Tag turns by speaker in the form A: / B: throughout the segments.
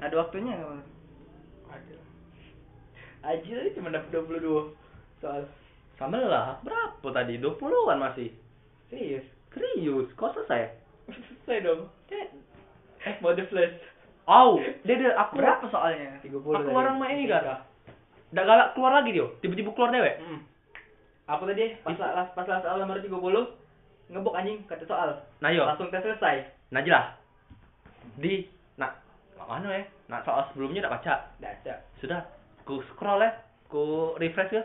A: ada waktunya nggak Bang?
B: Ada. Ajil aja cuma dapat 22 soal.
A: Sama lah berapa tadi 20-an masih
B: Serius.
A: serius kok selesai Eh.
B: Selesai dong. Eh, Mau the flash.
A: Au,
C: Iya.
A: dia dia aku
B: Berapa
A: soalnya?
B: 30
A: Aku
B: tadi.
A: orang mah ini kan. Dah galak keluar lagi dia. Tiba-tiba keluar dewe.
B: Hmm. Apa tadi? Pas
A: Itu.
B: lah pas lah soal nomor 30 ngebok anjing kata soal.
A: Nah yo,
B: Langsung tes selesai.
A: nah jelas. Di nah, nak nak mana ya? Nak soal sebelumnya dah baca.
B: Daca.
A: Sudah, ku scroll ya, ku refresh ya.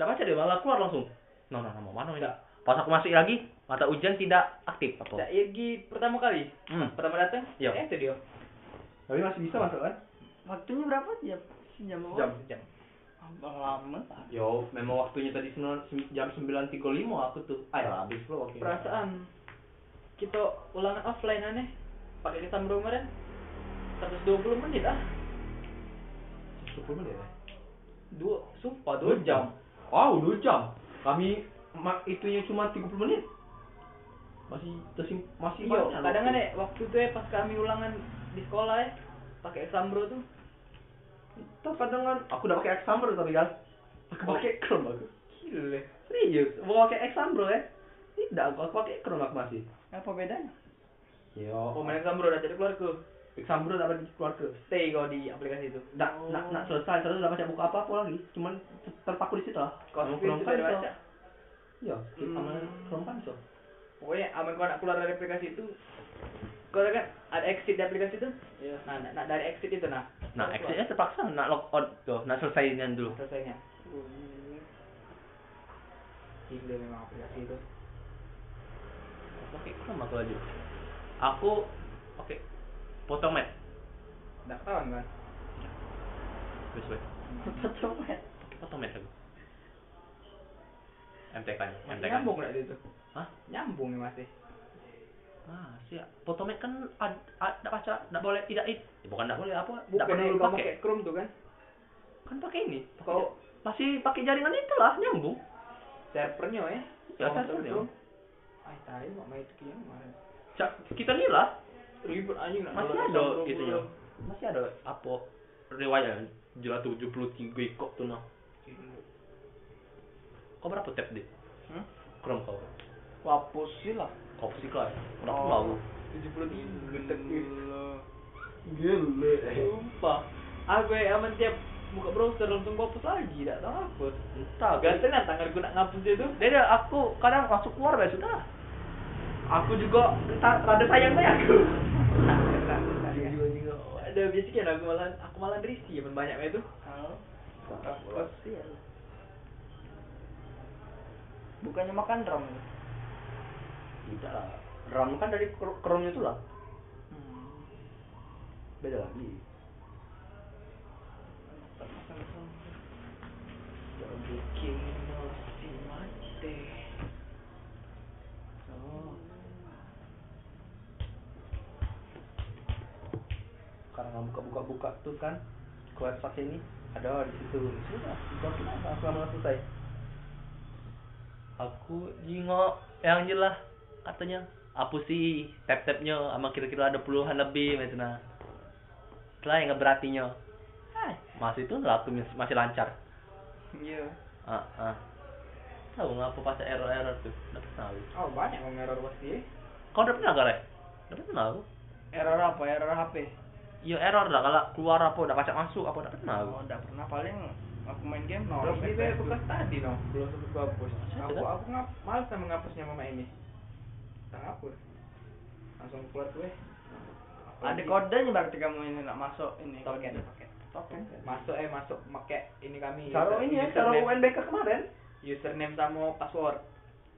A: Dah baca dia malah keluar langsung. No no no mau mana ini? Pas aku masuk lagi, mata ujian tidak aktif
B: Dak
A: apa.
B: Irgi iya, pertama kali.
A: Hmm.
B: Pertama datang.
A: Yo.
B: Eh, itu dia.
A: Tapi masih bisa masuk kan?
C: Waktunya berapa jam? Sejam apa?
A: Jam.
B: Sejam.
C: Abang lama.
A: Oh. Yo, memang waktunya tadi sembilan- sem- jam 9.35 aku tuh. Ayo habis lo waktunya.
B: Perasaan kita ulangan offline aneh. Pakai eh. kita kemarin 120 menit ah.
A: 10 menit ya.
B: Dua, sumpah dua jam.
A: Wow, dua jam. Kami ma- itunya cuma 30 menit. Masih tersim masih
B: Iya,
A: banyak
B: kadang kan
A: waktu.
B: ya waktu itu ya pas kami ulangan di sekolah ya pakai sambro tuh
A: Tuh kadang kan aku udah pakai exam bro tapi kan. Aku
B: Oh.
A: pakai Chrome aku.
B: gile
A: Serius, mau pakai exam bro ya? Tidak, aku, aku pakai Chrome aku masih. Ya,
C: Apa bedanya?
A: Yo,
B: pemain sambro udah jadi keluar ke
A: exam bro dapat keluarga.
B: stay kau di aplikasi itu
A: Nak, nak, nak selesai, terus udah baca buku apa apa lagi. Cuman terpaku di situ lah.
B: kau
A: Sama
B: sendiri
A: Chrome
B: sudah
A: kan, so.
B: baca
A: Iya, sama
B: Hmm.
A: Chrome kan so.
B: pokoknya aman kau nak keluar dari aplikasi itu kau tahu kan ada exit di aplikasi itu
C: Iya.
B: nah, nah, nah, dari exit itu nah
A: Nah, exitnya terpaksa nak log out tuh, nak selesaiin dulu.
B: selesainya gile memang aplikasi itu
A: Oke, Chrome aku lanjut. Aku oke. Potomat.
B: udah ketahuan kan
A: Wes wes.
C: Apa tuh, Mat?
A: Potomat aku. MTK nya,
B: masih
A: MTK. nya.
B: nyambung nggak itu
A: Hah?
B: nyambung ya masih
A: Ah, siap. Potomat kan ada baca, tidak boleh tidak it. Ya, bukan tidak boleh apa? Tidak
B: bukan
A: perlu
B: yang kau
A: pakai.
B: pakai Oh. Chrome tuh kan
A: Kan pakai ini. Pakai
B: Kau-
A: ja- masih pakai jaringan itulah nyambung.
B: servernya ya
A: Ya,
B: Kalau
A: servernya.
B: masuk Chrome, ay tahu mak main itu kian kemarin
A: Ca- kita nih lah
B: ribut anjing nak
A: masih
B: download
A: ada
B: sambro
A: gitu
B: mulu.
A: ya. Masih ada apa riwayat jelas 73 ikop tuh nah. Kau berapa tab deh?
C: Hmm?
A: Chrome kau.
C: Wapus sih lah.
A: Kau sih lah. Berapa
C: Oh.
A: lagu?
B: 73 detik
A: Gile.
B: eh. sumpah aku ya aman tiap buka browser langsung gua hapus lagi tidak tahu apa
A: Entah, guys.
B: ganteng lah tangan gua nak ngapus itu
A: Dede, aku kadang masuk keluar ya sudah. Aku juga ta- rada sayang saya aku. ya.
B: ada biasa kan aku malah aku malah risih aman banyak itu
C: Kalau wapus sih ya. Bukannya makan drum.
A: Tidak lah. RAM kan dari Chrome itu lah.
C: Hmm.
A: Beda lagi.
C: Oh.
A: Karena buka-buka-buka tuh kan ke website ini ada di situ. Sudah, sudah kenapa? Aku lama selesai. Aku jingok yang jelas katanya apa sih tap-tapnya sama kira-kira ada puluhan lebih macamnya. Setelah yang berartinya
C: Hai.
A: masih itu lah aku masih- masih lancar.
C: Iya.
A: Ah, ah. Tahu ngapa pas error-error tuh? Udah pernah aku.
B: oh banyak yang error pasti eh.
A: Kau udah pernah gak, Re? Udah pernah aku.
C: Error apa? Error HP.
A: Iya error lah kalau keluar apa udah baca masuk apa udah pernah aku.
C: Oh, udah pernah paling aku main game
B: no
C: drop
B: ini
A: gitu
C: FPS
A: ya,
B: saya
C: dulu.
B: bekas tadi no belum sempat gua hapus
A: Maksudnya
B: aku
A: tidak?
B: aku ngap malas sama ngapusnya mama ini tak hapus langsung keluar eh. gue
C: Ada kodenya berarti kamu ini nak masuk ini
B: Token.
C: kodenya pakai token.
B: masuk eh masuk make ini kami
C: Iya.
A: Cara
B: user-
A: ini ya,
B: username-
A: cara UNBK kemarin.
B: username sama password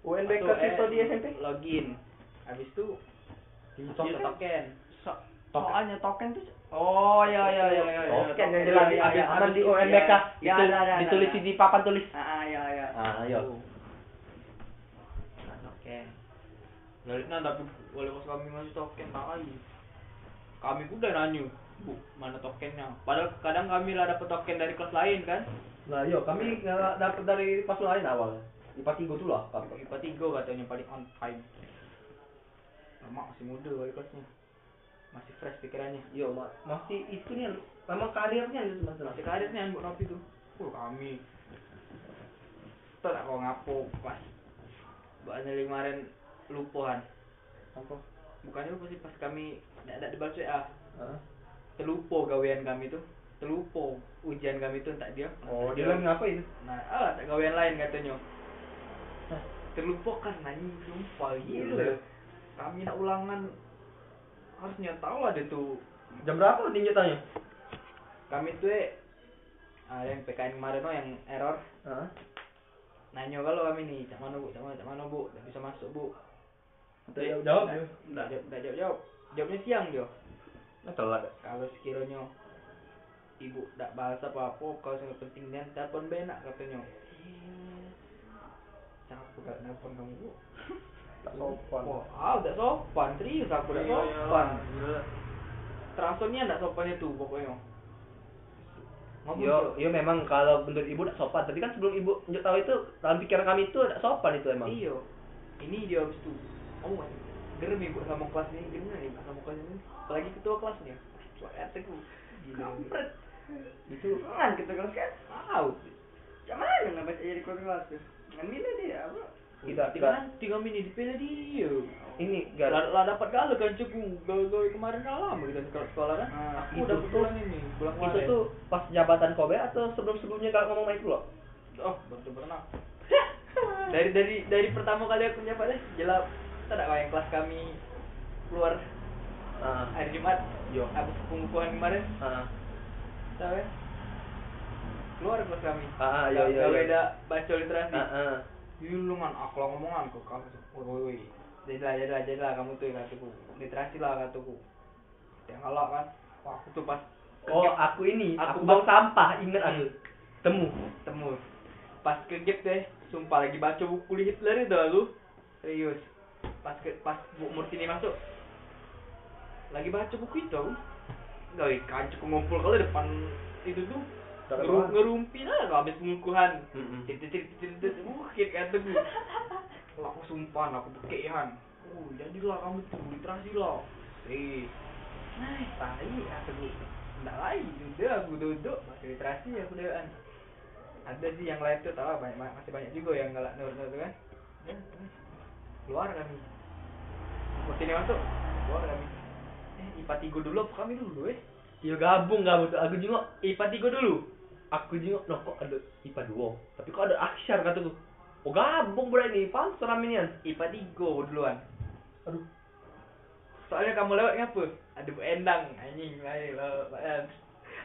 A: UNBK
B: Masuk, eh,
A: siswa di SMP.
B: login habis itu
A: Token.
B: user token
C: So-
A: Token.
C: soalnya token tuh oh ya
A: iya,
C: ya ya ya. ya,
A: Token yang
C: Iya,
A: jelas
C: iya,
A: ada
C: iya,
A: ada
C: iya,
A: di
C: iya.
A: UNBK.
C: Ya,
A: Itu
C: ada, ada,
A: ditulis
C: ada.
A: di papan tulis.
C: Ah, ya ya.
A: Ah, ayo.
B: Nah, token dari nah tapi boleh pas kami masih token tak lagi kami pun udah nanyu bu mana tokennya padahal kadang kami lah dapet token dari kelas lain kan
A: Nah, yo kami nggak dapat dari pas lain awal. IPA 3 tuh lah.
B: IPA tiga katanya paling on time lama masih muda wali kelasnya masih fresh pikirannya
A: Yo, Iya, ma- masih itu nih, memang karirnya itu mas.
B: masih karir nih Bu Novi tuh uh kami tuh tak kau ngapo pas banyak kemarin lupuhan
A: Apa?
B: bukannya lupa sih pas kami ah. ada di balik CA
A: Heeh.
B: telupo gawean kami tuh telupo ujian kami tuh tak dia
A: Oh,
C: iya.
A: dia lagi ngapain?
B: nah ah tak gawean lain katanya
A: Hah?
B: telupo kan nanyi sumpah
A: Gila.
C: Iya.
B: gila kami nak ulangan harusnya tahu lah dia tuh
A: Jam berapa ninja tanya?
B: kami tuh eh, ada yang PKN kemarin oh yang error
A: Heeh.
B: nanya kalau kami nih cak mana bu cak mana cak mana bu tak bisa masuk bu
A: Tidak jawab jawab
C: Nah.
A: iya.
B: Nggak-
A: dia.
B: nggak jawab nggak jawab jawab jawabnya siang dia
A: Nah, telat.
B: kalau sekiranya ibu tak bahas apa apa kalau sangat penting dan telepon benak katanya
A: Iya.
B: siapa gak telepon kamu bu
A: Tak sopan. Iya,
B: Wah, ah, tak sopan serius aku tak sopan transfernya tak sopannya tuh pokoknya ngomong
A: Yo,
B: Cok.
A: yo memang kalau menurut ibu tidak sopan, tapi kan sebelum ibu njuk tahu itu dalam pikiran kami itu tidak sopan itu emang.
B: Iya. Ini dia habis itu. Kamu masih gerem ibu sama kelas ini, gerem nih ibu sama kelas ini. Apalagi ketua kelasnya. Suara teku. Kampret.
A: Itu
C: Kan gitu kan kan.
B: Wow.
C: Gimana nggak baca jadi keluar kelas tuh? Ngambil dia apa?
A: kita kita
B: Kan tiga menit dipilih dia.
A: ini
B: Gak
A: gara
B: lah dapat galau kan cukup. Galau-galau kemarin gak lama kita sekolah sekolah kan.
C: Nah,
B: Aku
A: Ah, itu
B: dapat
A: tuh-
B: pulang ini, pulang
A: itu tuh pas jabatan Kobe atau sebelum sebelumnya kalau ngomong main dulu.
B: oh baru pernah. dari dari dari pertama kali aku nyapa deh, jelas. Tidak kayak kelas kami keluar
A: Ah,
B: hari Jumat.
A: yo.
B: Habis pengukuhan kemarin,
A: Ah,
B: Tahu ya? Keluar kelas kami.
A: ah, yo, yo,
B: Gak
A: yo.
B: beda baca literasi.
A: Ah, ah.
B: Yulungan akal ngomongan kok kamu. Woi woi woi. Jadilah jadilah jadilah kamu tuh kataku. Literasi lah kataku. Yang kalah kan. Wah, aku tuh pas
A: Oh,
B: kegep
A: aku ini,
B: Aku
A: aku bang Hmm. sampah, inget aku. Temu.
B: temu. Pas kegep deh, sumpah lagi baca buku Hitler itu lalu. Serius. Pas ke, pas Bu Murtini masuk. Lagi baca buku itu. Gak ikan cukup ngumpul kalau depan itu tuh Ngeru ngerumpi lah kalau habis pengukuhan.
A: Mm-mm.
B: Titit-titit-titit, bukit kan tuh. Kalau aku sumpah, aku bukit kan. Oh, jadilah kamu tuh literasi lah. Eh, nah, tai, aku tuh. Nggak lain, duduk, aku duduk, masih literasi ya, aku dewan. Ada sih yang lain tuh, tau lah, banyak, banyak- masih banyak juga yang galak nur-nur tuh kan. Ya, terus. Keluar kami. Mungkin yang masuk, keluar kami. Eh, IPA tiga dulu, apa kami dulu eh.
A: Yo gabung gabung tuh. Aku juga,
B: IPA tiga dulu.
A: aku juga. Loh kok ada IPA dua? Tapi kok ada aksar kataku. Oh gabung berarti ini, pan seram ini kan.
B: IPA tiga duluan.
A: Aduh,
B: Soalnya kamu lewat ngapa? Ada Bu Endang anjing lain lah Pak Yan.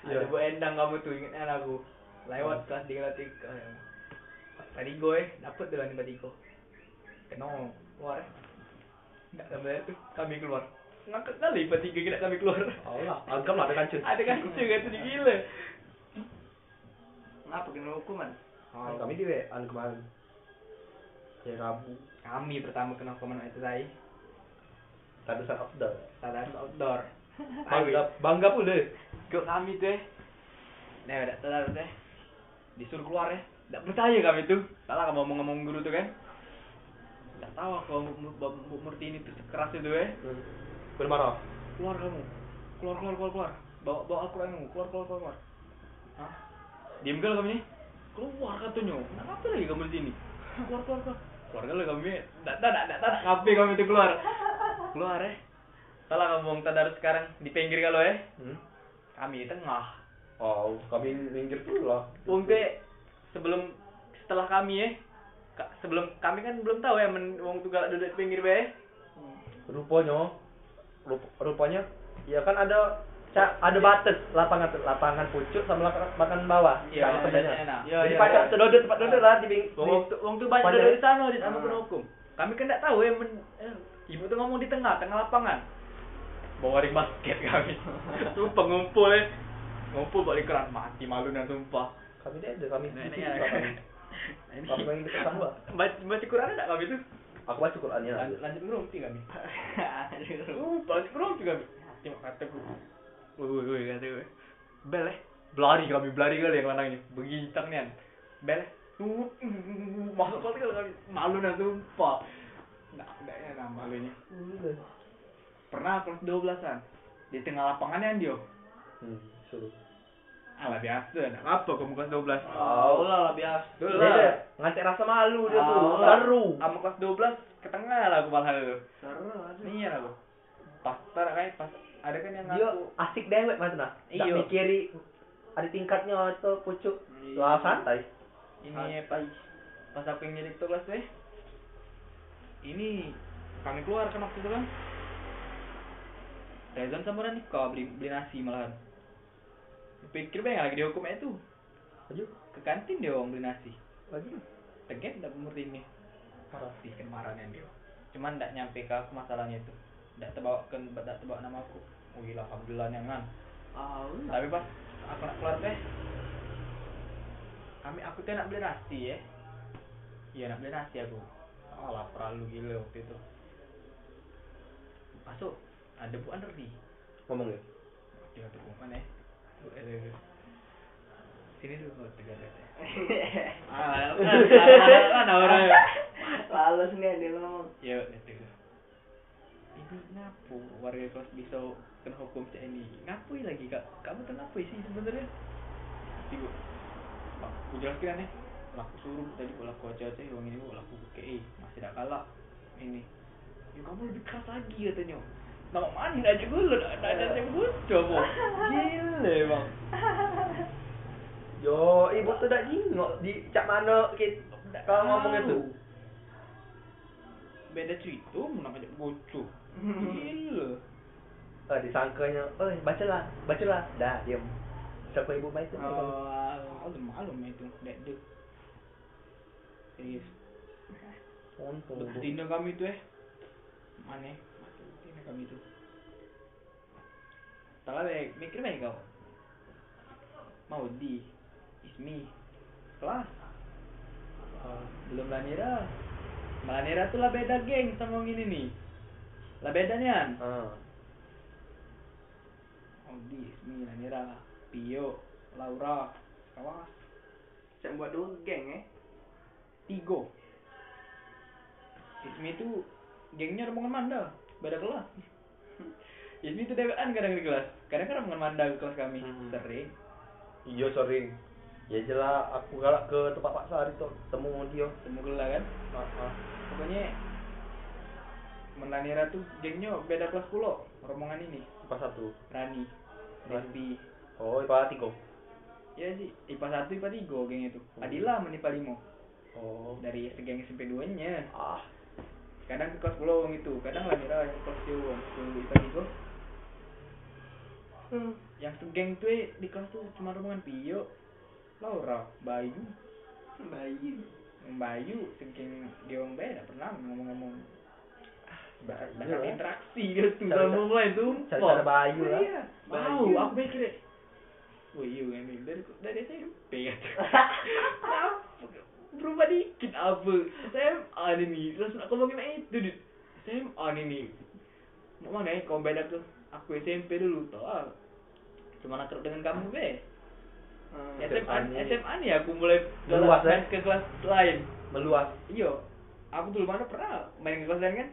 B: Ada
A: Iya.
B: Bu Endang kamu tuh ingat kan aku. Lewat kelas tiga kelas tiga. Tadi gue eh dapat duluan tiba tiga. Kenong keluar. eh. Enggak sabar tuh kami keluar. Ngangkat kali tiba tiga kita kami keluar.
A: Allah, agam lah ada kancil.
B: Ada kan cuy kan tuh gila.
C: Ngapa kena hukuman?
A: Kan kami di WA kemarin. Ya Rabu,
B: kami pertama kena hukuman itu tadi.
A: tadi saat outdoor.
B: Salah outdoor.
A: Bangga, bangga pula.
B: Kau kami tuh eh. Nah, udah telat udah. Disuruh keluar ya. Enggak percaya kami tuh. Salah kamu ngomong-ngomong guru tuh kan. Enggak tahu aku Bu- Bu Bu- Bu Murti ini tuh sekeras itu eh.
A: Bermarah.
B: Keluar kamu. Keluar keluar keluar keluar. Bawa bawa Al-Qur'an kamu. Keluar keluar keluar. keluar. Hah? Diam gak kami? Keluar katanya. Kenapa lagi kamu di sini? Keluar keluar keluar. Keluar gak kami? Enggak enggak enggak enggak. Kapi kami tuh keluar. Keluar eh. Salah kamu ngomong tadarus sekarang di pinggir kalau eh.
A: Hmm?
B: Kami di tengah.
A: Oh, kami minggir dulu lah.
B: Wong teh sebelum setelah kami ya, ka- sebelum kami kan belum tahu ya men, wong tuh galak duduk di pinggir bae.
A: Rupanya, rup- rupanya, ya kan ada ca- ada batas lapangan lapangan pucuk sama lapangan, lapangan bawah.
B: Iya,
A: Sama Ya, tengahnya.
B: iya, iya.
A: Jadi
B: Iya,
A: pada
B: iya.
A: terdodot tempat dodot lah di bing-
B: Wong
A: di-
B: wong tuh- wong tuh banyak
A: Pandai.
B: duduk di sana di sama
C: Ah.
B: penuh Kami kan enggak tahu ya men, eh, ibu tuh ngomong di tengah, tengah lapangan. Bawa ring basket kami. sumpah ngumpul ya. Ngumpul balik keran mati malu dan sumpah.
A: Kami deh, ada kami.
B: Nah,
A: di
B: ini
A: situ
B: ya.
A: lah kami.
B: Nah, ini.
A: Apa yang dekat sama?
B: Baca, baca Quran enggak kami tuh?
A: Aku baca Qurannya.
B: Lanjut lanjut ngerumpi kami.
C: Aduh.
B: Uh, balik rum juga. Tim kata gue. Ah. Woi woi woi kata gue. Bel eh. Belari kami belari kali yang lanangnya. Begintang nian. Bel. eh. Uh, uh, uh, uh, masuk kali kalau kami malu nah sumpah. Nah, enggaknya nah malunya. Pernah kelas 12-an. di tengah lapangan ya Dio
A: Hmm, suruh.
B: ala biasa nak apa kamu kelas 12
A: Oh.
C: lah lah biasa
B: Dulu
A: Beda.
B: lah
A: Ngancik rasa malu dia tuh.
B: Ah,
A: Seru.
B: sama kelas 12 ke tengah lah aku malah itu
C: seru aja
B: iya lah aku pas tar kayak pas ada kan yang
A: Dia
B: ngaku
A: asik dewek mas nah.
B: Iya.
A: Iya. mikiri ada tingkatnya atau pucuk. Lah santai.
B: ini pas pas aku yang jadi ketua kelas tuh eh, ini kami keluar kan waktu itu kan Rezan sama Rani kau beli beli nasi malahan pikir banyak lagi dihukumnya itu
A: Aduh.
B: ke kantin dia orang beli nasi
A: Lagi.
B: teget tidak umur ini pasti kemarahan dia cuman tidak nyampe ke aku masalahnya itu tidak terbawa ke tidak terbawa nama aku wih alhamdulillah nyangan
C: ah lu
B: tapi pas aku nak keluar teh kami aku teh nak beli nasi ya iya nak beli nasi aku oh lapar lu gila waktu itu masuk ada bu Andri
A: Ngomong ya.
B: dia tuh mana ya bu Andri sini dulu kalau tiga teh ah kan kan orang ya
C: lalu nih dia ngomong
B: ya itu ini ngapu warga kelas bisa kena hukum cak ini ngapui lagi kak kamu tuh ngapui sih sebenarnya tigo pak aku jelaskan ya laku suruh tadi kalau aku aja teh uang ini aku laku kei masih tidak kalah ini ya kamu lebih keras lagi katanya nama mana aja gue lu ada ada yang gue coba gila bang
A: Yo, ibu tuh dak jingok di cak mana kit. Kalau ngomong itu.
B: beda cerita mau namanya bocor gila
A: Eh, disangkanya, eh bacalah, bacalah. Dah, diam. Siapa ibu baik tuh?
B: Eh, Oh, udah malam itu, dek dek. Serius,
A: Untung.
B: untuk Tina kami tuh eh. Mana? Mati Tina kami tuh. Tahu deh, mikir baik kau. Mau di, Ismi, kelas. Oh, belum Lanira. Lanira tuh lah beda geng sama yang ini nih. Lah bedanya.
A: Ah.
B: Audi, Ismi, Lanira, Pio, Laura, Kawas,
C: cak buat dua geng eh
B: Tigo. Ismi itu gengnya rombongan Manda, beda kelas. Ismi itu dewean kadang di kelas, kadang kan rombongan Manda ke kelas kami
A: Hmm.
B: sering.
A: Iya, sorry. Ya jelas aku galak ke tempat Pak Sari tuh, temu dia.
B: Temu gela kan,
A: Ah, ah.
B: pokoknya Melanira tuh gengnya beda kelas kulo, rombongan ini,
A: IPA satu.
B: Rani, Rizbi,
A: Oh, IPA tiga.
B: ya sih, IPA 1, IPA 3 geng itu Adila menipa 5
A: Oh.
B: Dari segeng SMP 2 nya
A: Ah,
B: kadang ke kelas pulau orang itu kadang lah mira yang kelas dia orang tunggu itu gitu
C: hmm.
B: yang segeng tuh eh, di kelas tuh cuma rombongan Pio Laura Bayu
C: bayi
B: Yang Bayu segeng dia orang beda pernah ngomong-ngomong
A: Bayu,
B: bahkan
A: eh.
B: interaksi dia tuh
A: Cara-
B: sama orang lain tuh
A: cara-cara Bayu lah.
B: iya mau
C: Bayu.
B: aku mikir deh wah iya kan nih, dari dari SMP kata ya." Apa? berubah dikit apa SMA ni ni langsung nak ngomongin macam itu dude SMA ni ni Mak mana eh kau beda tu Aku SMP dulu tau lah Cuma nak kerut dengan kamu be
C: Hmm.
A: Ya,
B: SMA,
A: ni.
B: SMA ni aku mulai
A: Meluas,
B: main
A: eh?
B: ke kelas lain
A: meluas.
B: Iyo Aku dulu mana pernah main ke kelas lain kan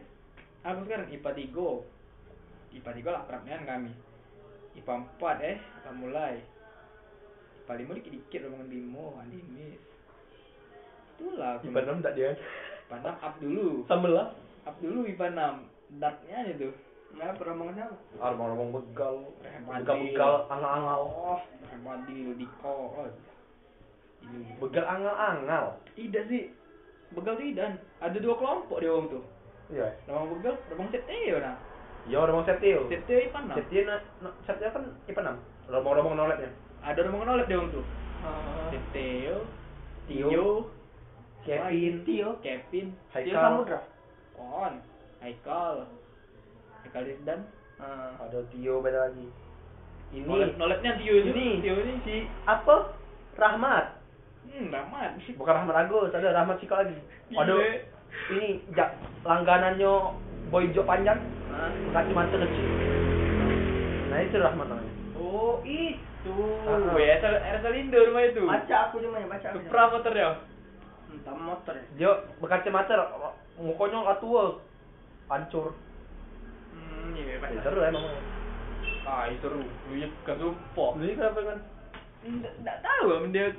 B: Aku sekarang IPA 3 IPA 3 lah perapnian kami IPA 4 eh IPA mulai IPA 5 dikit-dikit rombongan Bimo Andimis Itulah aku
A: IPA enam tak dia?
B: IPA 6 up dulu
A: Sambel lah.
B: Up dulu IPA 6 Darknya aja tuh
C: nggak perombongan apa
A: Armong-armong begal.
B: Remadil.
A: Begal-begal angal-angal.
B: Oh, Rahmadil, Diko oh. Ini-
A: Begal angal-angal.
B: Ida sih Begal tuh Idan Ada dua kelompok dia orang tuh
A: Iya.
B: Romang Begal, Romang Seteo nah
A: Ya, Armong Setio.
B: Seteo IPA 6
A: Setio na, na Setio kan IPA enam. Armong-armong noletnya.
B: ada orang menolak dia orang tu. Hmm.
C: Ah.
B: Teo,
A: Tio,
B: Tio,
A: Kevin,
B: Tio, Kevin,
C: Tio
A: Haikal.
C: Samudra
B: On, Haikal, Haikal Rizdan.
C: Ah.
A: Ada Tio beda lagi.
B: Nolak-
A: Ini
B: nolaknya Tio itu.
A: ini
B: Tio ini si,
A: si apa? Rahmat.
B: hmm, Rahmat.
A: Bukan Rahmat Agus, ada Rahmat Siko lagi.
B: Gile.
A: Waduh. Ini jak langganannya boy jo panjang,
C: Ah.
A: kacamata kecil. Nah, itu Rahmat namanya.
C: oh itu
A: Ah,
B: Weh, asal asal Indo rumah itu.
C: baca aku cuma ya baca aku
B: Supra motor dia.
C: entah motor ya
A: Dia berkacamata, mukanya nggak tua, hancur.
C: hmm iya baca
A: Ya, seru emang.
B: Ah, seru. Duyuk ke sumpah.
A: Ini kenapa kan?
B: Enggak tahu om dia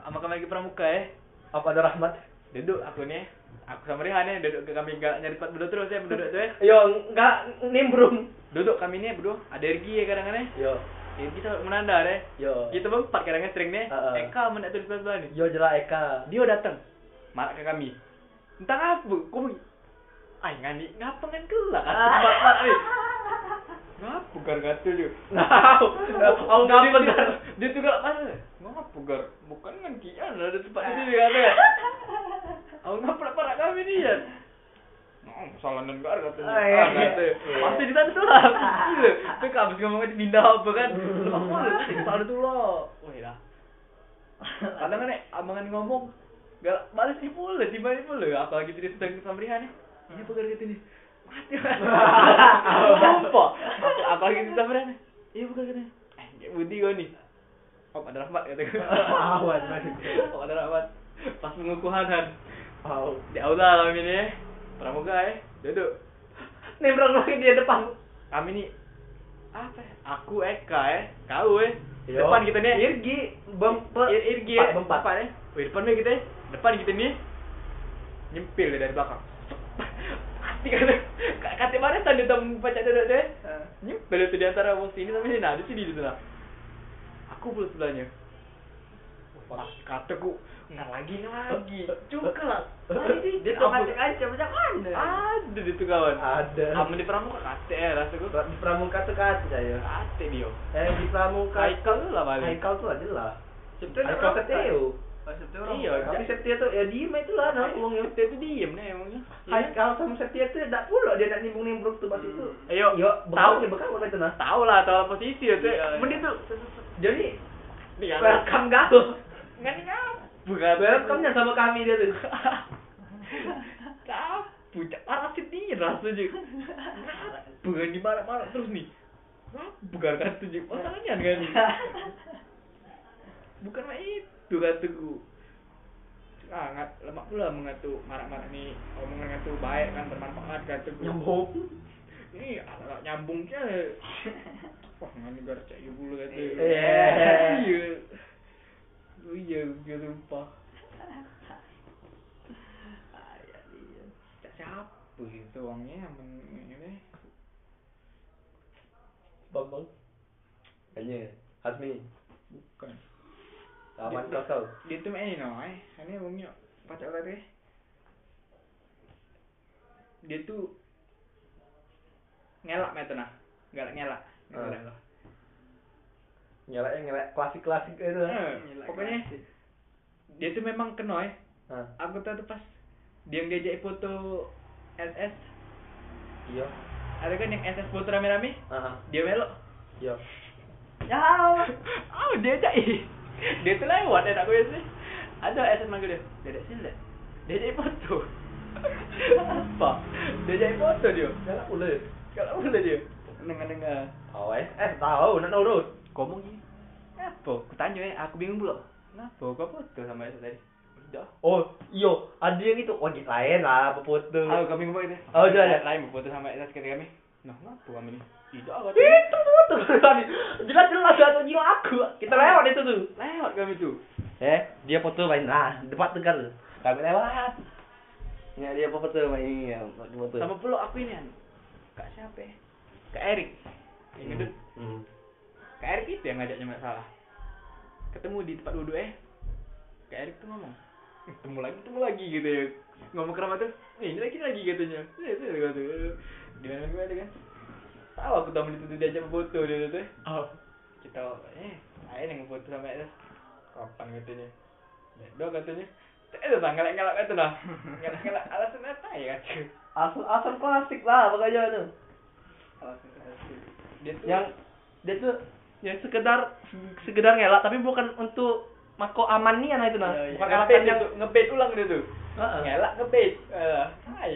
B: sama kami lagi pramuka ya.
A: Apa ada rahmat?
B: Duduk aku nih. Aku sama Rihan ya, duduk ke kami enggak nyari tempat berdua terus ya, berdua tuh
A: eh?
B: ya.
A: Yo, enggak nimbrung.
B: Duduk kami nih berdua, ada Ergi ya kadang-kadang ya.
A: Yo,
B: Ya, kita menanda deh.
A: yo.
B: Kita berempat kadang-kadang sering eh. nih.
A: Ah, ah.
B: Eka menak tulis sebelah nih.
A: Yo jelas Eka.
B: Dia datang marah ke kami. Entah apa, kau Ay, ngani, ngapa ngan kelak? Tempat marah nih. Ngapa gar gatul yuk?
A: Tahu. Aku enggak
B: Dia-
A: benar.
B: dia- Dia tuh gak pas. Ngapa gar? Bukan ngan kian lah, ada tempat itu dia kata. Aku ngapa nak parak kami ni ya? Oh, salah dan gar kata.
A: Ah, iya.
B: Ah, kata. Pasti di sana tu lah. Gila. Tu kan habis ngomong dia pindah apa kan? Lepas tu lah, salah tu lah. Wah, iya dah. Kadang kan abangan ngomong Gak balas dia pula, tiba dia pula Aku lagi tidak sedang samrihan ya Ini pegar kata ni Mati Lupa Aku- Aku lagi tidak samrihan ya Ini pegar kata ni Eh, gak budi kau ni Oh, ada rahmat kata aku
A: Awan, masih.
B: Oh, ada rahmat Pas mengukuhanan
A: Tahu.
B: Di aula kami ni eh. Pramuka eh Duduk
A: Nimbrung lagi dia depan.
B: Kami ni Apa eh? Aku Eka eh Kau eh
A: Yo.
B: Depan kita ni
A: Irgi, bempe.
B: Ir- Irgi
A: Empat,
B: ya,
A: bempat.
B: depan ya. Wih, depan nih kita ya. Depan kita nih. Nyempil dia dari belakang. Hati kata kata mana tadi tem baca duduk deh.
C: Eh.
B: Nyempil itu di antara wong sini sama sini. Nah, di sini di sana. Aku pula sebelahnya. Wah, kata ku, nggak lagi nggak lagi. Cukup lah. Lagi
C: Dia tuh ngacak-ngacak macam mana?
B: Ada di tu kawan.
A: Ada.
B: Kamu di pramuka kate ya rasa ku.
A: Di pramuka tuh kan saya.
B: Kate dia.
A: Eh di pramuka.
B: Kaikal tu lah balik.
A: Haikal tuh adalah.
C: Sebetulnya
A: Haikal
C: orang-
A: Keteo.
C: Oh, sebetulnya orang-
B: Iya,
A: Tapi Setia tuh ya diem itu lah nah
B: Wong
A: uangnya.
B: yang itu diem nih emangnya. Iya.
A: Haikal sama Setia tuh enggak pula dia enggak nimbung-nimbrung tuh pas itu.
B: Hmm. Ayo,
A: Yo,
B: tahu
A: bekal nih bekal apa itu nah.
B: tahu lah tahu posisi itu
C: Iya, iya.
B: mending tuh
A: Jadi
B: nih
A: welcome gaul.
B: nggak nih bukan
A: Welcome-nya sama kami dia tuh.
B: tapi parasit nih rasanya bukan di marah marah terus nih bukan kan tujuh masalahnya kan bukan mah itu kata ku ah ngat lemak pula mengatu marah marah nih omongan ngatu baik kan bermanfaat kata ku ini anak nyambung ke wah ngani gara cek ibu lu kata
A: Iya.
B: iya lu iya gue lupa cak siapa itu uangnya yang men- ini
A: Bambang. Kayaknya Hasmi,
B: bukan
A: aman kau kau.
B: dia tuh main no eh ini uangnya pacar tadi dia tuh ngelak metona galak ngelak
A: Ah.
B: Ngelak lah.
A: Nyelak nyelak klasik klasik itu lah.
B: Eh, pokoknya dia tuh memang kena eh
A: Hah,
B: aku tahu tuh pas dia yang diajak foto SS
A: Iya.
B: ada kan yang SS foto rame-rame
A: Heeh.
B: dia belok
A: Iya.
C: Ya.
B: oh dia ajak ih. dia tuh lewat enak gue sih ada SS manggil dia dia ajak sini dia ajak foto apa dia ajak foto dia
A: Nyelak boleh.
B: kalau boleh dia dengar-dengar
A: Oh eh, eh tahu nak nurut.
B: ngomong ini apa aku tanya eh aku bingung pula kenapa kau foto sama SS tadi udah
A: Oh, iyo, ada yang itu wajib lain lah berfoto.
B: Aku kami ngomong itu.
A: Oh, sudah,
B: eh.
A: sudah.
B: Lain berfoto sama Esas kata kami. Nah, kenapa kami ni? Tidak kata.
A: Itu foto kami. Jelas jelas jatuh jiwa aku. Kita lewat itu tuh.
B: Lewat kami tu.
A: Ah. Eh, dia foto main nah, debat tegar tuh. Kami lewat. Ya dia foto main ya, foto.
B: Sama pula aku ini kan. Kak siapa? eh? Kak Erik. Yang
A: Hmm,
B: ngedut.
A: hmm.
B: Kak Erik itu yang ngajaknya masalah. Ketemu di tempat duduk eh. Kak Erik tu ngomong. "Eh, Ketemu lagi, ketemu lagi gitu ya. Ngomong ke Rahmat tu. "Eh, Ini lagi lagi katanya. Eh, itu dia kata. Di mana mana kan. Tahu aku tahu itu dia ajak foto dia tu. eh.
A: Oh.
B: kita eh saya yang foto sama itu kapan katanya Dedo katanya "Eh, tak ada bang ngelak ngelak itu lah ngelak ngelak alasan apa ya kata
A: Asal asal klasik lah pokoknya tuh.
B: alasan alasan dia tuh
A: Yang dia tuh yang Ya, sekedar sekedar ngelak tapi bukan untuk mako aman nih anak itu nah.
B: bukan
A: Bukan Ah.
B: alasan dia
A: alasan yang
B: tuh ngebet ulang dia tuh
A: Heeh.
B: ngelak ngebet eh hai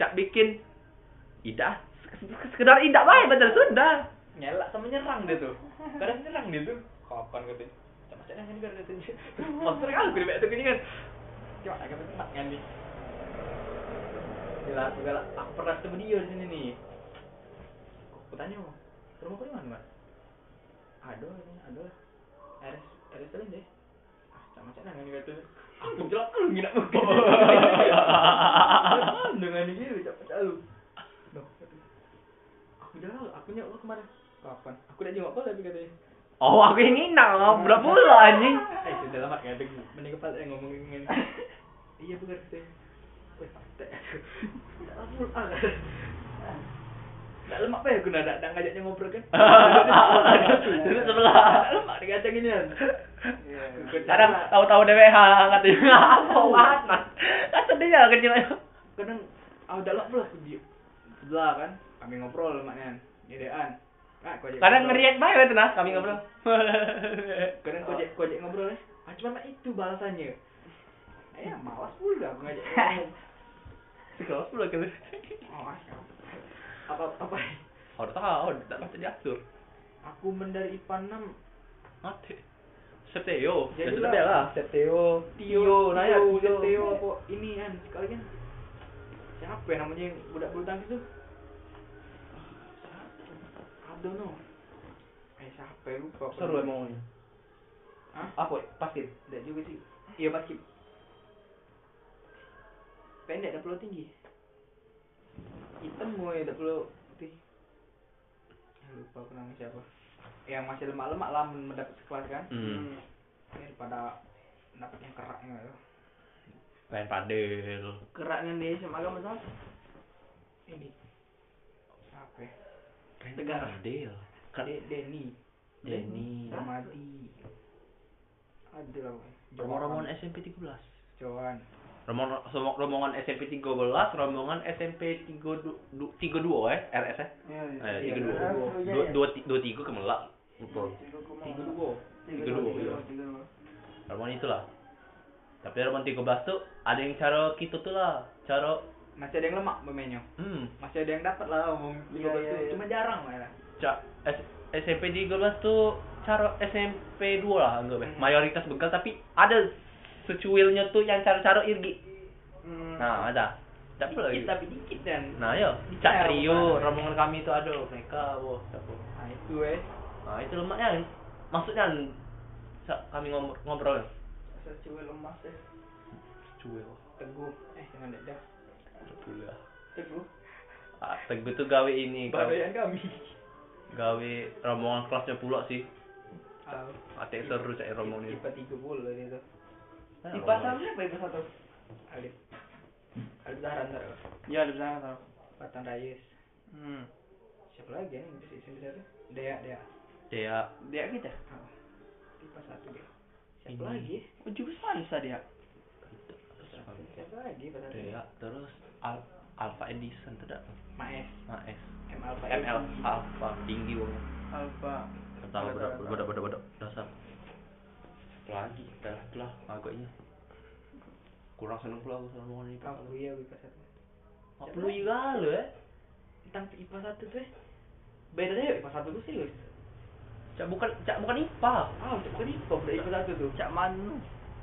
A: cak bikin idah sekedar idah baik betul sudah.
B: ngelak sama nyerang dia tuh kadang nyerang dia tuh kapan katanya macam macam kan gara katanya monster kan aku lebih tuh gini kan cuma agak berat kan nih Gila, aku galak. Aku pernah ketemu dia di sini nih. Aku tanya, Rumah kau di mana? Mas? Aduh, ini aduh. RS RS lain deh. Ah, sama macam nang gitu. Aku jelas lu ngira aku. Dengan ini gitu cepat lu. Duh. Aku jalan aku nyak lu kemarin. Kapan? Aku udah jawab kau tapi katanya.
A: Oh, aku yang nginang, berapa pula anjing?
B: Eh, sudah lama kayak teguh. Mending kepala yang ngomongin. Iya, bener sih. Wih, pantai. Tak apa ah. Tak lemak apa ya guna dak dak ngajaknya ngobrol kan.
A: Duduk sebelah.
B: Tak lemak digajak gini kan.
C: Iya.
A: Kadang tahu-tahu DWH katanya apa banget, Mas. Kan sedih ya kecilnya.
B: kadang ah dak lemak pula video. Sebelah kan. Kami ngobrol lemaknya. Gedean. Nah, kau ajak
A: Kadang
B: ngobrol.
A: ngeriak banget nah kami ngobrol.
B: Kadang kau ajak kau ajak ngobrol eh. Ah, cuma nak itu balasannya. Eh, malas pula aku ngajak ngomong.
A: Sekelas pula kan.
B: Oh, apa apa
A: Harus tahu, tidak pasti diatur.
B: aku mendari IPA 6
A: Mati. Ya, Seteo,
B: Jadi
A: jadi
B: lah.
A: lebih lah.
D: Seteo.
B: Tio,
A: nah
B: nah
A: ya,
B: ya,
A: Tio.
B: Tio apa ini kan sekali kan. Siapa ya namanya yang budak bulu tangkis tuh? I don't know. Eh siapa ya lupa.
D: Seru emang.
B: Hah?
D: Apa? Pasti.
B: Tidak juga sih. Iya basket. Pendek tak perlu tinggi. Hitam gue tak perlu putih. Ah, Lupa aku namanya siapa. Yang masih lemak-lemak lah mendapat sekelas kan.
A: Hmm.
B: Daripada dapat yang keraknya itu.
A: Main padel.
C: Keraknya di SMA agama sama.
B: ini apa ya?
C: Tegar.
A: Padel. Kan
B: De Denny
A: Denny.
B: Ramadi ada lah
A: Rombongan SMP 13.
B: Johan
A: Rombongan rombongan SMP 13, rombongan SMP 32 32 eh RS eh.
C: Iya, Iya.
A: Eh,
B: tiga
A: tiga dua. Ah,
B: dua.
A: Dua dua ti- dua tiga ke Melak. Betul.
B: tiga dua
A: Tiga dua, iya. Rombongan itulah. Tapi rombongan 13 tuh ada yang cara kita tuh lah. Cara
B: masih ada yang lemak pemainnya
A: hmm,
B: masih ada yang dapat lah umum
C: Iya,
B: tiga belas
C: iya,
B: tuh.
C: iya.
B: cuma jarang lah ya.
A: Ca- S- SMP 13 tuh cara SMP 2 lah anggap ya.
B: Hmm.
A: Mayoritas begal tapi ada secuilnya tuh yang cara-cara irgi.
B: Hmm.
A: Nah, ada. Tapi lagi.
B: dikit tapi dikit dan
A: Nah, yo,
B: Ya,
A: Cak Trio,
B: bukan.
A: rombongan kami itu ada mereka, boh. siapa.
B: nah itu eh
A: Nah, itu lemaknya. Maksudnya sa- kami ngom- ngobrol.
C: Secuil lemas deh.
A: Cuil.
B: teguh eh jangan ada dah
A: Pula.
B: teguh
A: Ah, Teguh tuh gawe ini, gawe,
B: baroyan kami
A: gawe rombongan kelasnya pula sih.
B: Ah,
A: Atik seru cak rombongan ini.
B: IPA tiga puluh dia tuh
A: Ah,
C: IPA
A: rombongan.
C: sama siapa IPA satu?
B: Alif Alif Zahran ntar
C: Iya, di sana tahu.
B: Batang Rayus
C: Hmm.
B: siapa lagi yang bisa isi besar tuh Dea Dea
A: Dea.
C: Dia gitu ya? kita.
B: Ah, IPA satu dia
A: Ini.
B: siapa lagi
C: Oh, jurusan bisa dia.
B: Siapa lagi pada
A: Dea, terus Al Alpha Edison tidak Nah,
B: Maes,
A: Maes
B: M Alpha
A: ML Alpha tinggi wong
C: Alfa.
A: pertama bedak bedak bedak bedak dasar Ah, iya? lagi dah lah agaknya kurang seneng pula aku sama orang ini
B: Kamu iya IPA satu.
A: apa lu juga lu eh
B: Tentang IPA satu tuh. eh. Bedanya IPA satu tuh serius.
A: cak bukan cak bukan IPA
B: Ah, untuk bukan IPA, bukan IPA satu tuh.
C: Cak Manu. Oh,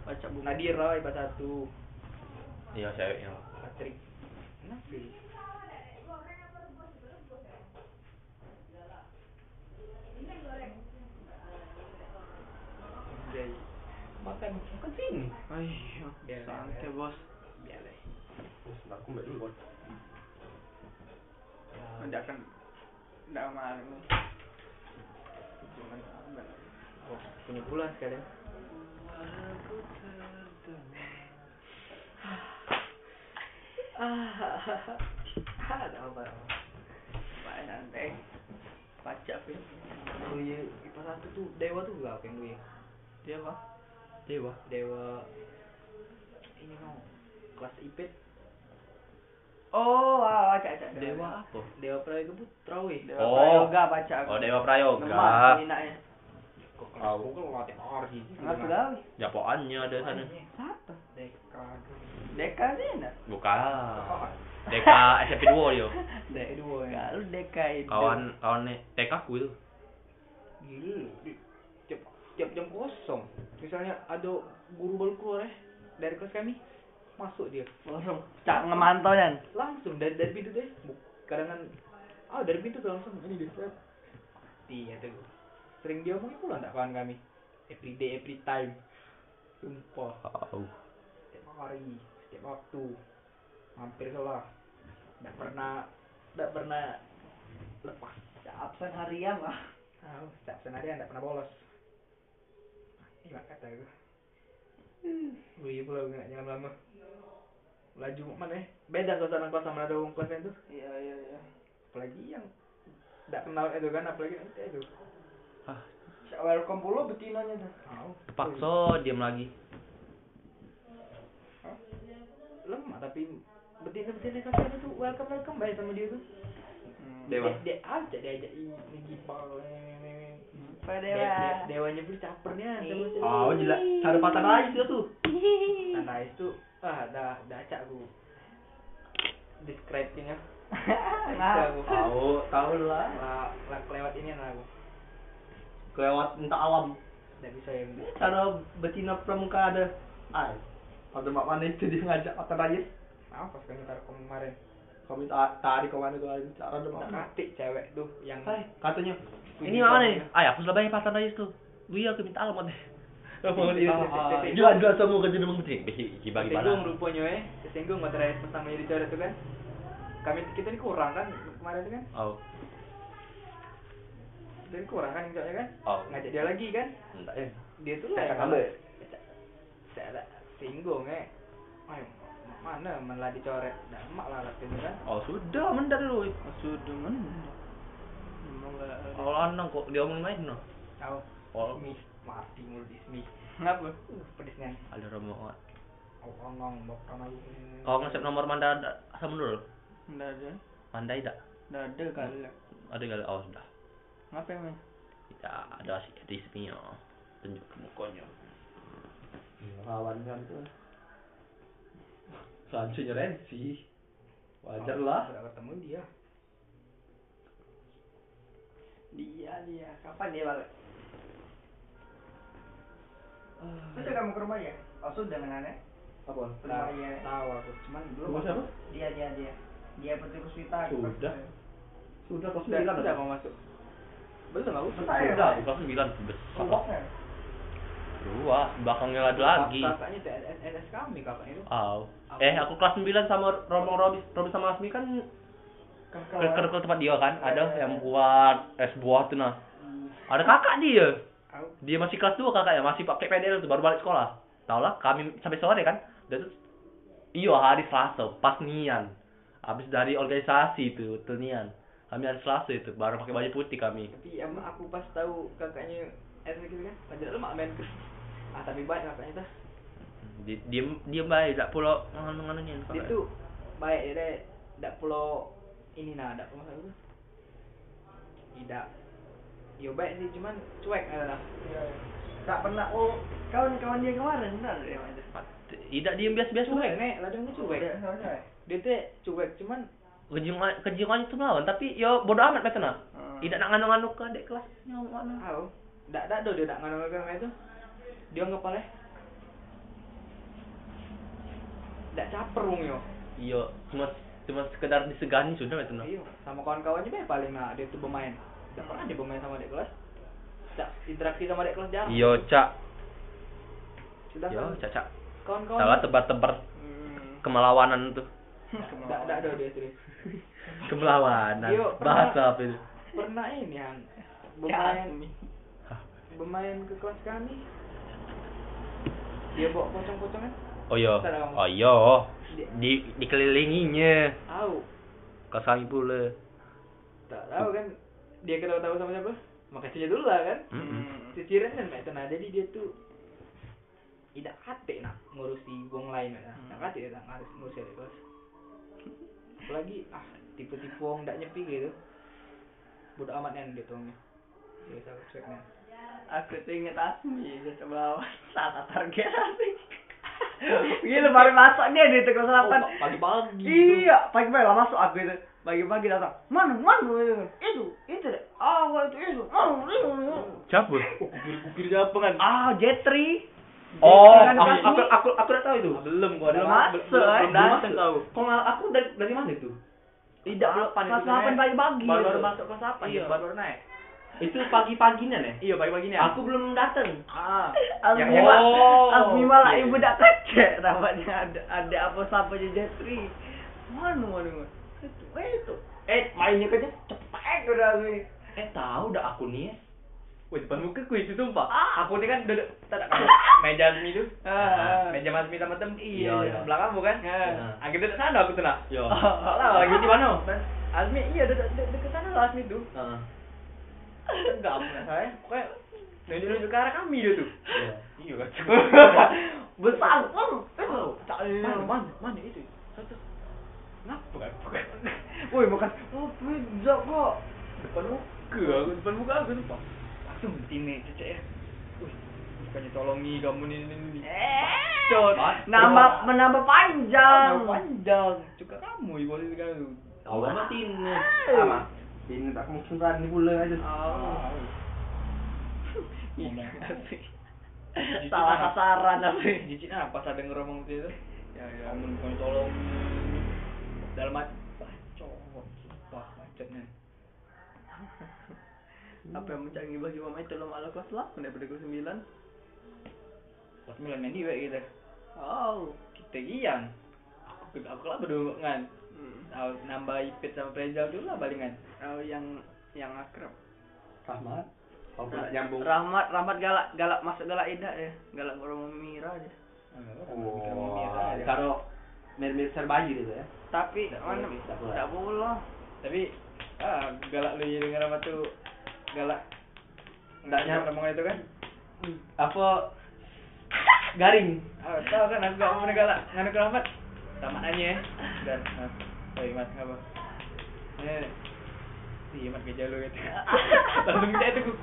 C: Baca buku.
B: Nadira IPA satu,
A: iya ceweknya
B: Patrick. Kenapa? ya? Anjay. Makan, makan sini.
C: Ayo,
B: Biar-
C: santai bos.
B: Biarlah.
D: Aku mbak ini buat.
B: Ya,
C: Tidak akan. Tidak malu.
B: Oh, punya bulan sekalian. Ah, ada apa?
C: Pak santai. Baca pin.
B: Buya IPA satu tuh dewa tuh gak apa yang buya?
C: Dia apa?
A: dewa
B: Dewa ini mau kelas IPET
C: Oh, ah, baca baca.
A: dewa apa
B: Dewa Prayoga Putra weh.
C: Dewa
A: Oh.
C: Prayoga baca aku.
A: oh dewa prayoga
C: Lemah, minaknya.
B: Kok kelas aku kan latih arti.
C: Enggak tahu.
A: japoannya ada sana
C: Siapa?
B: Deka.
C: Deka Zena.
A: bukan Deka SMP 2 yo
B: Deka dua ya.
C: Kalau Deka itu.
A: kawan kawannya TK ku itu
B: Gila. di- Tiap tiap jam kosong. Misalnya ada guru baru keluar eh dari kelas kami masuk dia
C: Langsung. Cak ngemantau dan.
B: langsung dari dari pintu deh kadang kan ah dari pintu tuh langsung ini dia set. Iya tuh. Sering diomongin pula enggak kawan kami. Every day, every time. Sumpah,
D: Au.
B: setiap hari, setiap waktu. Hampir salah. Enggak pernah enggak pernah lepas.
C: absen harian lah
B: Tahu, setiap senarian enggak pernah bolos. Iya kata gue. Gue iya pula enggak nyaman lama. Laju mana ya? Beda suasana kelas sama ada kelasnya tuh.
C: iya iya iya
B: Apalagi yang enggak kenal itu kan, apalagi nanti itu.
C: Sa- welcome pula betinanya tuh
B: Tahu.
A: Pakso diam lagi.
B: lemah tapi betina betina kasar itu welcome welcome baik sama dia tuh
C: Hmm.
D: Dewa.
B: dia, dia aja dia aja ini gipal eh.
C: Pak
B: De- de- dewanya pun capernya sama si-
A: Oh, jelas. Cara patah lagi dia tuh.
B: Tanda itu ah dah dah acak aku describing ya
C: Nah.
B: aku
A: Tahu, tahu lah.
B: lah lah lewat ini lah aku
A: Kelewat minta alam.
B: tidak bisa ya, yang
A: Cara betina pramuka ada. Ay. Pada mak mana itu dia ngajak patah lagi.
B: ah pas kami taruh kemarin
A: Kami ta- tarik ke mana tuh lagi. Cara ada
B: tak
A: mak mana.
B: katik cewek tuh yang ya.
A: Ay, katanya.
B: Puji
A: Ini mana nih?
B: Tuhan.
A: Ay, aku sudah banyak patah lagi tuh. Iya, aku minta alam deh. Mau
B: Iya,
A: dia.
B: iya, iya.
A: Jelas jelas semua kerja dengan betina. Bagi
B: Kesinggung rupanya ya, kesinggung nggak terakhir pertamanya dicoret itu kan. Kami kita ini kurang kan kemarin itu kan,
A: Oh,
B: kita ini kurang kan misalnya kan,
D: Oh.
B: ngajak dia lagi kan,
D: Enggak
A: eh.
D: ya.
B: dia tuh lah yang
D: Kakak ambil.
B: Saya ada singgung ya, ayo mana malah dicoret, dah emak lah lah itu kan.
A: oh sudah mendar dulu.
C: sudah men emang gak
A: Oh, anang kok dia omongin main no.
B: Tahu,
A: Oh,
B: mie mati mulut ismi,
C: ngapa
B: uh pedesnya,
A: ada rombongan.
B: oh ngong bok sama aku.
A: Kalau ngasih nomor Manda ada- sama dulu.
C: nggak ada
A: Mandai tak?
C: nggak ada kali lah
A: Ada enggak? Oh, sudah.
C: ngapa emang
A: Tidak ada si jadi istrinya. Tunjuk ke mukanya.
D: Lawannya tuh. Selanjutnya Renzi. Wajar lah.
B: Tidak bertemu dia,
C: dia dia kapan dia balik sudah kamu ke rumah ya oh sudah menaneh
D: Apa?
A: Nah.
B: tahu,
C: Rumah iya.
B: tahu aku, cuman belum.
D: Rumah siapa?
C: dia dia dia dia putri puspita aku
D: Sudah.
C: pasti.
D: Sudah kau
B: Sudah,
D: sembilan
B: sudah
D: atau?
B: mau masuk. Belum aku.
C: Bentar ya.
A: Sudah, kelas 9 besar.
C: Rumahnya.
A: Dua, belakangnya ada lagi.
B: Kakaknya TNS kami kakaknya itu.
A: Oh. Eh, aku kelas 9 sama Rombong Robis, Robis sama Asmi kan ke ke ke tempat dia kan.
C: Eh,
A: Ada yang buat es buah tuh nah. Ada kakak dia.
B: Aku
A: Dia masih kelas 2 kakaknya, masih pakai PDL tuh baru balik sekolah. Tau lah, kami sampai sore kan. Dan tuh iya hari Selasa, pas nian. Habis dari organisasi itu, tuh nian. Kami hari Selasa itu baru pakai baju putih kami.
B: tapi em, aku pas tahu kakaknya eh gitu kan lanjut lemak main ke ah tapi baik kakaknya tuh
A: Di- Diem diem baik, tak pulau nganu-nganu nian.
B: dia
A: kakak.
B: tuh baik dia deh dak pulau ini nah dak pulau apa tidak yo baik sih cuman cuek lah
C: iya. Tak pernah oh kawan-kawan dia kemarin benar ya Mas.
A: Tidak diem biasa-biasa
B: cuek
A: baik.
B: ya, nek ladangnya cuek
C: Udah,
A: Eh,
C: selesai.
B: dia tuh cuek cuman
A: Kejingan kejingan itu melawan, tapi yo bodo amat mereka nah.
C: Hmm.
A: Tidak nak nganu-nganu ke dek kelas yang mana.
B: tahu dak dak do dia dak ngano ngano itu dia ngepal eh dak caper wong yo
A: Iya, cuma cuma sekedar disegani sudah itu nah.
B: Iya, sama kawan-kawannya deh paling nah dia tuh bermain. Tidak pernah dia bermain sama adik kelas. Tidak interaksi sama adik kelas jarang.
A: Iya, Cak.
B: Sudah
A: Iya,
B: kan
A: Cak, Cak.
B: kawan-kawan.
A: Salah tebar-tebar
C: Hmm.
A: kemelawanan tuh.
B: Tidak ada
A: Ya.
B: dia serius.
A: Kemelawanan.
B: Iya, pernah.
A: Bahasa apa itu?
B: Pernah ini yang
C: Bermain.
B: bermain bermain ke kelas kami. Dia bawa pocong-pocong kan?
A: Oh iya.
B: Salah kamu.
A: Oh iya.
B: Dia
A: Di dikelilinginya.
B: tahu.
A: Kau kami pula.
B: Tak tahu kan dia ketawa tahu sama siapa? Makasihnya dulu lah kan.
A: Mm-mm.
C: Hmm.
B: Ciciran kan kayak nah jadi dia tuh tidak hati nak ngurusi wong lain nak
C: Hmm.
B: hmm. hati dia tak harus ngurusi adik kelas apalagi ah tipe-tipe wong tidak nyepi gitu bodoh amat kan dia tuh serius aku cuek kan
C: Aku tuh inget Asmi dia coba salah target Asmi. Gila baru masuk dia di Tegal Selatan.
B: Oh, pagi-pagi tuh.
C: Iya, pagi-pagi lah masuk aku itu. Pagi-pagi datang. gitu. Mana, mana itu, itu deh. Ah, wah, itu, itu. Ah, itu.
A: Siapa?
B: Oh, kukir-kukir siapa kan
C: Ah, Jetri.
A: Oh,
D: kan
C: Jangan
A: aku
C: kasih.
A: aku aku aku udah tahu itu.
B: belum gua
C: Belum
B: ma-
C: masuk,
B: belum-
C: eh.
B: belum datang
A: Belum
B: kau
A: Kok ngal- aku dari dari mana itu?
C: Tidak,
A: Kelas
C: kelas
A: delapan
C: 8 pagi-pagi.
A: Baru
C: itu.
A: masuk kelas 8
B: Iya.
A: baru naik.
D: Itu pagi-paginya nih.
B: Iya pagi-pagi
A: ya?
B: nih.
D: Aku belum datang.
B: Ah.
D: Yang
C: Azmi
D: hebat.
B: Oh.
C: Azmi malah
D: Iya.
C: ibu dak kece namanya ada ada apa sapa jetri. Mana mana mana. Itu eh, itu. Eh mainnya kan cepet udah Azmi.
D: Eh tahu udah aku nih. eh.
B: Wih depan muka ku itu sumpah.
C: Ah.
B: Aku ini kan duduk tadak meja Azmi itu.
C: Ah.
B: Meja Azmi sama tem.
D: Iya, iya.
B: Sebelah kamu kan.
C: Ah.
B: Aku duduk sana aku tuh lah.
D: Yo.
B: Salah ah, lagi di mana?
C: Iya. Azmi iya duduk duduk deket sana lah Azmi tuh.
D: Heeh.
B: Enggak apa saya. Pokoknya nunjuk-nunjuk ke arah kami dia kan tuh.
D: Iya.
B: Iya kan.
C: Besar Oh, pun. Mana
B: Mana mana mana itu? Saya tuh, Kenapa kan?
C: Woi makan. Oh, pizza kok.
B: Depan muka aku, depan muka aku sumpah. Langsung ini cecek. Wih, bukannya tolongi kamu nih nih nih.
C: Eh.
B: Bacot.
C: Nambah menambah panjang.
B: Nama panjang. Cuka kamu ibu itu kan.
D: Kau mah tine.
C: Hey.
D: Sama. Tine tak mungkin di pula aja.
C: Oh.
B: Ah. Iya.
C: Salah sasaran tapi.
B: Jijik nah pas ada ngeromong itu. Ya ya, kamu bukannya tolongi. Dalam hati bacot, sumpah macetnya.
C: Apa yang mencanggih bagi mama itu lama ala kelas 8 daripada kelas 9.
B: Pas milan ini wek kita.
C: Oh.
B: gitu." Kita gian. Aku aku lah berdua kan.
C: Hmm.
B: Nah, Nambah Ipit sama Prejal dulu lah palingan.
C: Oh, yang yang akrab.
D: Rahmat. Kau pula
C: Ra-
A: Nah,
D: Oh, nyambung.
C: Rahmat, Rahmat galak, galak masuk galak Ida ya. Galak baru Mira aja.
B: Ah,
D: Wah,
B: ya.
D: Karo mir-mir serbayu gitu ya.
C: Tapi
D: Tak
C: mana
D: boleh, tak boleh.
C: tak boleh.
B: Tapi ah, galak lu ya dengan apa tuh galak
D: Tak
B: nggak
D: nyam-
B: nyampe omongan itu kan?
D: Apa garing?
B: Ah, tahu kan aku gak mau pernah galak nganu keramat. Sama nanya ya. Dan nah, hey, Mat apa? Eh. Si Mat kerja lu gitu. Langsung saya itu ku-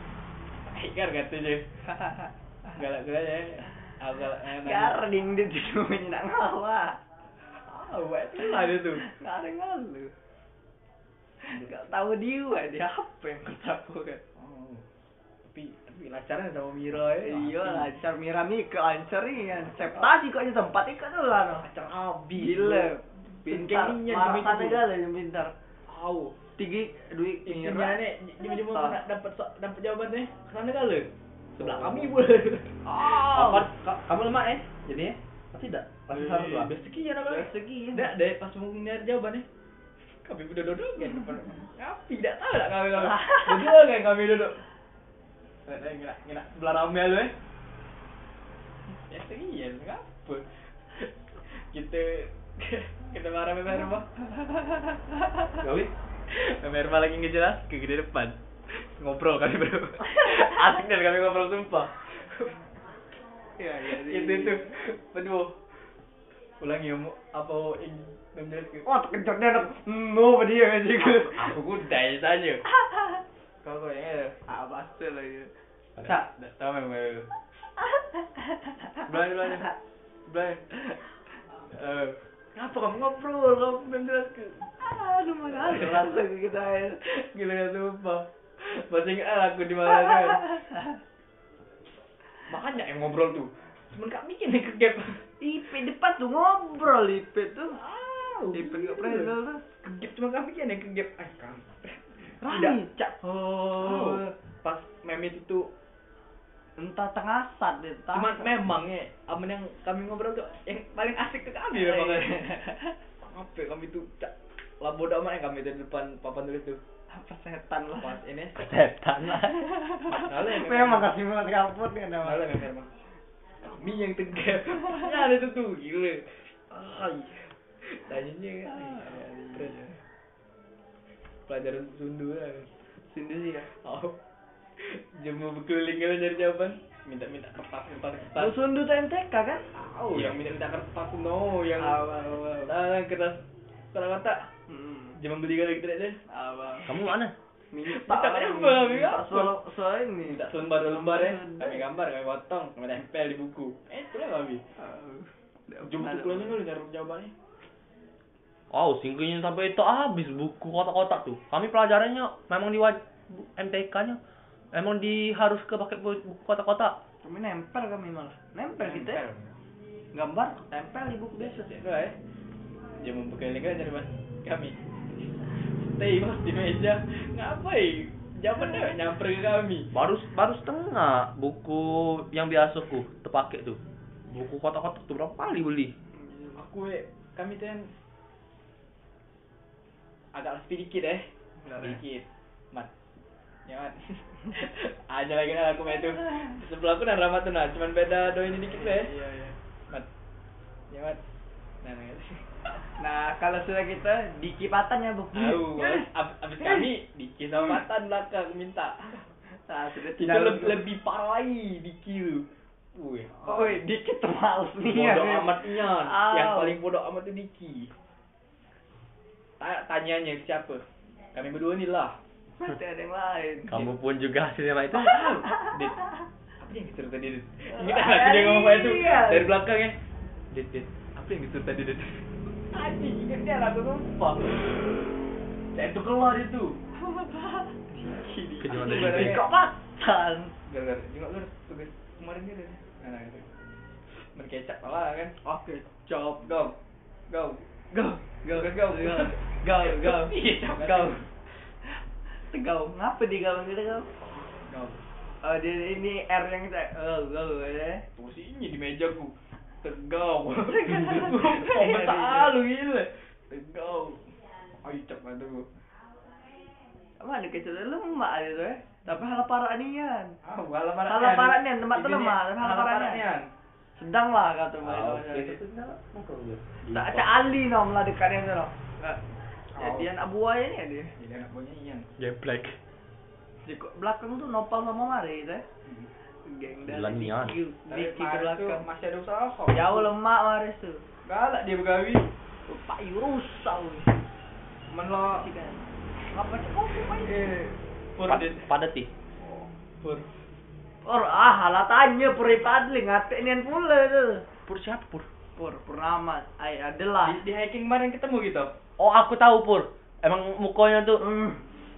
B: Ikar kata je. Galak gue aja. Aku Ah, galak eh, nanya.
C: Garing dia tidur nak ngawa.
B: Ah, buat
C: Kan
B: tu lah dia tu.
C: Garing lu. Gak tahu dia dia apa yang kau tahu kan.
B: Oh. Tapi tapi lacarnya sama Mira eh. ya.
C: Iya lancar Mirami ke lancar ini kan. Septasi kok di tempat itu tuh lah. no.
B: Lacar habis.
C: Gila. Pintar.
B: Gengnya
C: Marah
B: demi
C: sana
B: itu.
C: gala yang pintar.
B: Tahu.
C: Tinggi duit
B: Itunya
C: Mira.
B: nek jemu-jemu
C: Ah.
B: nak dapat so- dapat jawaban ni. Kesana kala. Sebelah
D: Oh.
B: kami pula. Ah.
C: Oh.
D: Apa? ka- Kamu lemak eh? Jadi ya? Pasti tidak. Pasti harus lah.
B: Dah Eh, ah. sekian apa?
C: Dari segi
B: Dah dah pas mau nyari jawaban ni. Kami pun duduk kan depan. Tapi tak tahu lah kami kami. Berdua kan kami duduk. Nak nak nak nak eh, sebelah ramai lu eh. Ya sekian apa? Kita kita marah marah mah.
D: Gawi?
B: Kami rumah lagi ngejelas ke gede depan Ngobrol kami bro Asik dan kami ngobrol sumpah
C: Ya, ya, ya.
B: Itu itu Aduh Ulangi om apa yang yang jelas ke
C: Oh, terkejar dia dong. Hmm, apa dia kan juga.
B: Aku pun tanya tanya Kau kau yang ada
C: Ah, pasti lah ya.
B: Tak tak tahu memang Belanja belanja Belanja Eh, Kenapa kamu ngobrol kamu belum jelas ke
C: Aduh, mana ada rasa ke kita ya.
B: Gila gak sumpah Masih ingat lah aku di mana tu kan Makanya yang ngobrol tuh Cuman kak bikin yang kegap
C: Ipit depan tuh ngobrol Ipit tuh. Ipit nggak pernah
B: gila.
C: tuh.
B: Kegap cuma kak bikin yang kegap Ay kak
C: Rani, cak.
B: Oh Pas meme itu tuh
C: Entah tengah sat deh, entah.
B: Cuman memang ya Aman yang kami ngobrol tuh Yang paling asik ke kami
C: Iya,
B: memang kan Apa ya, kami tuh Cak Lah bodoh amat yang kami di depan papan tulis tuh
C: apa setan lah.
B: Pas ini
D: Setan lah.
B: Masalah
C: Memang kasih banget kaput kan namanya.
B: Malah memang memang. Kami yang tegap. Ya ada itu tuh gila. Ay. Tanyanya kan.
C: Ah.
B: Pelajaran sundu lah.
C: Sendiri ya.
B: Oh. Jemu berkeliling kan nyari jawaban. Minta-minta kertas kertas kertas.
C: Lu sundu tuh MTK kan?
B: Oh, yang minta-minta kertas no, yang
C: Awal, awal.
B: Nah, yang kertas kertas mata.
C: Hmm.
B: Jangan beli kan gitu deh.
C: Abang.
D: Kamu mana?
C: Minta
B: Minta
C: lah,
B: apa,
C: minta
B: apa?
C: soal soal ini.
B: Minta selembar dua lembar ya. Kami gambar, kami potong, kami tempel di buku. Eh, itulah kami. Jumpa pukulnya dulu nyari jawabannya.
A: Wow, singgihnya sampai itu habis buku kotak-kotak tuh. Kami pelajarannya memang di waj- bu- MTK-nya memang di harus ke pakai bu- buku kotak-kotak.
C: Kami nempel kami malah. Nempel kita. ya.
B: Tempel.
C: Gambar tempel di buku biasa.
B: Biasa doa ya. Dia membuka lingkaran dari mas kami. Stay mas di meja. Ngapain? Jawaban deh, nyamper ke kami.
A: baru baru setengah buku yang biasa ku terpakai tuh buku kotak-kotak tuh berapa kali beli
B: Aku eh, kami tuh yang agak sepi dikit eh. Dikit. Mat. Ya mat. Aja lagi nah aku main tuh. Sebelah aku dan Rama tuh nah, cuman beda doanya dikit deh.
C: Iya, iya.
B: Mat. Ya mat. Nah, nah.
C: Nah, kalau sudah kita di kipatan ya, Bu.
B: Tahu, ab- abis kami dikit sama matan belakang minta.
C: Nah, sudah
B: Itu
C: tinggal
B: lebih, lebih parah lagi dikit. Wih,
C: Oh, dikit terlalu nih. ya.
B: ah. bodoh amatnya
C: Au.
B: yang paling bodoh amat itu Diki Ta- tanyanya siapa kami berdua nih lah
C: Pasti ada yang lain.
A: kamu
D: Iya.
A: pun juga hasilnya mah itu
D: Nah,
B: Dit apa yang disuruh tadi Dit ingat lagi dia ngomong apa itu
C: Iya.
B: dari belakang ya Dit Dit apa yang disuruh tadi Dit
C: Anjing, ingatnya lagu lah, sumpah.
B: saya itu keluar itu Diki Diki
A: Kejuan dari
B: Gara-gara-
A: Diki.
C: Kipatan.
B: gara-gara juga lu tugas kemarin gitu ya nah, nah gitu berkecap lah kan
C: Oke,
B: job go go
C: go.
B: go go go
C: Go, Iya, go, go.
B: Kecap
C: Go.
B: kan?
C: Tegau, ngapa di gaung gitu kau?
B: go
C: Oh, di ini R yang saya oh, go ya.
B: Kursinya di meja ku Tegau
C: Tegau. Iya,
B: Komentar lu gila Tegau Ayucap lah tuh
C: Mana kecil lemak gitu ya. Tapi hal parah kan. nian.
B: Ah, walau parah
C: Halah parah nian, tempat tu lemah, tempat halah parah nian. Sedang lah kau tu
D: Oh, itu
C: main.
D: tuh kenapa? Mungkin gue.
A: Nah,
C: Tak ada ali nom lah dekat dia tu. Jadi anak buah ni Ya, dia.
B: Jadi Ah. Oh. anak buahnya Ian
A: geblek
C: Di ko- belakang tu nopal sama mari gitu ya. Geng dah.
A: Bilang nian.
C: Diki
B: Tapi
C: ke
B: Maris tuh
C: belakang.
B: masih ada usaha kok
C: Jauh lemak maris tu.
B: Galak dia begawi
C: Pak Yurusau.
B: Men lo
C: Apa cek kan. kau main?
B: Eh Pur
A: Pad-
B: Dit.
A: padat sih
B: Pur
C: Or ah halatanya puri padling ngatek nian pula tu.
A: pur siapa pur
C: Pur purnama ay adalah.
B: Di, di hiking kemarin ketemu gitu
A: oh aku tahu pur emang mukanya tuh
C: Hmm.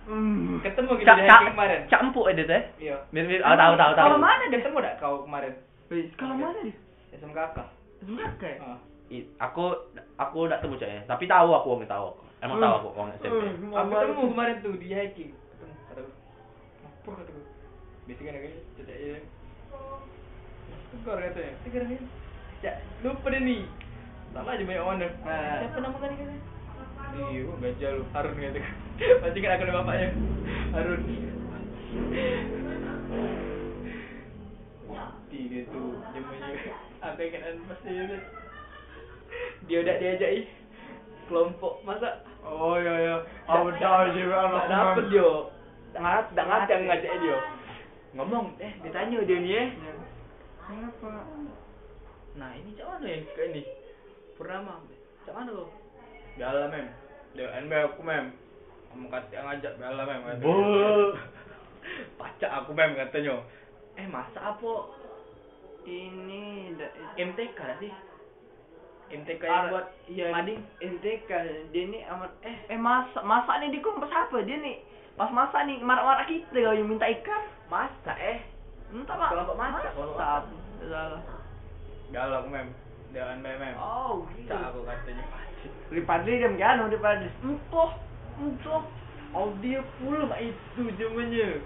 C: Hmm.
B: Ketemu gitu
A: cak
B: di
A: cak
B: hiking kemarin
A: cak empuk ya dia teh
B: Iya
A: mirip mirip ah tahu tahu tahu
C: Kalau mana deh?
B: Ketemu dak kau kemarin
C: Wih, Kalau mana deh?
B: SMK kakak
C: Enggak kayak.
A: Eh,
B: Ah.
A: I- aku aku tidak temu caknya tapi tahu aku orangnya tahu aku. emang tahu aku
B: Hmm.
A: orang SMP
B: Aku ketemu kemarin tuh di hiking. Ketemu kata gue. Ngapur kata gue. Biasanya kan agaknya cetek ya. Tegar katanya. Tegar ya. Ya, lupa deh nih. Salah aja banyak mana.
C: Nah.
B: Siapa nama kan katanya? Iya, oh, gajah lu. Harun kata gue. Pasti kan aku ada bapaknya. Harun. Mati dia tuh. Dia mau Aku ingatan pasti dia. udah- Dia udah diajak ih. Kelompok masa
C: Oh iya iya.
B: Aku dah
C: juga
B: Tak dapat dia.
C: Ngat,
B: Tak ngajak ngajak dia. Ngomong, eh dia tanya dia ni eh.
C: Kenapa?
B: Nah, ini macam mana yang kat ni? Purnama. Macam mana kau? Biarlah mem. Dia NB aku mem. Kamu kata ngajak biarlah mem kata. Pacak aku mem katanya. Eh, masa apa
C: Ini da-
B: MTK dah sih? MTK yang
C: Ar-
B: buat
C: iya
B: mading.
C: MTK
B: kan,
C: dia ni amat eh eh masak masak ni dia kau pasal apa dia ni pas masak ni marah-marah kita kau yang minta ikan
B: Masak eh.
C: entah pak
B: Kelompok masak, kelompok masak.
C: Tak salah
B: Biarlah aku mem. Dia NB mem.
C: oh gitu
B: Pacak aku katanya. Pacak.
C: daripada dia menggano daripada entuh entuh oh dia pula itu jamannya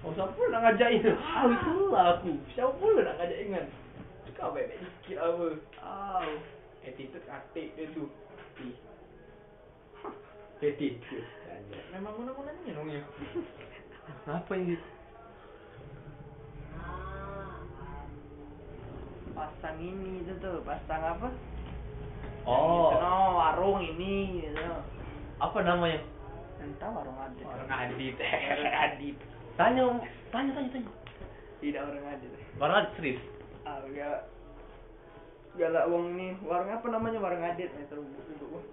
B: Oh, siapa pula nak ngajak itu?
C: Ah, itulah
B: aku. Siapa pula nak ngajak ingat? Kau baik-baik dikit apa?
C: oh
B: Attitude atik dia tu. Ti. Attitude. Memang guna-guna ni dong ya. Hmm.
A: apa ini
C: pasang ini tu tu pasang apa
A: oh
C: no Gitu, warung ini gitu.
A: apa namanya
C: entah warung ada
B: Orang adit.
C: Orang adit.
A: tanya tanya tanya tanya
C: tidak warung adit
A: Baru ada serius
C: ah galak galak uang ini warung apa namanya warung adit ya terubuk ubuk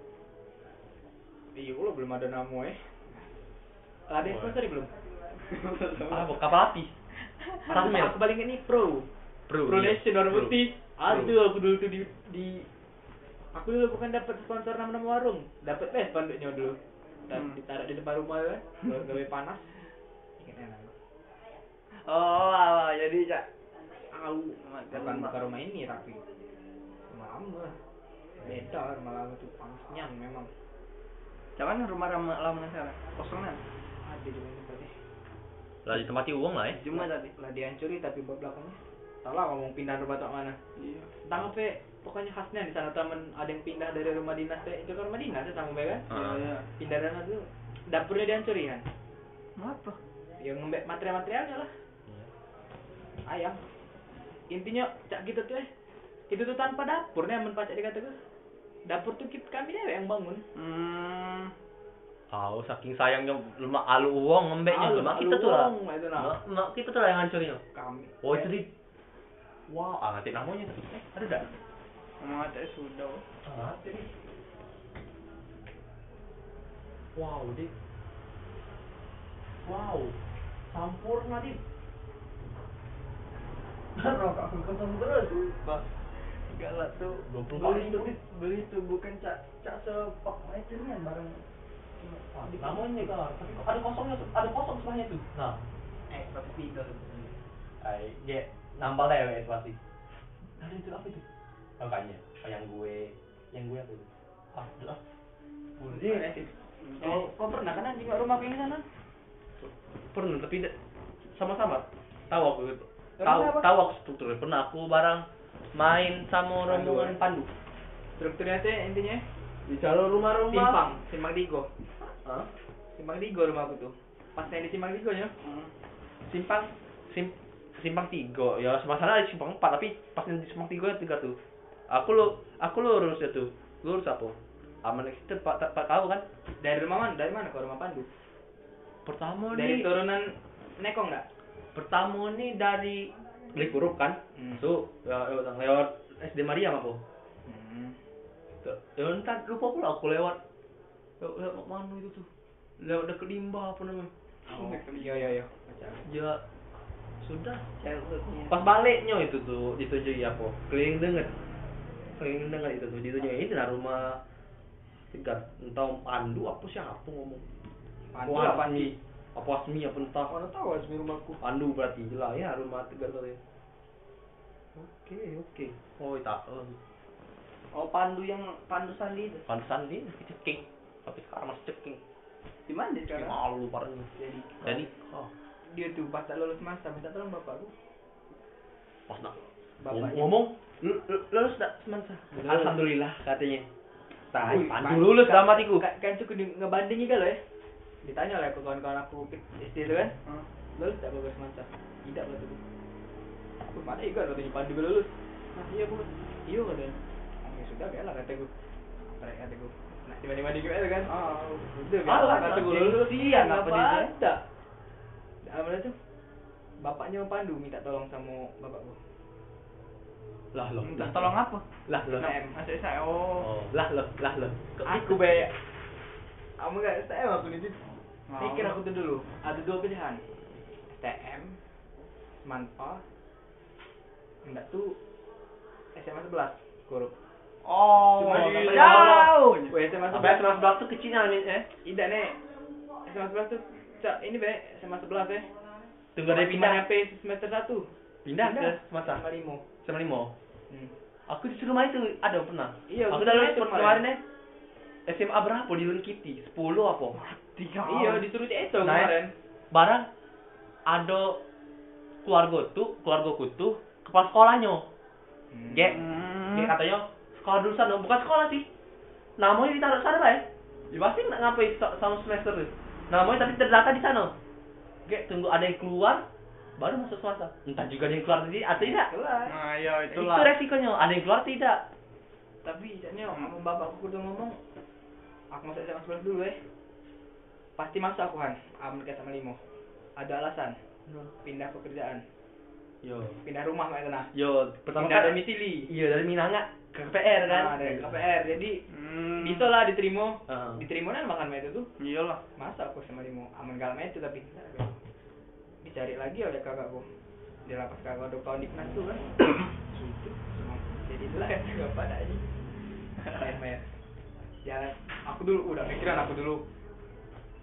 B: Iya, lo belum ada nama eh. Ada
A: Apa?
B: yang tadi belum?
A: apa Ah, kapal api
B: Aku,
A: Tasmel.
B: aku paling ingat ni pro.
A: bro
B: Pro Nation warna
A: Bro.
B: putih. Ada
A: Bro.
B: aku dulu tu di di aku dulu bukan dapat sponsor nama-nama warung, dapat pes panduknya dulu. Dan
C: Hmm.
B: ditaruh di depan rumah kan, buat gawe panas. Ingat enak.
C: oh wah, wah, jadi cak
B: Au, bukan
C: Rumah.
B: bukan rumah ini tapi rumah lama. Beda lah rumah lama tuh panasnya memang.
C: cuman rumah ramah lama sekarang kosong kan
B: banget dia cuma ini berarti
A: Lah ditempati uang lah ya.
C: Cuma tapi.
B: lah dihancurin tapi buat belakangnya salah ngomong pindah rumah tak mana
C: Iya.
B: tangkap ya pokoknya khasnya di sana temen ada yang pindah dari rumah dinas teh itu kan rumah dinas ya sama kan
A: Heeh.
C: Iya.
B: pindah dana dulu dapurnya dihancurin kan
C: Kenapa?
B: yang ngembek material-materialnya lah ayam intinya cak gitu tuh eh itu tuh tanpa dapurnya men pacak dikata gue dapur tuh kita, kami deh yang bangun
C: Hmm.
A: Tahu Ah, oh, saking sayangnya lemak alu uang ngembeknya
B: Alu-
A: lemak
B: alu
A: kita tuh lah.
B: wong, itu nah
A: Lemak- Lemak kita tuh lah yang hancurin.
B: kami
A: Oh itu di Wah, ah ngerti namanya. Eh, ada enggak?
C: Mata sudah.
A: Ah, ngerti. Wow, di Wow. Sampurna di. Rokok aku kosong terus.
C: Pak. Enggak lah tuh.
A: 20 kali
C: Beli
A: itu.
C: tuh beli tuh bukan cak cak sepak meternya barang.
A: Namanya kan, tapi kok ada kosongnya, ada kosong sebelahnya tuh. Nah,
C: Eh, tapi itu.
A: Ay, ya, nambah lah ya wes pasti. Ada itu apa itu? Makanya, oh, yang gue, yang gue apa itu? Ah, itu lah.
B: Eh,
C: Oh,
B: kau kau pernah kan anjing nggak rumah kayak gini sana
A: Pernah, tapi tidak- sama-sama. Tahu aku itu. Tahu,
B: Pernah apa?
A: tahu aku strukturnya. Pernah aku barang main sama
B: kan,
A: rombongan pandu.
B: strukturnya teh intinya eh.
A: Di calon rumah-rumah.
B: simpang simpang digo
A: Hah?
B: simpang digo rumah aku tuh pasnya di simpang digo ya
C: hmm.
A: Simpang, sim, simpang tiga. Ya, masalah di simpang empat, tapi pas di simpang tiga tiga tuh. Aku lo, aku lurus itu. Lurus apa? Aman itu pak, pak tahu kan?
B: dari rumah mana dari mana kau rumah pandu
A: Pertama
B: dari
A: nih.
B: turunan nekong nggak
A: pertama nih dari beli huruf kan
B: Hmm.
A: so ya, lewat, lewat SD Maria apa
B: Hmm.
A: Tuh, ya entar lupa pula aku lewat lewat, lewat mana itu tuh lewat dekat limbah apa namanya
B: Oh, iya iya iya. Macam.
A: ya sudah
C: Childhoodnya.
A: pas baliknya itu tuh ditunjuki apa keliling denger keliling denger itu tuh ditunjuki itu nah rumah tiga entah pandu apa siapa ngomong
B: Pandu
A: Wah,
B: apa sih?
A: Asmi. apa asmi apa entah
B: Mana tahu asmi rumahku.
A: Pandu berarti jelas ya rumah tegar kali. Oke oke. Oh tak oh.
C: Oh, Pandu yang Pandu Sandi itu.
A: Pantesan dia masih ceking. Tapi sekarang masih ceking.
C: Di mana dia sekarang?
A: Malu parahnya.
B: Jadi
A: Jadi oh,
B: dia tuh pas tak lulus masa minta tolong bapakku.
A: pas nak ngom-
B: Bapaknya.
A: ngomong lu- lu- lulus tak semasa?
B: Lulus.
A: Alhamdulillah katanya. Tai
B: Wih,
A: Pandu
B: Pandu.
A: lulus dalam hatiku.
B: Kan, kan cukup di- ngebandingi kalau ya. Ditanya lah ke kawan-kawan aku ke- SD itu kan.
C: Hmm.
B: Lulus tak bagus masa? Tidak lah tuh. Aku mana iya kan katanya Pandu lulus. Nah iya bu. Iya katanya. Oh, ya sudah biarlah kata gue. Kata kata gue. Nah tiba-tiba di itu kan.
C: Oh.
B: Udah biarlah kata gue lulus.
C: Iya, apa dia?
B: Kenapa ada? Apa itu? Bapaknya Pandu minta tolong sama bapakku.
A: Lah loh.
C: Minta
A: Lah
C: tolong apa?
A: Lah loh.
B: Nah, em,
C: Masuk saya. Oh.
A: Oh, lah loh, lah loh.
B: aku be kamu gak STM aku nih Dit.
C: Mau.
B: Oh. pikir aku tuh dulu ada dua pilihan STM Semanpa enggak tuh SMA 11 korup
C: Oh.
B: Cuma di- Iya,
C: jauh.
B: Weh, SMA
A: Sampai
B: 11
A: kelas 12 tuh kecilnya nih eh.
B: tidak nih SMA 11 tuh Cak, ini be SMA 11 ya
A: Tunggu ada
B: Cuma
A: pindah.
B: nyampe semester 1
A: Pindah ke semasa.
B: SMA 5
A: Sama limo.
B: Hmm.
A: Aku disuruh main tuh ada pernah.
B: Iya,
A: aku
B: bener
A: udah
B: itu
A: lulus
B: kemarin.
A: kemarin eh. SMA berapa di Lunkiti? 10 apa? Ya
C: Tiga.
B: iya disuruh cek itu
A: Nah,
B: kemarin
A: Barang ada keluarga tuh, keluarga ku tuh kepala sekolahnya.
C: Iya.
B: Hmm.
A: Gek,
C: Hmm.
B: Iya,
A: gek katanya sekolah dulu sana, bukan sekolah sih. Namanya ditaruh sana lah ya. Ya pasti nggak ngapain so- sama semester tuh. Namanya tapi terdata di sana. Gek, tunggu ada yang keluar baru masuk swasta. Entah juga ada yang keluar tadi atau tidak.
B: kelas
C: Nah, ya
A: Itu resikonya, ada yang keluar tidak.
B: tapi jadinya
A: Hmm.
B: sama bapakku udah ngomong aku masuk SMA 11 dulu eh pasti masuk aku kan Amerika sama limo ada alasan pindah pekerjaan
A: Yo.
B: pindah rumah kayak sana
A: Yo, pertama
B: pindah
A: kali
B: domisili
A: Iya dari Minanga ke KPR kan.
B: nah, dari KPR jadi
C: Hmm.
B: bisa lah diterima
A: Heeh.
B: diterima kan makan itu tuh
C: Iyalah.
B: masa aku sama limo aman gak main itu tapi dicari lagi oleh kakakku dia lapas kakak dua tahun di kelas tuh kan Gitu. jadi lah ya juga pada aja main-main jalan Ya, aku dulu udah mikiran aku dulu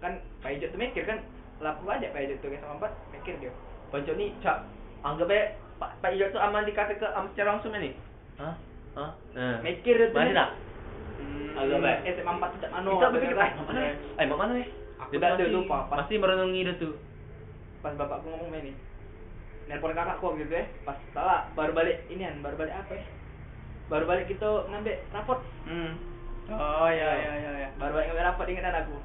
B: kan Pak Ijo tuh mikir kan laku aja Pak Ijo tuh kayak sama empat mikir dia
A: Pancok ni cak anggap eh Pak Pak Ijok tu aman dikata ke am secara langsung ni. Ha? Ha? Eh.
B: mikir dia tuh
A: Mana dah?
B: Hmm,
A: Agak baik.
B: SMA empat tidak mano
A: Kita
B: apa
A: berfikir
B: dia kan.
A: eh mak mana eh? Mak mana eh?
B: Aku
A: Tidak
B: tuh
A: tuh
B: masih-
A: lupa.
B: pas-
A: Pasti merenungi dia tuh.
B: pas bapakku ngomong kayak ini nelpon kakakku waktu itu ya pas salah baru balik ini kan baru balik apa ya baru balik itu ngambil rapot
C: Hmm. Oh ya
B: Iya.
C: ya ya ya.
B: baru balik ngambil rapot ingatan aku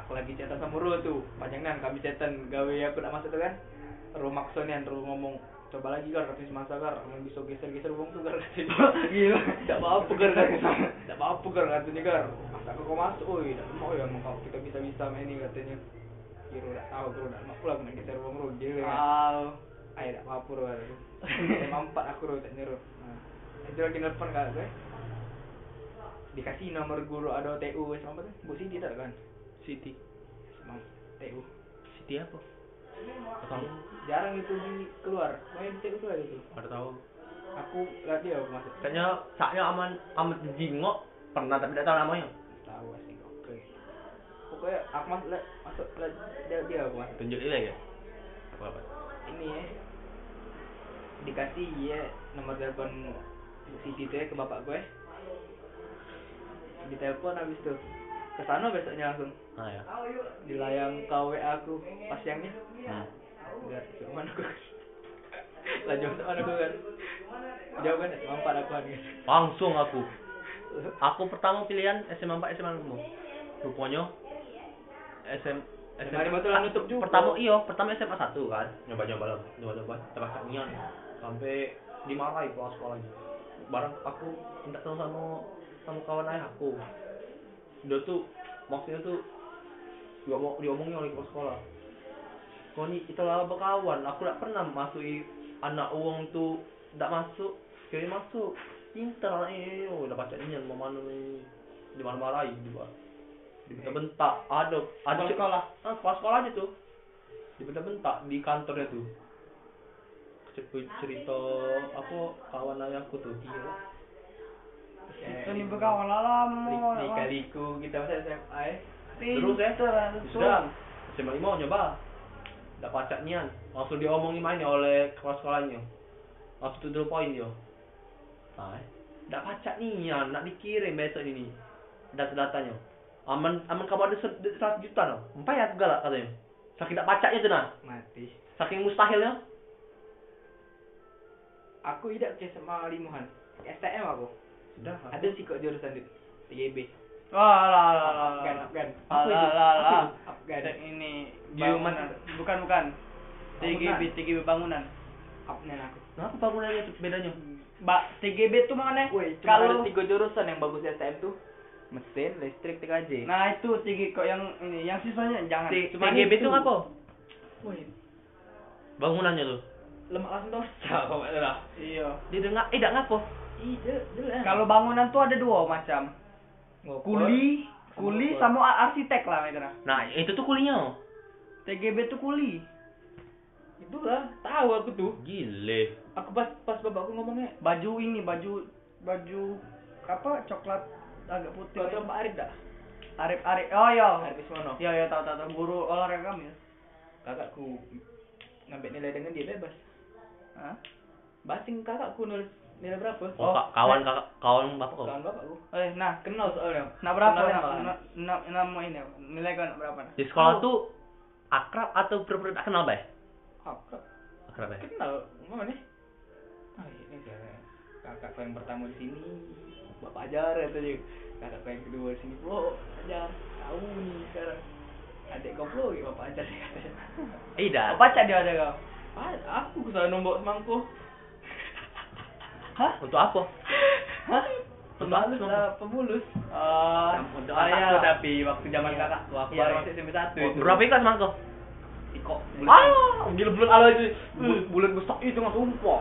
B: aku lagi cetan sama Ru tuh panjangan kami cetan gawe aku nak masuk tuh kan Ru maksonian Ru ngomong coba lagi kan tapi semasa kan mau bisa geser geser bung tuh kan
C: Gila.
B: tidak apa apa kan tidak apa apa kan katanya kan masa aku kau masuk oh tidak mau ya mau kau kita bisa bisa main ini katanya Kira udah tahu Ru udah mau pulang main geser bung Ru
C: Ah,
B: gila kan
C: Wow.
B: Ayo dak apa ro aku. Emang empat aku ro tak nyeru. Ha. Itu lagi nelfon kat aku. eh. Dikasih nomor guru ada TU sama apa tu? Bu Siti tak kan?
A: Siti.
B: Sama TU.
A: Siti apa? Nggak tahu.
B: Jarang itu di keluar. Main di TU keluar itu.
A: Nggak tahu.
B: Aku lihat dia aku masuk.
A: Kayaknya saknya aman amat jingok pernah tapi tidak tahu namanya.
B: Tahu asing oke. Pokoknya aku masuk lihat masuk lihat dia dia aku masuk.
A: Tunjukin lagi. Apa apa?
B: Ini ya. Dikasih ya nomor telepon Bu Siti tu ya ke bapak gue. Ditelepon habis tu. Kesana besoknya langsung.
A: Ah ya.
B: di layang KW aku pas siangnya
A: Hmm.
B: enggak cuman aku lanjut sama aku kan jauh kan SMA empat aku kan
A: Langsung aku. Aku pertama pilihan SMA 4 SMA 5. Rupanya SM
B: SMA lima tuh lah nutup juga.
A: Pertama iyo, pertama SMA 1 kan. Nyoba-nyoba lah, nyoba-nyoba terasa nyian. Sampai dimarahi pulang sekolah. Barang aku minta tahu sama sama kawan ayah aku. Dia tuh maksudnya tuh dia mau diomongin oleh kepala sekolah. Kau ni kita lah berkawan. Aku tak pernah masuki anak uang tu tak masuk. Kira masuk. Pintar anak ini. Oh, dah baca ni mau mana ni. Dimarah-marahi juga. Dibentak-bentak. Ada ada
B: Kepala sekolah?
A: Ah, kepala sekolah aja tu. Dibentak-bentak di kantornya tu. Cepu cerita apa kawan ayahku tu. Iya.
B: Eh,
C: Kita ni berkawan lah lama.
B: Iya, di kaliku kita masa SMA eh.
A: Terus, eh?
C: Sudah.
A: Sudah. SMA lima nyoba. Dah pacak nian. Langsung diomongin main ya oleh kepala sekolahnya. Langsung to the point dia. Hai. Dah pacak nian, nak dikirim besok ini. Data-datanya. Aman aman kamu ada se- 100 juta no. Empat ya tu galak katanya. Saking tak pacaknya tu nah.
B: mati
A: Saking mustahilnya.
B: aku tidak ke SMA limuhan STM aku
A: Sudah.
B: ada sih kok jurusan itu TGB
C: Wah lah lah lah.
B: kan kan
C: Alah
A: Apa
C: lah
A: itu?
C: lah.
A: Apa itu?
B: Apa
C: Teknik ini
A: Bangunan.
C: bangunan. Bukan bukan. TGB
B: Bangunan.
C: TGB bangunan.
B: apnen aku
A: Kenapa bangunannya tu- bedanya?
C: Mbak TGB tuh mana?
B: woi cuma ada
C: Kalau
B: tiga jurusan yang bagus di STM tuh mesin listrik TKJ
C: Nah itu TGB kok yang ini yang sisanya jangan.
A: T-
C: Cuma
A: TGB itu
C: itu.
A: apa?
C: Woi,
A: Bangunannya tu.
B: lemak langsung tuh tahu lah
C: Iya.
A: Dia dengar eh dak ngapo?
B: iya jelas
C: Kalau bangunan tuh ada dua macam. Kuli,
B: Oh.
C: kuli sama a- arsitek lah itu nah.
A: Nah, itu tuh kulinya.
C: TGB tuh kuli.
B: itulah tahu aku tuh
A: Gile.
B: aku pas pas bapakku ngomongnya
C: Baju ini baju baju apa coklat agak putih.
B: Tuh Pak Arif dah.
C: Arif Arif. Oh iya.
B: Arif Ismono.
C: Iya iya tahu tahu tahu guru olahraga kami.
B: Kakakku ngambil nilai dengan dia bebas.
C: Hah?
B: Basing kakakku nulis nilai berapa?
C: Oh,
A: Oh, ka- kawan kakak kawan bapak kau.
B: Kawan bapakku.
C: Eh nah,
B: Kenal soalnya.
C: nah berapa?
B: Kenal ya,
C: Nah,
B: malahan.
C: nah, nah, nama ini apa? nilai kau nak berapa? Nah?
A: Di sekolah tuh akrab atau bener-bener tak kenal, Bay?
B: Akrab.
A: Akrab, Bay.
B: Kenal. Mana nih? Ah, ini dia. Kakakku yang pertama di sini. Bapak ajar ya tadi. Kakakku yang kedua di sini. Bro, ajar. Tahu nih sekarang. Adik kau bro, ya, bapak ajar katanya.
A: Eh, dah.
C: Apa cak Oh, dia ada kau?
B: Ah, Aku salah nombor semangku.
C: Hah?
A: Untuk apa?
C: Hah?
B: Pemulus lah, ah, pemulus.
C: Eh,
B: Campur doa
C: ah,
B: takut
C: iya.
B: tapi waktu zaman
C: Iya.
B: kakak aku
C: Iya,
B: baru
C: iya.
B: masuk SMP satu itu.
A: Berapa ikan sama kau?
B: Ikok.
A: Ah, gila bulan ala itu. Bu- Bulan besar itu nggak sumpah.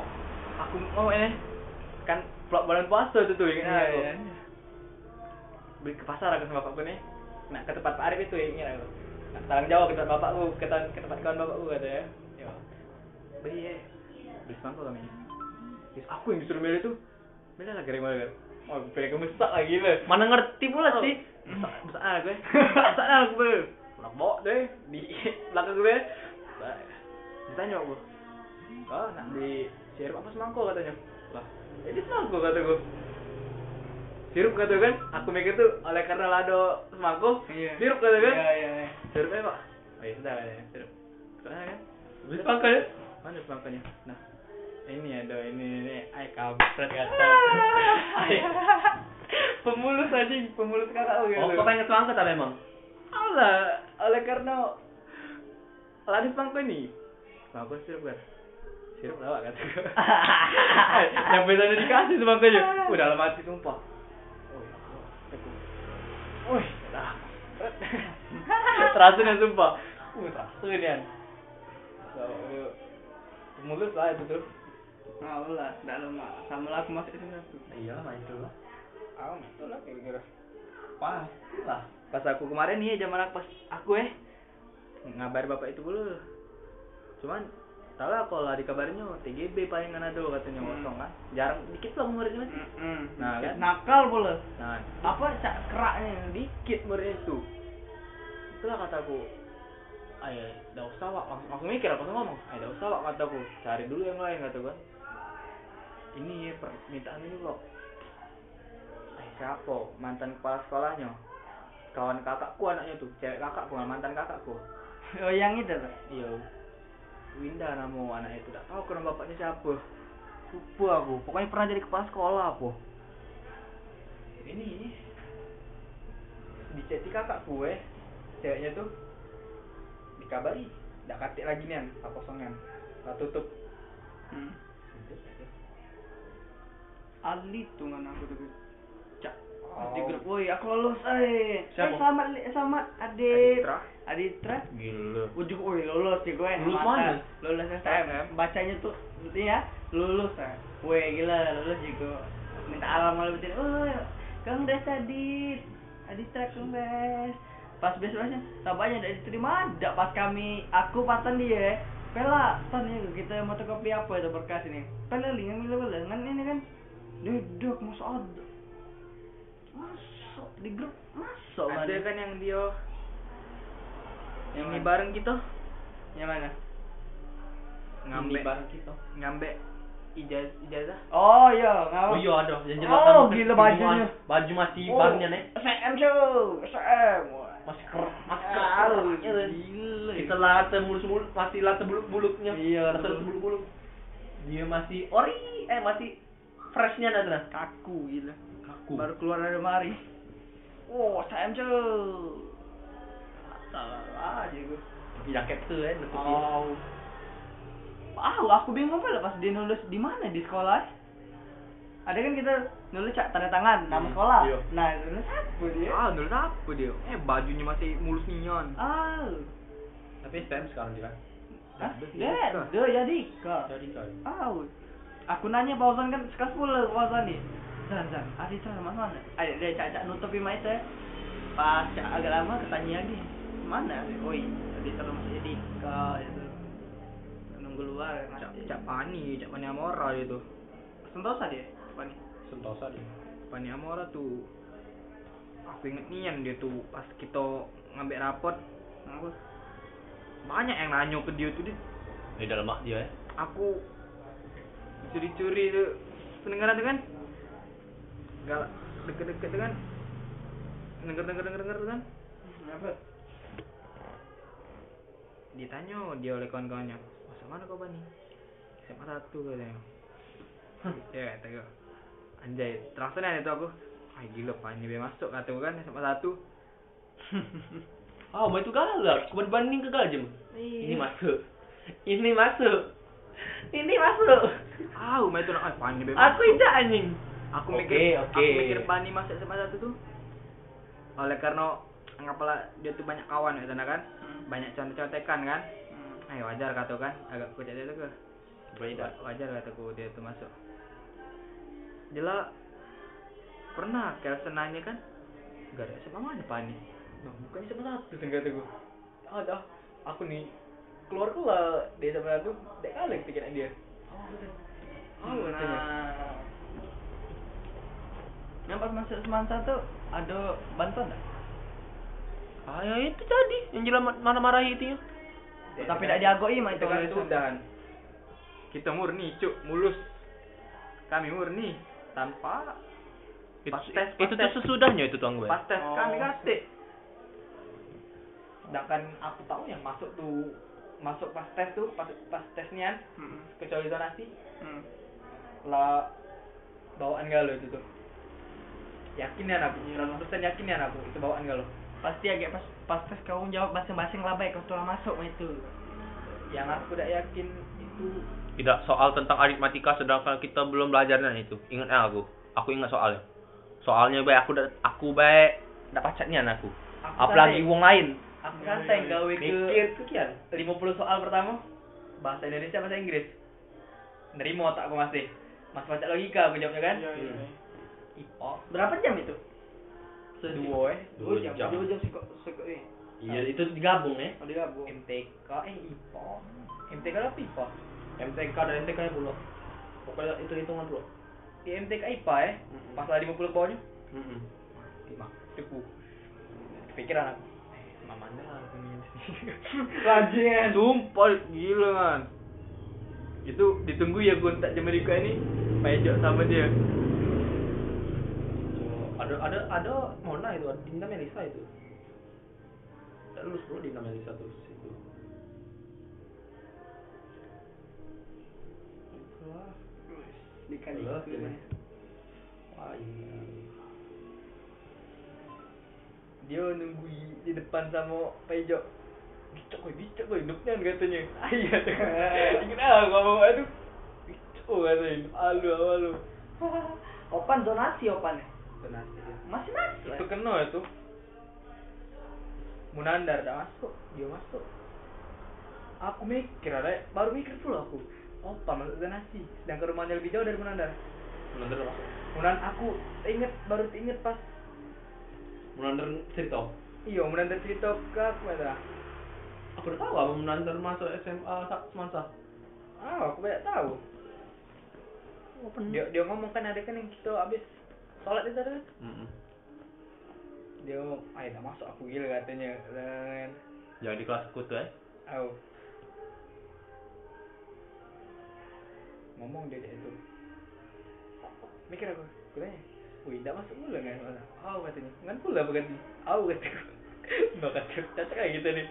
B: Aku mau ini kan pulak bulan puasa itu tuh ingat
C: Iya,
B: aku.
C: iya.
B: Beli ke pasar aku sama bapakku nih. Nah, ke tempat Pak Arif itu ya, ingat aku. Nah, Tarang Jawa ke tempat bapakku, ke tempat, ke tempat kawan bapakku kata ya. Yo. Beli ya. Beli semangkuk kami. Terus aku yang disuruh milih tuh. Milih lah kering banget. Oh, pilih kamu besar lagi lah.
A: Mana ngerti pula
B: Oh.
A: sih?
B: Besar besar lah gue. Besar lah gue. Nak bawa deh di belakang gue. Ba- Ditanya aku. Oh, nak beli sirup apa semangkuk katanya. Lah, ini semangkuk kata gue. sirup kata kan aku mikir tuh oleh karena lado semangkuk
C: Iya.
B: sirup kata kan
C: Iya, iya, iya.
B: sirupnya pak oh iya sudah ya sirup soalnya kan beli semangkanya mana semangkanya nah ini ada ini ini ay kampret kata Ay. pemulus anjing pemulus kata
A: Oh, kau pengen semangka tapi emang?
B: Allah, oleh karena Aladis mangko ini. Mangko sirup kan. Sirup lawak kan. gitu. Yang bedanya dikasih semangkanya. Udah dalam hati sumpah. Oh, ya Allah. Wih, dah. Terasa kan sumpah. Uh, terasa ini kan. So, aduh. Mulus lah itu tuh.
C: Nah, lah, dah lama. Sama lah aku masuk itu satu.
A: Iya, main dulu lah.
B: Ah, itu lah kira-kira.
A: Pas lah.
B: Pas aku kemarin nih zaman aku pas aku eh ngabar bapak itu dulu. Cuman tau lah kalau lah dikabarnya TGB paling Manado katanya
C: Hmm.
B: kosong kan. Jarang dikit lah muridnya. masih. Nah, kan?
C: Nakal pula.
B: Nah,
C: Apa cak keraknya di?
B: dikit muridnya itu. Itulah kataku. Ayo, dah usah wak. Langsung, langsung mikir aku langsung ngomong. Ayo, dah usah wak kataku. Cari dulu yang lain kata gua. Ini ya, permintaan ini kok. Eh, siapa? Mantan kepala sekolahnya. Kawan kakakku anaknya tuh, cewek kakakku, mantan kakakku.
C: Oh, yang itu tuh.
B: Iya. Winda nama anak itu tak tahu karena bapaknya siapa. Lupa aku. Pokoknya pernah jadi kepala sekolah aku. Ini diceti kakak gue, ceweknya tuh dikabari, nggak katik lagi nian, tak kosongan, tak tutup. Mm.
C: Hmm. Ali tuh kan aku tuh. Cak. Di grup, woi aku lolos, eh.
B: Oh. Siapa?
C: Eh, selamat, li- selamat, Adit.
B: Aditra.
C: Aditra.
B: Gila.
C: Ujuk, woi lolos sih ya, gue.
A: Lulus
C: mantap.
A: mana?
C: Lulus
B: STM.
C: STM. Bacanya tuh, berarti ya, lulus ya. Woi gila, lulus juga. Minta alam malu betul. Woi, Kang Des Adit. Aditra Kang Des. Pas besoknya, tampaknya tidak diterima. Tidak pas kami, aku patan dia. Pela, tan ya kita mau kopi apa itu berkas ini. Pela lingan mila pela, kan ini kan. Duduk masuk ada. Masuk di grup, masuk
B: Ada
C: mana?
B: kan yang dia gitu? yang
C: Yang
B: ini
C: mana?
B: bareng kita
C: Yang mana?
B: ngambek
A: Ini barang kita.
B: ngambek ijaz ijazah
C: Oh iya,
A: Oh
C: ngawur.
A: iya ada yang
C: Oh, gila bajunya.
A: mas- Baju masih
B: Oh.
A: bangnya nih.
C: SM show, SM.
A: Masih kerak, masih
C: Ah,
A: ya. kerak. keraknya, Nen.
C: gila.
A: Kita latte mulus-mulus, masih latte buluk-buluknya.
C: Iya,
A: latte
C: betul.
A: buluk-buluk. Dia masih ori, eh masih freshnya nih nah.
C: kaku gila.
A: Kaku.
C: Baru keluar dari mari. Wow, SM show. Salah aja gue.
A: jaket tuh ya, nutup dia.
C: Oh. Wow, aku bingung pula pas dia nulis di mana di sekolah. Ada kan kita nulis cak tanda tangan nama
A: Hmm,
C: sekolah.
A: iya.
C: Nah, nulis apa dia?
B: ah nulis apa dia eh bajunya masih mulus nian
C: Ah.
A: Tapi STM sekarang dia. kan?
C: Hah?
B: dia
C: Dek,
B: suka.
C: dia jadi kok.
A: Jadi coy.
C: Au. Aku nanya Fauzan kan sekelas pula Fauzan nih. Zan, Zan, Adi sana mana? mana? Ayo, dia cacak nutupi mic ya. Pas cak agak lama ketanya lagi. Mana? Oi, Adi sana masih jadi kok itu. Nunggu luar
B: cak
C: masih.
B: cak pani cak pani amora dia tuh
C: Sentosa dia. Apa nih?
A: Sentosa dia.
B: pani amora tuh aku inget nian dia tuh pas kita ngambek rapot
C: Aku.
B: banyak yang nanya ke dia tuh dia
A: Ini dalam mak dia ya.
B: aku curi-curi itu pendengaran tuh kan galak deket-deket tuh kan denger denger denger denger tuh kan
C: Apa?
B: ditanya dia oleh kawan-kawannya masa mana kau bani SMA satu katanya ya kata gua. anjay terasa nih itu aku ah gila pani biar masuk kata gua kan SMA satu
A: Oh, mau itu galak. Kau berbanding ke galak Jem.
C: Iya.
A: Ini masuk. Ini masuk. Ini masuk.
B: ah umai itu nak ah, pani biar
A: Aku
B: masuk.
A: tidak anjing.
B: aku
A: Oke,
B: mikir
A: oke.
B: aku mikir pani masuk SMA satu tuh oleh karena anggaplah dia tuh banyak kawan ya kan banyak contek-contekan kan eh wajar kata kan agak kucet itu ke
A: Beda.
B: wajar kataku dia tuh masuk Jela pernah Kelsen nanya kan gak ada SMA mana Pak nih nah, bukan SMA satu kan kataku ada Ah, aku nih keluar keluar dia SMA satu dek kali pikiran dia oh betul oh katanya.
C: nah. Yang pas masuk semangsa tuh ada bantuan tak?
A: Ah, ya itu jadi yang jelamat marah-marahi itu ya.
B: Dia
C: Tapi
B: kan-
C: tak diagoi mah itu
B: kita kan
C: kalau itu.
B: Sudan kita murni cuk mulus kami murni tanpa
A: Itu,
D: Pas tes, pas
A: itu tuh
D: tes.
A: sesudahnya itu tuang gue.
D: Pas tes
B: Oh.
D: kami kasih.
B: sedangkan aku tahu yang masuk tuh masuk pas tes tuh pas pas tesnya
C: Hmm.
B: kecuali zonasi
C: Hmm.
B: lah bawaan gak lo itu tuh yakin ya aku jalan persen yakin ya aku itu bawaan gak lo
C: Pasti agak pas pas tes kau jawab masing-masing lah baik kau telah masuk itu.
B: yang aku udah yakin itu
A: Tidak soal tentang aritmatika sedangkan kita belum belajarnya itu. Ingat ya aku. Aku ingat soalnya. Soalnya baik aku udah aku baik dak pacatnya aku.
B: aku
A: Apalagi
B: santai-
A: wong lain.
B: aku santai gawe ke
D: Mikir kian.
B: 50 soal pertama bahasa Indonesia bahasa Inggris nerima otak aku masih masih baca logika aku jawabnya kan
A: Iya.
B: IPO
C: Berapa jam itu?
B: dua eh
A: Dua jam.
C: Dua jam sih kok sih kok eh.
D: Iya itu digabung ya.
A: eh.
C: Oh dia bu.
B: MTK eh IPO MTK apa IPO
A: MTK dan MTK nya bro. Pokoknya itu hitungan bro.
B: di MTK IPA eh pas lah 50 ke bawahnya lima debu kepikiran aku mamanya lah aku nih
C: Rajin.
B: sumpah gila kan itu ditunggu ya gue tak Amerika ini pajak sama dia
A: Oh, Ada ada ada Mona itu, ada Dinda Melisa itu. Tak lulus bro Dinda Melisa tuh situ.
C: Dikali.
A: Lulus,
C: dulu.
A: ya. Wah, ini.
B: dia nunggu di depan sama pajak bicak gue bicak gue hidupnya katanya ayah ingat ah gua mau aduh bicak gue katanya hidup alu alu
C: Opan zonasi opan ya.
B: Tenasi dia.
C: Masih masuk.
B: itu kan kena itu Munandar dah masuk dia masuk aku mikir ada baru mikir full aku apa masuk zonasi sedangkan rumahnya lebih jauh dari Munandar
A: Munandar apa?
B: Munan aku inget baru inget pas
A: Munandar cerita.
B: iyo Munandar cerita ke aku ada
A: Aku udah tahu apa Munandar masuk SMA Sa- Semansa.
B: ah aku banyak tahu dia dia ngomong kan ada kan yang kita habis sholat itu ada kan
A: Mm-mm.
B: dia ngomong ayo dah masuk aku gila katanya dan
A: Jangan di kelas kutu ya.
B: Au. Ngomong dia itu. Mikir aku, aku tanya. Wih, tidak masuk pula kan? Au katanya. Kan pula apa ganti? Au kataku. Mbak kata, cacat kayak gitu nih.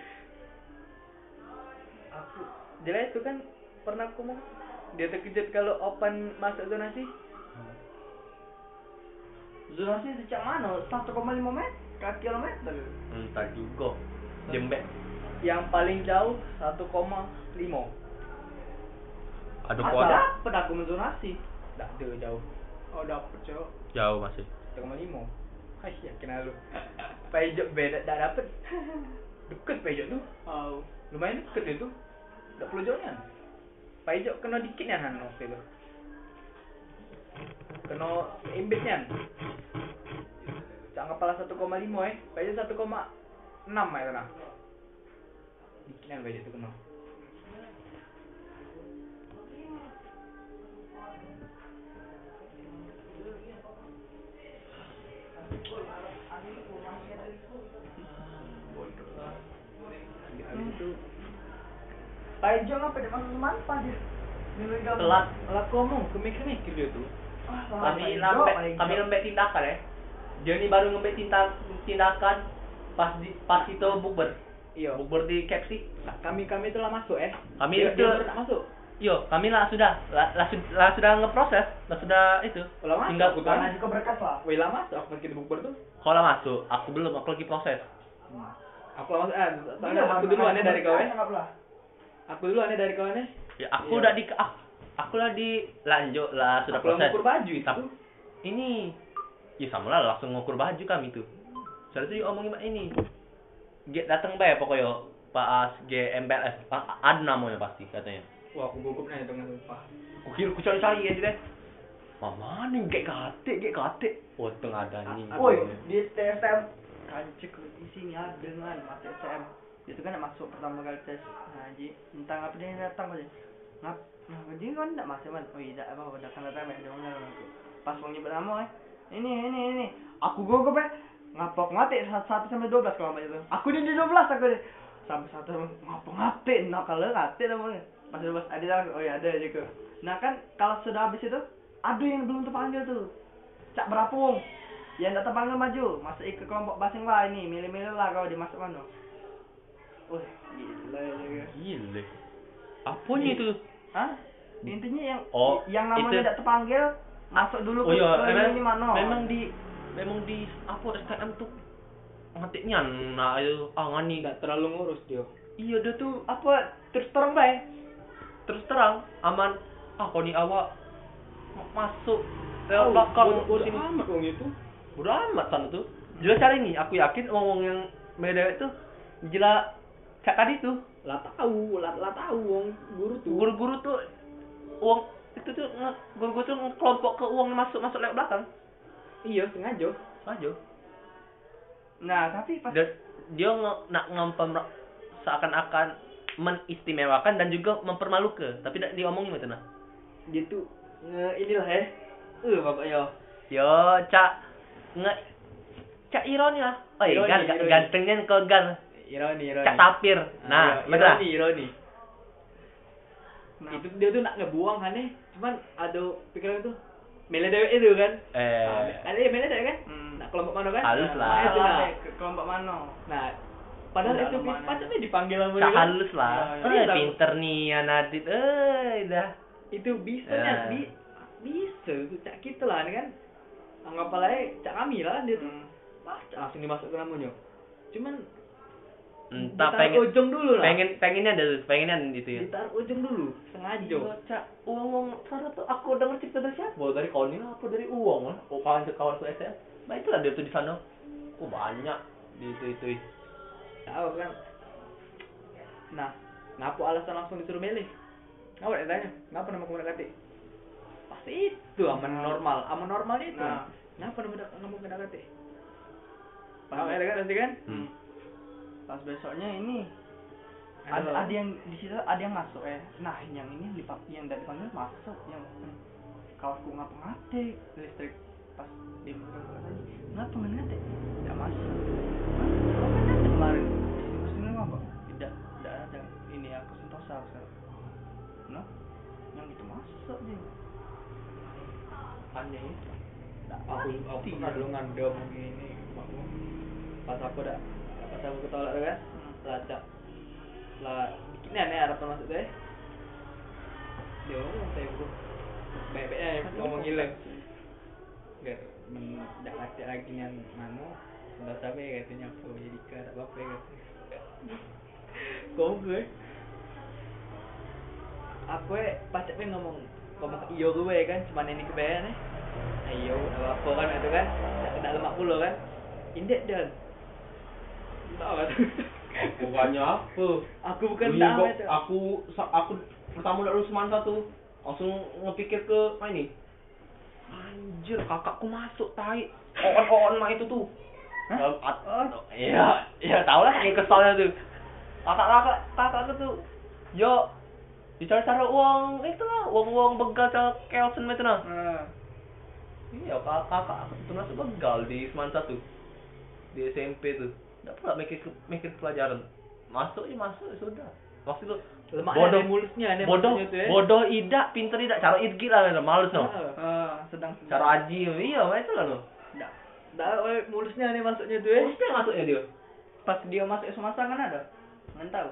B: Aku, jelas itu kan pernah aku mau dia terkejut kalau open masuk zonasi
C: Zonasi sejak mana? 1,5 meter, kilometer.
A: Entah juga. Jembek.
B: yang paling jauh 1,5
C: Asal
A: Ada kuat.
C: dapat aku zonasi.
B: tak ada jauh
C: Oh dapat cok.
A: Jauh masih.
B: 1,5 Hai, yakin lah lu Pajak beda, tak dapet Deket pajak tu
C: Oh.
B: Lumayan deket dia tu Tak perlu jauh kan Pajak kena dikit kan Han Waktu tu Kena imbit kan Cak kepala 1,5 eh Pajak 1,6 eh tanah Dikit kan pajak tu kena Habis tu
C: Pak Ijo apa dia masuk semampa dia? Dia gabung.
A: Telat.
B: Lah aku ngomong, aku mikir-mikir dia tu
C: Ah, salah Pak
A: Kami
C: Ijo,
A: lembek,
C: Pak Ijo.
A: kami lembek tindakan ya. Dia ni baru lembek tindak, tindakan pas di, pas itu bukber.
B: Iya
A: Bukber di Kepsi.
B: Kami kami tu lah masuk eh
A: Kami
B: Dia-
A: itu
B: dia baru nak masuk
A: Yo, kami lah sudah, lah, lah, sud- lah sudah ngeproses, lah sudah itu.
B: Lah masuk
A: Tinggal
B: aku
A: kan.
C: Karena juga berkas lah.
B: Wih lah masuk aku pas kita bukber tuh
A: Kalau masuk, aku belum, aku lagi proses.
B: Aku lah masuk, eh, soalnya
C: Iya,
B: aku duluan ya
C: makanya
B: dari kau eh
C: berkas anggap lah.
B: Aku duluan ya dari kau eh
A: Ya, aku
B: Iya.
A: udah di, ah, aku lah di lanjut lah sudah
B: Aku lah
A: proses.
B: ngukur baju itu
A: Tapi- Ini, ya sama lah langsung ngukur baju kami tuh. Soalnya tuh omongin mak ini, dia datang bae pokoknya pas GMPLS, pa- ada namanya pasti katanya.
B: Wah aku gugup nih dengan sumpah
A: Kukira ku cari-cari aja deh. Mama nih gek katik, gek katik. Oh, tengah ada nih.
B: Aku-
C: Woi, di TSM kancik di sini ada dengan mata TSM. Itu kan nak masuk pertama kali tes. Nah, Ji, tentang apa dia yang datang tadi? Ngap, nah, dia kan enggak masuk kan. Oh, tidak apa apa datang datang ya, dia ngomong aku. Pas mau nyebut nama eh. Ini, ini, ini. Aku gugup eh. Ngapok ngatik 1 sampai 12 kalau macam itu. Aku di di 12 aku di. Sampai 1 ngapok ngatik nak kalau ngatik namanya. Pas 12 ada datang. Oh ya ada juga. Nah kan kalau sudah habis itu ada yang belum terpanggil tuh. Cak berapa Wong? Yang tak terpanggil maju, masuk ke kelompok basing lah ini. Milih-milih lah kau dimasuk mana. Wih, gila ya.
A: Gile. Apanya itu?
C: Hah? Ha? Intinya yang
A: Oh,
C: yang namanya
A: itu-
C: tidak terpanggil masuk dulu
A: Oh
C: ke
A: iya,
C: ke
A: memang,
C: ini mana.
A: memang di memang di apa SKM tuh ngetiknya nah itu ah ngani
B: Nggak terlalu ngurus dia.
A: iya dia tuh
C: apa terus terang bay.
A: terus terang aman ah kau ni awak ma- masuk lewat
B: Tahu,
C: Oh,
A: belakang
B: bodo- bodo
A: sini
B: amat wong itu.
A: bodo amat sana tuh jelas cari nih aku yakin ngomong yang beda itu jelas kayak tadi tuh
B: Lah tahu, lah, lah tahu wong guru tuh.
A: guru-guru tuh uang itu tuh nge- guru-guru tuh kelompok ke uang masuk masuk lewat belakang
B: Iya, sengaja.
A: aja
C: Nah, tapi pas
A: dia, dia nge- nak ngempem seakan-akan menistimewakan dan juga mempermalukan tapi tidak diomongin gitu nah
B: Dia tuh nge inilah ya. Eh, bapak ya.
A: yo cak nge cak ironi lah oh iya
B: Ironi,
A: gan, gan-
B: ironi.
A: gantengnya ke gan
B: Ironi, ironi.
A: cak tapir nah
B: Iya,
A: betul lah.
B: ironi, ironi.
C: nah,
B: Itu dia tuh nak ngebuang aneh, cuman ada pikiran tuh Mele dewek itu kan.
A: eh
B: Nah, ada yang mele dewek kan?
C: hmm,
B: Nak kelompok mana kan?
A: Halus lah.
B: Nah, itu
C: lah,
B: lah.
C: ke kelompok mana?
B: Nah, padahal
C: Nggak
B: itu
C: ada mana.
B: patutnya dipanggil sama
A: cak
B: dia. kan?
A: halus lah
B: Iya,
A: eh
B: iya.
A: pinter nih ya Nadit eh dah
B: Itu bisa
A: Eh.
B: kan? Bi bisa tuh cak kita lah kan. Anggap aja cak kami lah dia tuh.
C: Hmm.
B: Mas, langsung dimasuk ke namanya. Cuman
A: entah
B: ditaruh
A: pengen
B: ujung dulu lah.
A: pengen pengennya ada pengennya itu ya
B: Ditaruh ujung dulu, sengaja.
A: cak uang uang sana tuh aku dengar cerita dari siapa dari Koni lah apa dari uang lah oh kawan kawan tuh SM nah itulah dia tuh di sana oh banyak di itu itu
B: Tahu kan? Nah, ngapa alasan langsung disuruh milih? Ngapa dia tanya? Ngapa nama kamu dekati? Pasti itu aman normal, aman normal itu.
C: Nah.
B: Ngapa nama dak- kamu dekati? Tahu ya kan nanti kan?
A: hmm.
C: Pas besoknya ini ada,
B: Ada lah.
C: ada yang di situ ada yang masuk ya. Nah, yang ini yang dipak yang dari panggil masuk yang kawanku ngapa ngatik listrik pas dia ngapa lagi ngapa nggak ngatik tidak masuk Hah? Kau kan ngatik kemarin distribusinya ngapa tidak tidak ada ini aku sentosa sekarang nah yang itu masuk dia
B: Aneh.
C: Nggak
B: Nah, Aku
C: ngerti.
B: aku kandungan dia begini. Pas aku dak pas aku ketolak tu kan?
C: Hmm.
B: Lacak. Lah, bikinnya aneh harapan masuk deh. Dia ngomong saya bro. Baik-baik aja ngomong gila. Gak mendak ada lagi yang mana Sudah sampai ya, katanya aku jadi ke tak apa-apa ya katanya Kau gue Aku eh pacak pengen ngomong Ngomong ke iyo gue kan cuman ini kebayang eh Ayo tak apa-apa kan itu kan Tak kena lemak pula kan Indek dan Tak apa tu
D: Eh, Bukannya apa?
B: Aku bukan
D: Iya,
B: tak
D: kok.
B: apa tu
A: ah,
D: Aku sa- aku pertama dari Semanta tuh langsung ngepikir ke apa ini?
A: anjir kakakku masuk tai oon oon mah itu tuh
C: Hah?
A: Dalam at- iya iya tau lah yang kesalnya tuh kakak kakak kakakku tuh yo dicari cari uang "Eh, itu lah uang uang begal cak Kelsen itu nah
C: Nah,
A: Iya, kakak kakak aku termasuk begal di Seman satu di SMP tuh. Enggak pernah mikir mikir pelajaran. Masuk ya masuk ya sudah. Maksud lu
B: Lemaknya
A: bodoh.
B: ada mulusnya aneh
A: bodoh
B: maksudnya tu, eh.
A: bodoh idak pinter idak cara idgi lah lah, males no.
B: Ah.
C: eh, sedang
A: Cara aji iya itu lah lo.
C: Nggak.
B: Tak, oi, mulusnya aneh maksudnya tu eh.
A: Terus yang masuknya dia.
C: pas dia masuk semasa kan ada nggak tahu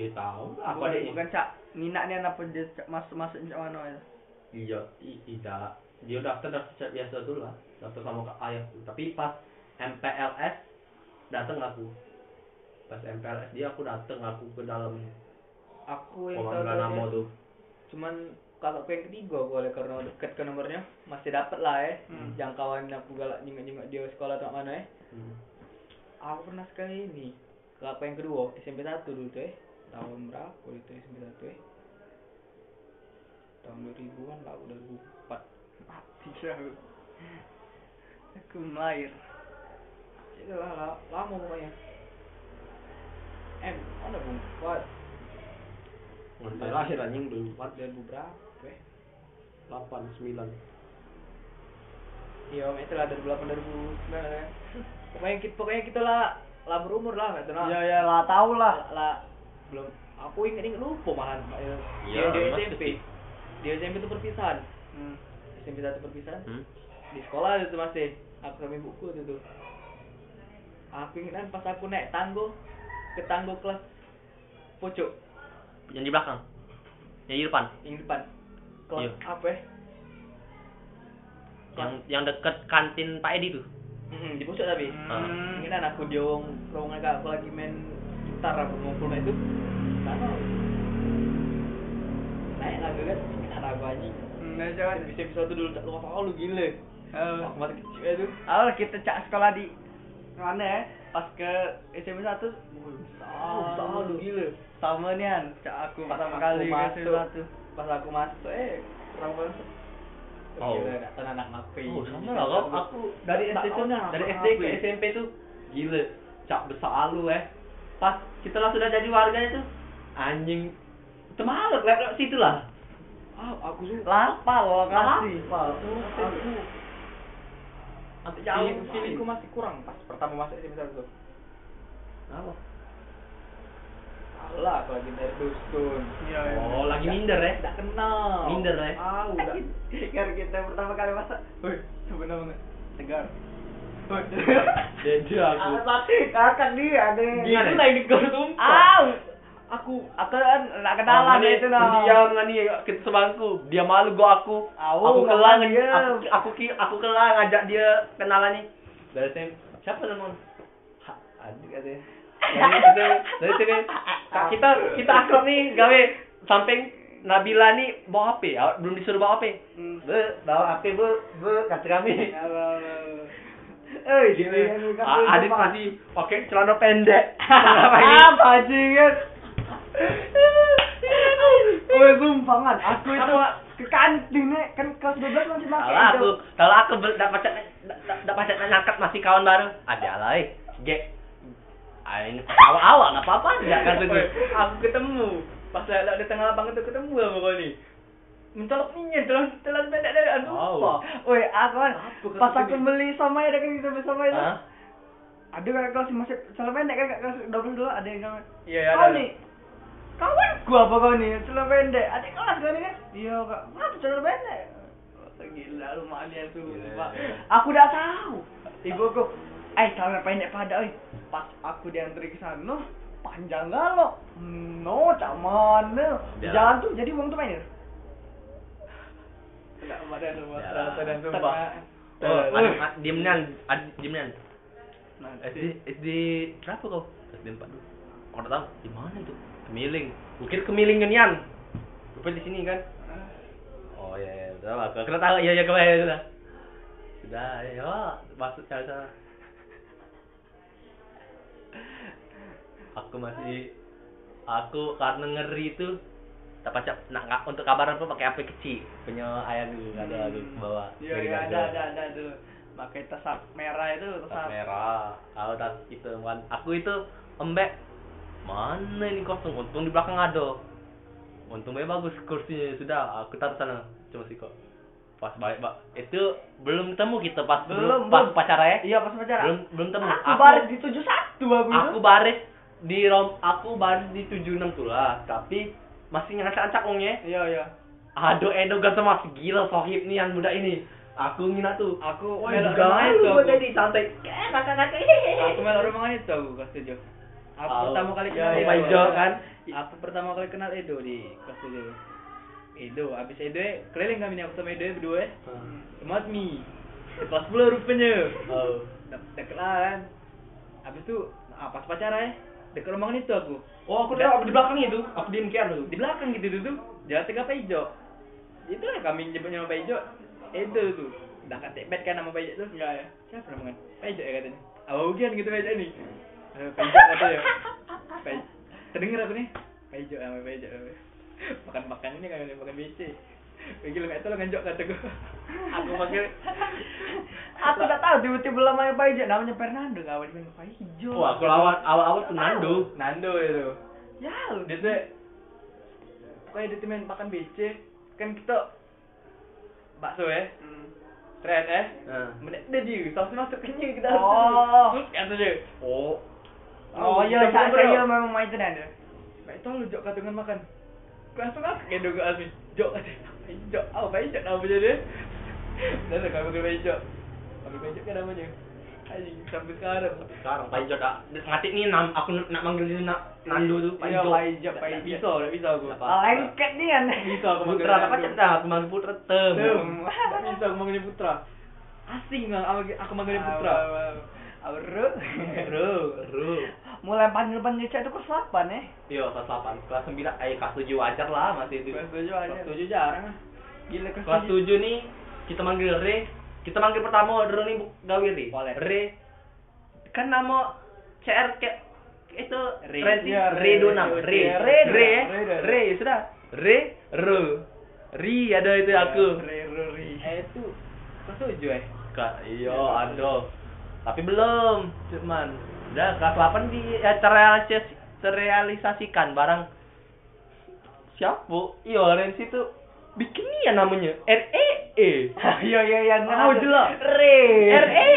A: Ya tahu lah aku
C: bukan,
A: adanya.
C: bukan cak minatnya apa dia cak masuk masuk cak mana ya
A: Iya, i- idak. Dia daftar daftar biasa dulu lah. Daftar sama ke ayahku. Tapi pas MPLS datang aku. Pas MPLS dia aku datang aku ke dalam
B: Aku yang tahu
A: Komando Namo
B: tu, eh.
A: tuh.
B: Cuman kakakku yang ketiga aku oleh karena dekat ke nomornya masih dapat lah eh.
C: Hmm.
B: Jangkauan aku galak nyengok-nyengok dia sekolah tak mana eh.
A: Hmm.
B: Aku pernah sekali ini kakakku yang kedua SMP 1 dulu tuh eh. Tahun berapa itu SMP 1 eh? Tahun 2000-an lah, udah 2004.
C: mati aku aku melayar
B: Itu Iya, lah, lah, lama pokoknya. Em, ada pun. Wah,
A: Ngontek lahir anjing dulu
B: empat dan berapa eh?
A: 8 9.
B: Iya, itu lah 2008 2009 ya. Pokoknya kita pokoknya kita lah lah berumur lah gitu lah.
C: ya ya lah tau lah
B: Lah, lah belum aku ingat-ingat lupa malahan Pak. Ya,
A: Iya,
B: dia
A: mas,
B: SMP. Dia SMP itu perpisahan.
C: hmm.
B: SMP satu perpisahan.
A: Hmm?
B: di sekolah itu masih aku sama ibuku itu tuh aku ingat kan, pas aku naik tanggo ke tanggo kelas pojok
A: Yang di belakang. Yang di depan.
B: yang depan kelas
A: Iya.
B: apa ya
A: Yang yang deket kantin Pak Edi tuh.
B: Mm-mm, di pojok tapi
A: Ah.
B: ingat kan aku diong lowongan kak aku lagi main gitar aku ngumpul nah itu sana naik lagu kan ingat aku anjing
C: Nggak bisa Mas.
B: bisa bisa tuh dulu tak lupa oh lu gile
C: Hmm, ya,
A: Hmm.
C: Eh,
B: aku masih kecil ya tuh
C: awal kita cak sekolah di mana ya? Pas ke SMP 1
B: oh besar lu gile
C: sama nian cak aku
B: Pas
C: pertama
B: aku
C: kali ke SMP
B: masuk.
C: 1.
B: pas aku masuk eh perempuan
A: Oh.
B: gila dah tanah anak ngapain
A: Oh, sama lah kau. Aku dari
B: Tak
A: SD tuh,
B: tahu dah,
A: dari
B: apa ya?
A: SD ke
B: ngapain.
A: SMP tuh gila. Cak besar lu eh. Pas kita lah sudah jadi warga itu anjing temalek lewat situ lah.
B: ah aku suka
C: Lapal lokasi.
A: Apa? Aku sampai jauh.
B: feeling feelingku masih kurang pas pertama masuk SMP satu
A: Apa?
B: salah aku lagi dari dusun
C: Iya. iya.
A: Oh, lagi minder ya.
B: tidak kenal
A: Minder, eh.
B: ah udah
C: Karena Kan kita pertama kali masak. Woi, sebenarnya banget. Tegar. Woi.
A: Jadi aku.
C: Ah, Kakak dia ada.
A: Gila,
B: gila ini kau tumpah
C: Au. Aku aku kan enggak Ah, kenalan
A: Aman, eh.
C: itu nah.
A: Diam kan nih kita sebangku. Dia malu gua aku.
C: Au,
A: aku
C: nggak
A: kelang
C: mau diam.
A: aku aku ki aku kelang ajak dia kenalan nih. Dari sini siapa teman? Ha, Adik katanya.
C: Nah,
A: Dari sini dari sini Kak, Nah, kita kita akrab nih gawe samping Nabila nih bawa HP, awak belum disuruh bawa HP.
C: Hmm.
A: Be, bawa HP be, be kata kami.
C: Ya, bau, bau. Eh,
A: Gini,
C: dia ini kan
A: A- Adit
C: belum
A: masih pakai celana pendek. Kenapa ini?
C: Ah, bajingan. Woi, sumpah kan, aku itu ke kantin nek kan kelas 12 masih pakai
A: Kalau
C: itu.
A: aku, kalau aku tidak pacat, tidak pacat nangkat masih kawan baru. Ada lah, eh. Gek. Ah, ini awal-awal nggak apa-apa, nggak kan tuh.
B: Woi, aku ketemu pas lewat di tengah lapang itu ketemu sama kau nih mencolok nih telan telan pendek dari aduh
A: Wow.
B: apa?
C: Woi, aku kan
B: Apa
C: pas
B: kata
C: aku
B: gini?
C: beli sama ya kan kita beli sama itu.
A: Hah?
C: Ada kan kelas masih celana pendek kan kelas 12 dulu ada yang namanya.
B: iya iya
C: Kau
B: ada.
C: nih. Kawan gua apa kau nih? Celana pendek. Adik kelas kau nih kan? Iya, Kak. Kenapa celana pendek? Gila lu mania
B: Iya,
C: sumpah. Aku udah tahu. Ibu aku, eh celana pendek pada oi. Pas aku diantri ke sana, panjang galo. No, cak mana? Di Jalan tuh jadi uang tuh ya? mainnya.
B: tidak ada rumah
A: Jalan.
B: terasa dan sumpah
A: Oh,
B: Eh,
A: Adit, Ad- diemnan, Adit, diemnan.
C: Nanti.
A: SD, SD berapa kau? SD empat dulu. Kau nggak tahu di mana itu? Kemiling. Mungkin kemiling genian. Rupanya di sini kan? Oh ya, ya, tahu aku. Kena tahu, iya iya kau ya sudah. Sudah, ya masuk cari sana. Aku masih, aku karena ngeri itu tak baca nak nggak untuk kabaran pun pakai HP kecil punya ayah dulu ada dulu bawa
C: Iya,
A: dari
C: iya, ada,
A: Gagal
C: ada, ada tuh. Pakai tas ap- merah itu, tas
A: tas
C: ap-
A: merah kalau tas itu kan aku itu embek mana ini kosong untung di belakang ada untungnya bagus kursinya sudah aku taruh sana cuma sih kok pas balik pak itu belum temu kita pas
C: Belum,
A: pas
C: belum.
A: pacara ya
C: Iya, pas pacaran.
A: belum belum temu
C: Aku,
A: aku
C: baris di 71
A: Iya,
C: aku itu.
A: aku baris di rom aku baris di 76 tuh lah tapi masih ngerasa ancak ongnya
C: Iya, iya.
A: aduh edo gak sama gila sohib nih yang muda ini aku ngina tuh
B: aku
A: Wah,
B: melok
A: gak
B: rumahan itu
A: lu
B: aku
A: jadi santai eh kakak-kakak hehehe.
B: aku melok rumahan itu aku kelas tujuh aku
A: Au.
B: pertama kali
A: Iya,
B: kenal
A: rumah
B: Edo.
A: hijau kan?
B: aku pertama kali kenal Edo di kelas tujuh Edo abis Edo eh, keliling kami nih aku sama Edo eh, berdua eh.
A: Hmm.
B: Mat mi kelas pula rupanya
A: Oh.
B: Dek- deket lah kan abis itu ah, pas pacaran ya deket rumahan itu aku
A: Oh, aku udah di belakang itu. Aku diem kian tuh.
B: di belakang gitu tuh, tuh jalan tengah Pak Ijo itu lah kami nyebutnya sama Pak Ijo itu tuh udah katek bet kan sama Pak Ijo tuh enggak ya siapa namanya Pak Ijo ya katanya apa ugian gitu Pak Ijo ini Eh, Pak Ijo katanya Pak Ijo. terdengar aku nih Pak Ijo sama Pak Ijo makan makan ini kan makan BC Bagi lu itu lu nganjok kan kata gua. Aku pakai
C: Aku tak tahu tiba-tiba lamanya Pak Ijo namanya Fernando enggak awal namanya Pak Ijo.
A: Wah, Oh, aku lawan awal-awal tuh Nando.
B: Nando itu.
C: Ya,
B: Dia tuh pokoknya dia tuh main makan BC kan kita bakso ya.
C: Hmm.
B: Tren eh.
A: Nah.
B: Menek dia dia, saus masuk kenyang kita
C: Oh.
B: harus. Kan saja.
A: Oh,
C: Oh,
B: Hmm,
C: iya, saya saya memang main Fernando.
B: Baik tahu lu jok katungan makan. Langsung aku gendong ke Azmi. Jok kata. Jok, oh baik jok apa jadi? Udah deh, kami pakai bejo. Kami bejo kan namanya. Anjing sampai sekarang.
A: Sekarang Pak Ijo tak ngatik nih nam aku nak manggil dia nak Nando tu Pak
B: Iya,
A: Ijo.
B: Pak Ijo, Pak Ijo. Bisa, udah bisa aku.
A: Apa?
C: Oh, lengket nih kan.
B: Bisa aku manggil
A: Putra tak
B: Nando.
A: macam dah aku manggil Putra tem.
B: Tem. Nggak Bisa aku manggilnya Putra. Asing lah, aku- aku manggilnya Putra.
C: Auru.
B: Bro,
A: Ru.
C: Mulai panggil-panggil cak itu kelas 8 ya.
A: Yo kelas 8, kelas 9, eh kelas 7 wajar lah masih itu.
C: Kelas tujuh aja.
B: kelas tujuh jarang ah. Gila kelas
A: Kelas 7 nih kita manggil Re. Kita manggil pertama Re nih bu- gawe Re.
B: Boleh.
A: Re. Kan nama CR ke itu
B: Re.
A: Renti
B: Iya,
A: Re
B: Re,
A: Donam.
B: Re,
A: Re.
B: Re,
A: Re.
B: Re,
A: Re.
B: Re, Re.
A: Re ya sudah. Re. Re. Ri ada itu
B: Iya,
A: aku.
B: Reruri. Eh itu kelas tujuh eh.
A: Kak, iyo, aduh. iya, Tapi belum, cuman. Udah, kelas 8 di eh, terrealis- terrealisasikan barang siapa? Iyo, Renzi itu bikin ya namanya E. REE.
C: Iya iya iya.
A: Tahu jelas.
C: Re.
A: E. REE.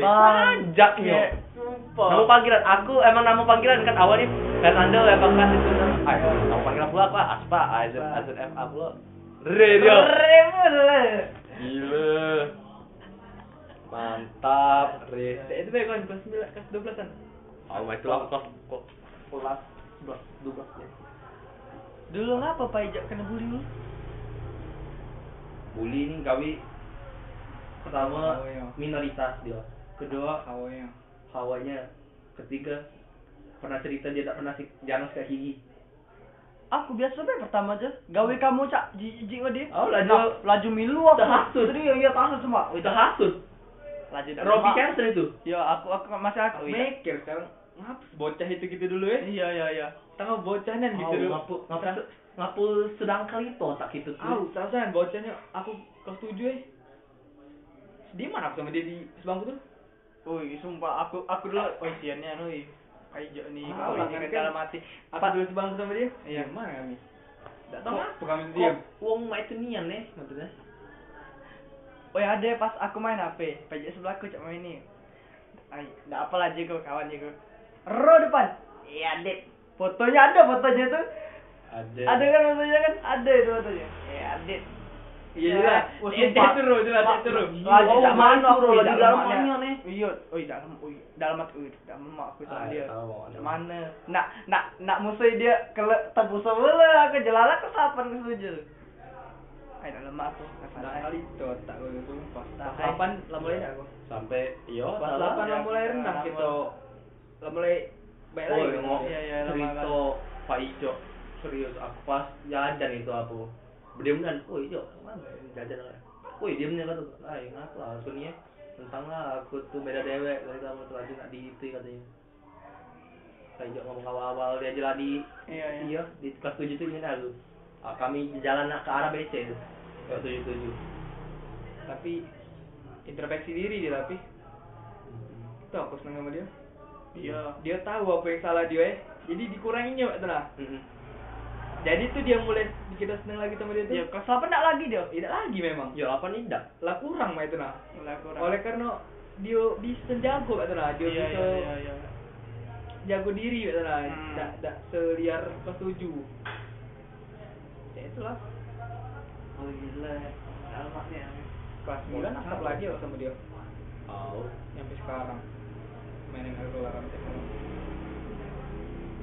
C: Iya.
A: Pajaknya. Nama
B: Sumpah.
A: panggilan aku emang nama panggilan kan awalnya Fernando emang kan itu nama. Ah, nama panggilan pula apa? Aspa, Azun, Azun F A pula. Re dia.
C: Re pula.
A: Gila. Mantap, Re.
B: Itu baik kan kelas sembilan, kelas dua belasan.
A: Oh, my God, kok kok
B: Kelas sebelas, dua belas ya.
C: Dulu ngapa Pak Ijak kena bully lu?
A: bully nih kami
B: Oh,
A: pertama
B: iya.
A: minoritas dia, kedua
B: Awalnya.
A: hawanya, ketiga pernah cerita dia tak pernah si- jarang sikat gigi.
C: Aku biasa be pertama aja. Gawe kamu cak jijik sama dia.
A: Oh, laju-
C: Nah, laju milu aku.
A: Terhasut.
C: Iya iya tahasut semua.
A: Oh, itu hasut.
C: Laju dah
A: Robi kan? Oh,
C: semua.
A: Carson itu.
C: Iya aku aku masih aku.
B: Aku
C: iya.
B: mikir sekarang ngapus bocah itu gitu dulu ya.
C: Iya iya iya.
B: Tengah bocahnya gitu
A: Oh,
B: dulu.
A: ngapu ngapu ngapu sedang kali toh tak gitu
B: Aku
A: tuh.
B: perasaan bocahnya aku kelas tujuh eh. Di mana aku sama dia di sebangku tuh?
C: Oi, sumpah aku aku dulu
A: Ah.
C: oi siannya anu oi. Kaijo nih,
B: Ah,
C: kau ini
B: kan,
C: kan
B: kan.
C: dalam hati.
B: Aku dulu sebangku sama dia.
C: Iya.
B: Di Mana kami? Tidak tahu
A: Kok-
B: apa kami diam.
A: Kok wong mak itu nian nih maksudnya.
C: Oi, ada pas aku main HP, pajak sebelah aku cak main ni. Ai, dah apalah je kau kawan je kau. Ro depan. Iya, Dek. Fotonya ada fotonya tuh.
A: Ada.
C: Ada kan fotonya kan? Ada itu fotonya. Iya, Dek.
B: Iya,
C: Ya,
B: jelas.
C: wah,
B: Dia
C: sumpah.
B: suruh, jelas Iya, dia
C: Iya,
B: suruh.
C: Lagi
A: Oh,
C: tak main
A: main
C: aku,
A: suruh, lagi
C: tak
A: dalam
C: main.
A: mainnya ni.
C: Iya, oi dalam oi dalam hati oi dalam mak aku
A: Ah,
C: sama dia.
A: tak tahu,
C: Tak
A: tak
C: mana? Nak nak nak musuh dia kele tebus sebelah aku jelala ke sapan ke setuju. Ai dalam mak aku. eh.
B: Nah, kali itu tak gue sumpah.
C: Tak, eh.
B: Pas
C: hai.
B: lapan lah mulai dah aku.
A: Sampai yo
B: Pas
A: salah.
B: lapan lah
C: Ya,
B: mulai
C: kita
B: renang
C: lama.
B: kita. Lah mulai baik
A: Oh,
B: lagi.
A: yang mau
C: Iya, iya, lama
A: cerita Pak Ijo serius aku pas jajan itu aku berdiamkan, oh Ijo mana jajan lah, woi diamnya kata, ah ingat lah aku nih ya, tentang lah aku tuh beda dewek dari kamu tuh aja nggak diitu katanya. Pak Ijo ngomong awal-awal dia jalan di,
C: Iya, iya.
A: iya di kelas tujuh tuh ingat aku, Ah, kami jalan nak ke arah BC tuh, kelas tujuh tujuh.
B: Tapi introspeksi diri dia tapi. Itu aku seneng sama dia.
C: Iya.
B: Dia tahu apa yang salah dia eh. Jadi dikuranginnya Pak Tuna.
A: Mm-mm.
B: Jadi tuh dia mulai kita seneng lagi sama dia tuh.
C: Iya, kelas 8 nak lagi dia.
B: Tidak lagi memang.
A: Yo apa nih dak?
B: Lah kurang Pak Tuna.
C: Mulai kurang.
B: Oleh karena dia bisa jago Pak Tuna. Dia
C: iya,
B: bisa
C: iya, iya, iya.
B: jago diri gitu lah
C: Hmm.
B: tidak tidak seliar kelas tujuh ya itulah
C: Oh gila. Dalam maknya. Iya,
B: kelas sembilan
A: Boleh.
B: akrab lagi kok sama dia
A: Oh,
B: sampai sekarang mainin alkohol sama teknologi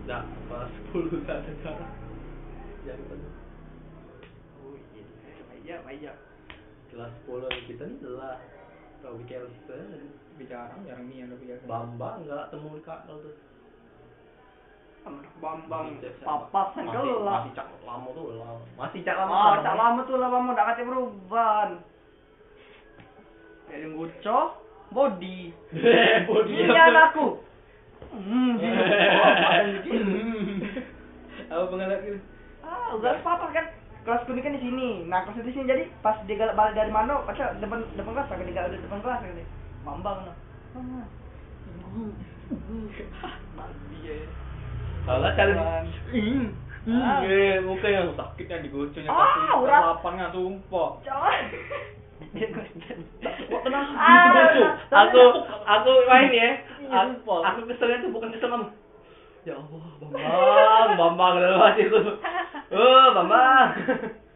A: dak kelas sepuluh dah sekarang. Jadi pada
C: Oh gila. Iya, iya.
A: kelas 10 kita nih lah Robi Kelsen
B: tapi jarang jarang nih yang lebih jarang
A: Bambang nggak temu di kakak tuh
C: Sama anak Bambang.
A: Masih-
C: Papasan
A: masih-
C: kau lah.
A: masih cak lama tuh lama masih cak lama
C: Oh,
A: tuh,
C: tak
A: namanya.
C: lama tu lah lama dah kata perubahan. Dari ngucoh, body.
A: Eh, bodi
C: Ini
A: apa?
C: aku. Hmm.
B: apa pengalak gitu
C: Ah, udah papa kan kelas kuning kan di sini. Nah, kelas di sini jadi pas dia galak balik dari mana, pacar depan depan kelas kan dia galak dari depan kelas kan dia. Mambang no. Mambang. Mati ya.
A: salah cara di
C: Apaan?
A: Hmm, hmm,
C: Ah.
B: Iya,
A: eh, muka yang sakit
B: sakitnya digocoknya
C: Ah,
B: pasti
C: urat.
B: kelas delapan nggak sumpah
C: Jangan.
A: kok tenang
C: Ah,
A: gitu, Bos, tuh.
C: tenang.
A: aku aku main ya
B: Iya,
A: aku,
B: sumpah.
A: aku keselnya tuh bukan kesel sama ya Allah Bambang Bambang lewat itu eh Bambang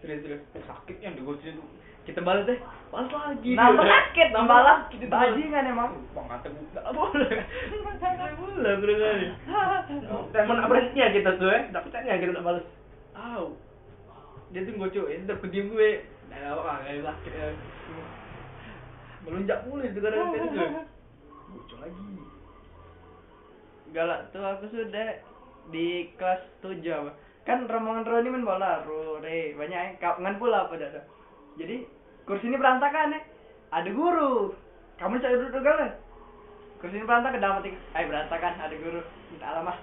B: serius serius sakitnya digocoknya tuh kita balas deh balas lagi
C: Nambah
B: sakit
C: sakit, nambah lagi.
B: kita
C: Bajingan emang.
B: pangkat buka boleh nggak boleh udah kali
D: Telepon abresnya kita tuh eh, dapetnya kita tak balas.
B: aw dia tuh ngocok ya udah kediem gue nggak apa nggak sakit ya. melunjak mulu itu karena tadi tuh ngocok lagi
C: Galak tuh aku sudah di kelas 7 apa. Kan rombongan Roni main bola, Rore, banyak eh. kapungan pula apa dah. Jadi kursi ini berantakan eh. Ada guru. Kamu bisa duduk galak. Kursi ini berantakan dalam hati. Eh berantakan, ada guru. Minta alamat.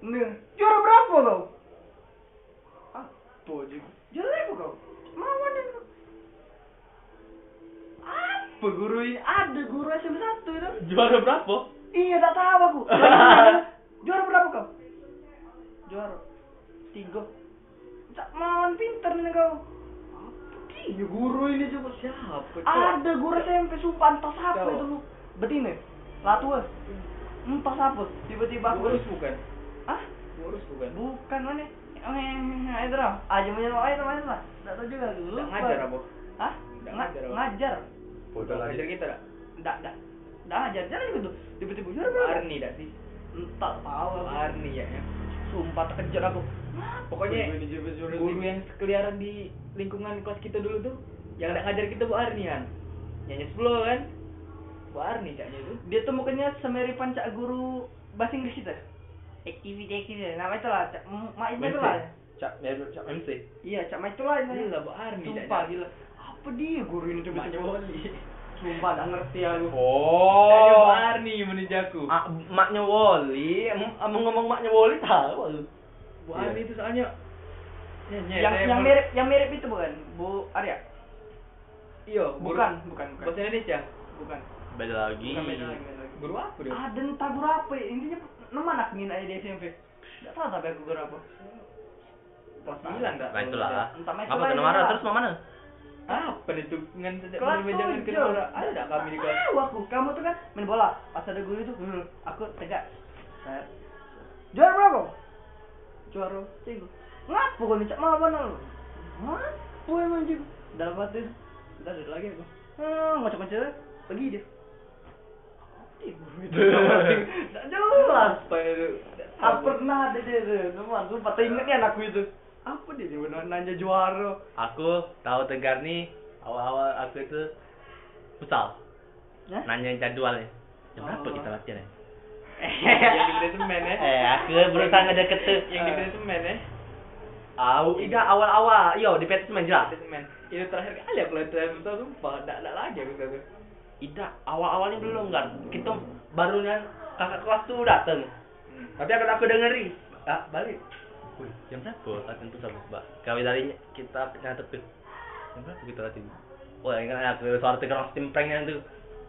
C: Nih, juara berapa kau? Apa juga? Juara berapa kau? Mawanin kau. Apa guru ini? Ada guru SMP 1 itu.
A: Juara berapa?
C: Iya, tak tahu aku. Juara- Juara berapa kau? Juara tiga. Tak mau pinter nih kau.
B: Iya guru ini coba siapa?
C: Ada guru SMP sumpah entah siapa
B: Siapa?
C: itu lu. Betina. Latua. Entah siapa. Tiba-tiba aku
B: Boros bukan?
C: Ah,
B: Boros bukan?
C: bukan mana? Eh, itu lah. Aja punya lo, ayo namanya lah. Tak tahu juga aku.
B: Nggak
C: lupa.
B: ngajar apa?
C: Hah?
B: Nggak
C: Nga-
B: ngajar apa?
C: Ngajar.
B: Udah ngajar kita dah.
C: Nggak, nggak. Nggak ngajar. Jangan gitu. Tiba-tiba juara berapa?
B: Arni dah sih.
C: Entah Hmm, tahu aku.
B: Arni ya. ya.
C: Sumpah terkejar aku.
B: Pokoknya
C: Guru ini
B: guru yang sekeliaran di lingkungan kelas kita dulu tuh yang nggak ngajar kita Bu Arni kan. Nyanyi sepuluh kan? Bu Arni kayaknya itu.
C: dia tuh mukanya semiripan cak guru bahasa Inggris kita Activity activity nama itu lah cak M- mak itu
A: MC.
C: lah
A: Cak, ya, cak MC.
C: iya cak mak itu lah ini
B: Gila Bu Arni
C: sumpah
B: kayaknya.
C: gila apa dia guru ini tuh
B: Maknya Woli.
C: sumpah nggak ngerti aku
B: Kayaknya Bu
A: Oh.
B: Arni menjaku.
A: Ah, maknya Woli, emang ngomong maknya Woli tahu. aku.
B: Bu Arni itu soalnya Iya. nyanyi.
C: yang
B: saya
C: yang
B: mau-
C: mirip yang mirip itu bukan bu Arya
B: Iya, guru-
C: bukan bukan bukan
B: Bahasa Indonesia.
C: bukan
A: Beda lagi.
C: bukan beda lagi, beda lagi.
B: Guru apa dia?
C: ada entah guru apa ya. intinya nama anak ngin aja di SMP nggak tahu tapi aku guru apa
B: Kelas 9 enggak?
A: Nah itulah.
C: Entah, entah
A: Apa
C: itulah,
A: kena marah
C: itulah.
A: terus mau mana?
B: Apa itu dengan sejak
C: kelas
B: berbejangan
C: tujuh.
B: ke orang ada enggak kami di kelas?
C: Tahu aku kamu tuh kan main bola pas ada guru itu hmm, aku tegak Set. juara berapa juara tiga ngapu kau nih Cak? mau mana lu ngapu emang juga dalam hati udah ada lagi aku hmm ngocok ngocok pergi dia Ih, guru itu nggak ngerti. Nggak jelas
B: Apa itu? Nggak tahu.
C: tak pernah ada dia tuh teman sumpah tak ingat nih anakku itu apa dia dia benar nanya juara
A: Aku tahu Tegar nih awal-awal aku itu futsal.
C: Hah?
B: Nah.
A: Nanya jadwalnya. Jam
C: Oh.
A: berapa kita latihan ya?
B: Yang di basement ya.
A: Eh, aku berusaha ngajak ke tuh.
B: Yang di basement ya.
A: Au, iya awal-awal. Yo, di PT Semen jelas.
B: Basement. Itu terakhir kali aku lihat terakhir itu sumpah enggak enggak lagi aku tuh.
A: Ida awal-awalnya belum kan. Kita barunya kakak kelas tuh dateng. Tapi akan aku dengeri. Ah, balik. Hmm. Wih, jam berapa latihan tuh sama Mbak? Kami dari kita nyatet tuh. Jam berapa kita latihan? Oh, yang kan aku suara tegar orang timprengnya itu.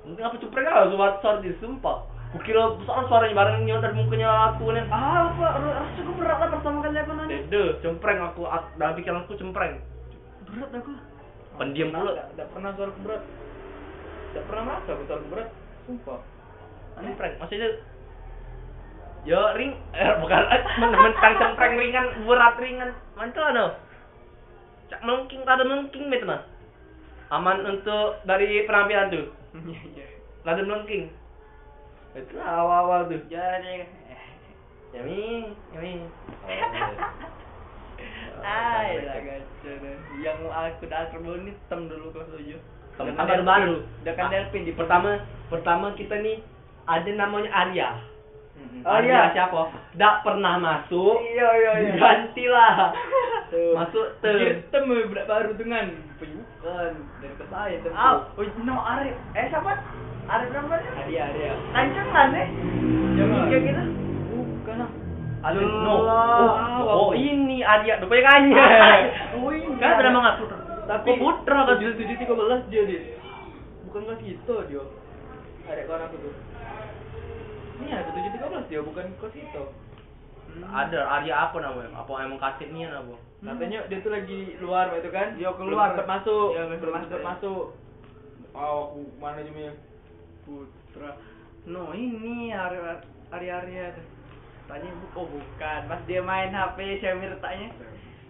A: Mungkin apa cupreng lah suara suara di sumpah. Kukira suara suaranya bareng nyon dari mukanya aku kan? nih.
C: ah apa rasanya gue berat lah pertama kali aku nanya
A: Dede, cempreng aku ak- dalam pikiranku cempreng.
C: berat aku
A: Pendiam
B: Nggak-
A: dulu.
B: nggak- nggak pernah suara aku berat. Enggak pernah merasa aku suara aku berat. Sumpah.
A: Cempreng, maksudnya Yo ring, eh, bukan eh, mentang cempreng ringan, berat ringan, mantel no. Cak melengking, rada melengking gitu mah. Aman untuk dari penampilan tuh,
C: iya iya
A: rada melengking. Itu awal-awal tuh.
B: Ya,
A: Ya,
C: jadi
A: Yami, yami.
C: Oh. ah ya gacor deh. yang aku dah dulu ini tem dulu kelas tujuh
A: Tem-
C: Dengan
A: apa
C: Delpin.
A: baru?
C: dengan
A: Ah,
C: Delpin di
A: Pertama, pertama kita nih ada namanya Arya.
C: Oh,
A: Arya
C: iya.
A: siapa? Dak pernah masuk.
C: iya iya iya
A: Gantilah.
B: Tuh.
A: Masuk
B: Dia
A: tuh.
B: tem berat baru dengan penyukan dari ke saya tem.
C: ah oh, no Arif eh siapa Arif berapa kan
B: Hadiah hadiah.
C: kancengan eh
B: Jangan.
C: kayak gitu
B: Bukan lah.
A: Alif
C: Allah.
A: no. Oh, oh, ini Arya rupanya kan.
C: Wih,
A: Kan ada nama
B: Oh,
A: aku.
B: iya. Tapi
A: Oh, Putra kan.
B: tujuh tujuh tiga belas dia dia. Bukan kelas itu dia. Ada kawan aku tuh. Iya tujuh tiga belas dia bukan kelas itu.
A: Ada Arya apa namanya? Apa emang kasih nih apa?
B: Katanya dia tuh lagi luar itu kan?
C: Dia
B: Belum
C: keluar.
B: sempet masuk.
C: Iya, belum
B: belum
C: masuk,
B: sempet
C: iya.
B: masuk. Oh, aku mana cuma
C: putra no ini Arif Arya Arya tanya bu oh bukan pas dia main HP Syamir tanya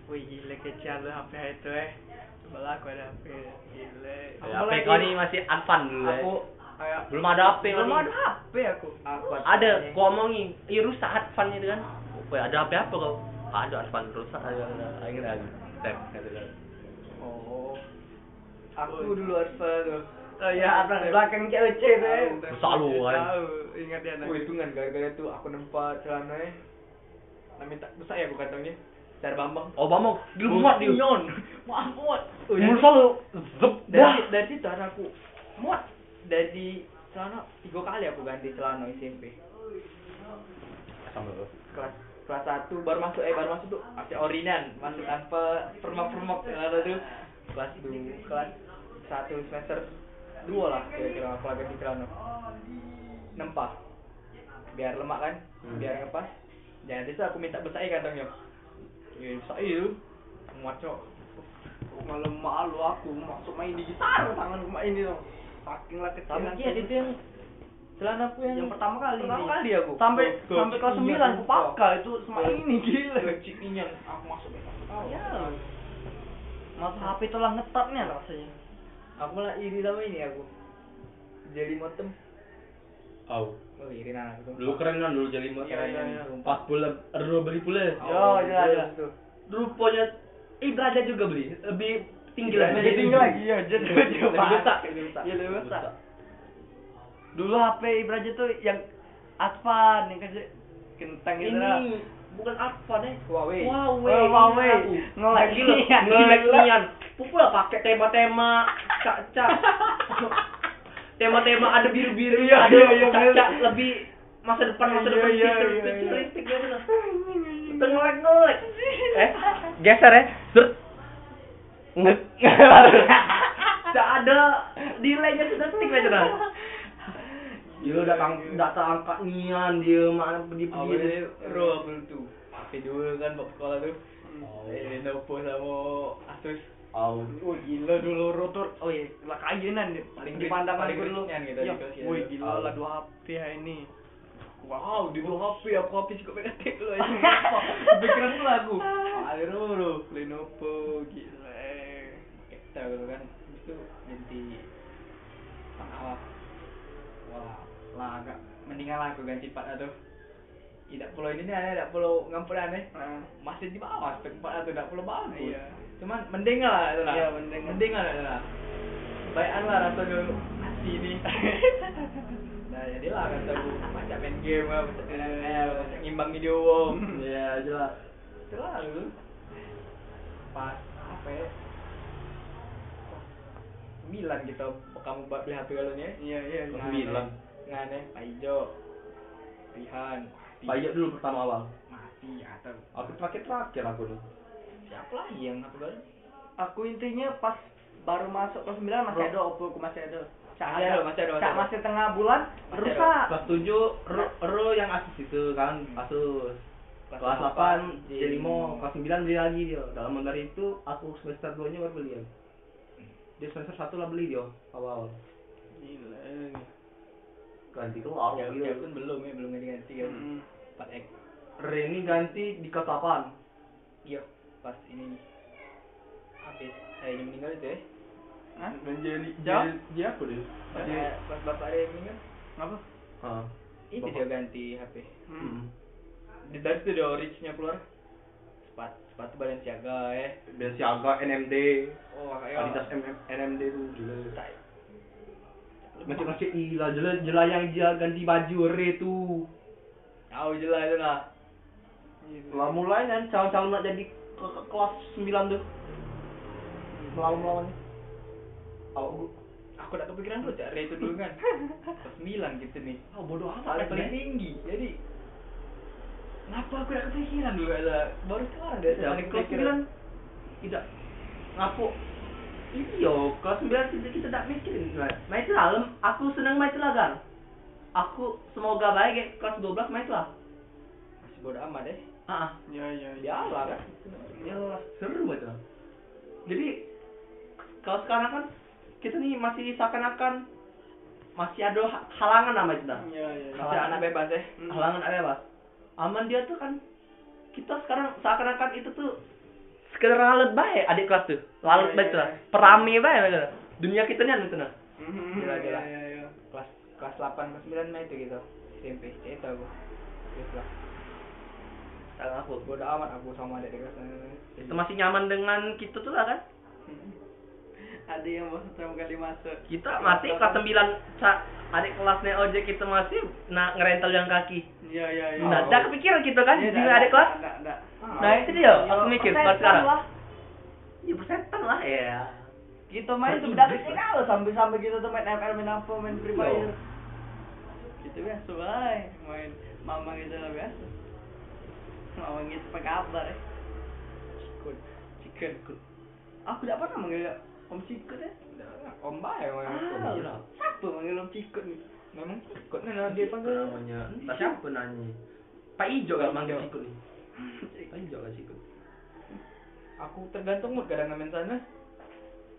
C: wih gila kecil lu HP itu eh Belak ada HP. Gile.
A: Ya,
B: Aku
A: HP
B: lagi-
A: kau ini masih advan dulu ya.
B: Aku kayak
A: Belum ada HP
C: Belum
A: kau
C: ada
A: ini.
C: HP aku.
B: aku
A: Ada, gua omongin. Ih rusak advan itu kan. Weh, ada HP apa kau? Ah, Ada advan rusak. Ayo, ayo, ayo. Tek, gitu kan.
B: Oh. Aku dulu Arfa tuh.
C: Oh iya, atas belakang cewek deh.
A: Rusak lu kan.
C: Tahu, ingat ya
B: Aku
C: nanti.
B: Oh, hitungan gara-gara itu aku nempat celananya. Nah minta besar ya aku kantongnya. Dari Bambang.
A: Oh, Bambang, lu muat dia.
B: Maaf muat. Oh, dari-
A: Mulut lu zep.
B: dari,
A: Wah.
B: dari situ ada aku muat dari celana tiga kali aku ganti celana SMP
A: Sama lu.
B: kelas kelas satu baru masuk eh baru masuk tuh masih orinan masuk tanpa permak permak celana tuh kelas dua kelas satu semester dua lah kira-kira aku lagi ganti celana nempah biar lemak kan
A: Hmm.
B: biar ngepas jangan itu aku minta besar kantongnya ya besar itu muat cok
C: Malam malu aku masuk main di gitar tangan rumah ini dong. Saking lah kecil.
B: tapi iya itu yang celana aku yang
C: yang pertama kali Oh,
B: pertama
C: ini.
B: kali aku
C: sampai
B: Ke-
C: sampai kelas
B: ke-
C: 9
B: ke-
C: pakai itu sama
B: Ke-
C: ini gila.
B: ke Cipinang, aku masuk ke kampus.
C: Ya. Mas HP itu lah ngetatnya rasanya.
B: aku malah iri sama ini aku jadi motem
A: Au.
B: oh iri nah aku
A: Lu keren kan dulu jadi motor.
B: Iya, iya, iya.
A: Pas pula lu beli pula.
B: Oh,
C: Yo, jelas,
B: terus
C: jelas.
B: tuh.
A: Rupanya Ibraja juga beli, lebih tinggi lagi.
C: Iya, Lebih tinggi lagi ya, jadi
B: Lebih
C: coba.
B: besar, lebih besar.
C: Iya, lebih besar. Dulu HP Ibraja tuh yang Advan yang kecil kentang gitu lah.
A: Ini bukan apa deh.
B: Huawei
A: Huawei.
C: Oh, Huawei.
A: Iya.
C: Ngelek
A: Gila,
C: nian.
A: ngelek nian. Pupu lah pakai tema-tema cak-cak. tema-tema ada biru-biru,
C: Iya,
A: ada
C: iya, iya,
A: cak-cak
C: bener.
A: lebih masa depan masa
C: Iya,
A: depan
C: iya,
A: future
C: iya, iya.
A: futuristik gitu loh. Ngelek-ngelek. Eh, geser ya. Zut. Nget. Tidak ada delay-nya sedetik aja dah. Dia udah tang udah terangkat nian dia mana pedih-pedih.
B: awalnya roll tuh HP dulu kan bawa sekolah tuh Eh, Lenovo sama Asus
A: Au.
B: oh gila dulu
C: Rotor, oh iya, lah kayunan deh, paling di pandangan
B: Paling
C: gue dulu.
B: ringan gitu,
C: Iya,
B: di kelas ya.
C: woi gila
A: Ah.
C: lah dua HP ya ini. Wah,
B: Wow, di bawah HP, aku HP cukup eh. pengen tek lu aja. Pikiran lu aku. Alir lu, Lenovo gila. Kita gitu kan. Habis Itu ganti pengawal. Wah, lah agak mendingan lah aku ganti part itu. Tidak perlu ini nih, tidak perlu ngampuran nih.
C: Nah,
B: Masih di bawah aspek part itu tidak perlu bagus.
C: iya.
B: Cuman mending lah itu lah.
C: Iya, mending.
B: Mending lah itu lah. Bayan lah rasanya hati ini. Nah,
A: ya
B: jadilah
A: kan
B: kata bu, macam main game lah, macam ML, macam ngimbang video wong.
A: Ya Iya. jelas.
B: Itulah lu. Pas apa ya? Sembilan kita kamu buat beli HP kalau ya? nya.
C: Iya, iya. iya.
A: Oh, Sembilan.
B: Ngan ya, Pak Ijo. Pihan.
A: Pajak dulu pertama awal.
B: Mati atau
A: Aku terakhir terakhir aku nih.
B: siapa lagi yang apa kalau?
C: Aku intinya pas baru masuk kelas 9 masih
B: Bro.
C: ada opo aku masih ada. Cak
B: Masih ada, masih ada, masih
C: Cak
B: ada.
C: masih tengah bulan
B: Masih
C: rusak.
A: Kelas tujuh ro, ro yang asus itu kan asus. Kelas delapan iya. Jelimo. Kelas sembilan beli lagi dia. Dalam dari itu aku semester dua nya baru beli ya. Dia semester satu lah beli dia awal.
C: Gila.
A: Ganti keluar
B: Ya,
A: gitu.
B: ya pun belum ya, belum ganti-ganti kan.
C: Mm-mm.
B: Pas X.
A: iya. Re ini ganti di kelas delapan.
B: Iya, pas ini habis saya ini meninggal itu ya.
C: Hah?
A: Menjadi
C: Jawab.
A: dia aku deh.
B: Pas,
C: Iya.
B: eh, pas bapak dia meninggal.
C: Apa?
A: Ah.
B: itu
A: Bapak.
B: dia ganti HP
C: Hmm.
B: di dari itu dia orichnya keluar sepatu sepatu Balenciaga ya
A: Dan siaga NMD,
B: oh
A: Adidas
B: makanya
A: MM, NMD tuh gila.
B: macam
A: Macam macam ilah jelas jelas yang dia ganti baju re tuh.
B: tahu jelas itu lah Iya.
A: Lah mulai kan calon-calon nak jadi ke, ke kelas 9 tuh. Melawan-melawannya. Awak guru.
B: aku tak kepikiran dulu cak Ray itu dulu kan Pas sembilan gitu nih
A: Ah bodoh
B: Soalnya
A: amat
B: paling
A: kan.
B: tinggi jadi kenapa aku tak kepikiran dulu ada baru sekarang dia
A: Dari kelas 9 tidak ngapo. Iya, kelas 9 kita kita tak mikirin. kan. Main dalam, aku senang main telagan. Aku semoga baik ya, kelas 12 main telah.
B: masih bodoh amat deh
A: Heeh.
C: Ya, ya, ya.
B: dia ala kan
A: Ya Allah, seru banget lah. Jadi kalau sekarang kan kita nih masih seakan-akan masih ada ha- halangan nama itu dah.
C: Ya, ya. ya.
B: masih anak bebas ya
C: Hmm.
A: halangan apa ya, Mas? Aman dia tuh kan kita sekarang seakan-akan itu tuh sekedar lalat baik adik kelas tuh lalat
C: Iya,
A: baik tuh
C: iya,
A: lah.
C: iya.
A: perame baik mereka tuh. dunia kita nih itu nah
B: Gila,
C: Iya,
B: gila.
C: iya, iya.
B: kelas kelas 8 kelas 9 mah itu gitu SMP itu aku Terus lah
A: Tangan aku
B: bodo amat aku sama adik kelas
A: kita masih nyaman dengan kita tuh lah kan
C: Ada yang mau pertama kali masuk.
B: Iya,
C: Iya,
A: kita masih kelas sembilan sa- adik kelasnya ojek kita masih nah ngerental yang kaki
C: Iya, iya, iya.
A: nah dah kepikiran kita kan
C: Iya,
A: di
C: dah,
A: adik kelas
C: dah, dah, dah.
A: nah itu dia aku mikir
C: persetan
A: kalau sekarang
C: Ya, lah.
A: ya persetan lah ya
C: Kita main
A: Peribis
C: sebenarnya
A: lah.
C: kalau sampai-sampai kita tuh main ML, main apa, main Free
A: Iya.
C: Fire. Kita biasa bay, main mama kita lah biasa. Mama kita apa kabar? eh?
B: Sikut.
C: Chicken. Aku tidak pernah manggil Om Cikut ya.
B: om bae mah
C: Ah, siapa manggil Om Cikut nih?
B: memang sikut nah dia panggil
A: namanya entah siapa nanya Pak Ijo kan manggil
B: Ijo.
A: sikut nih
C: Hmm.
A: Pak Ijo kan sikut
B: aku tergantung mood kadang main sana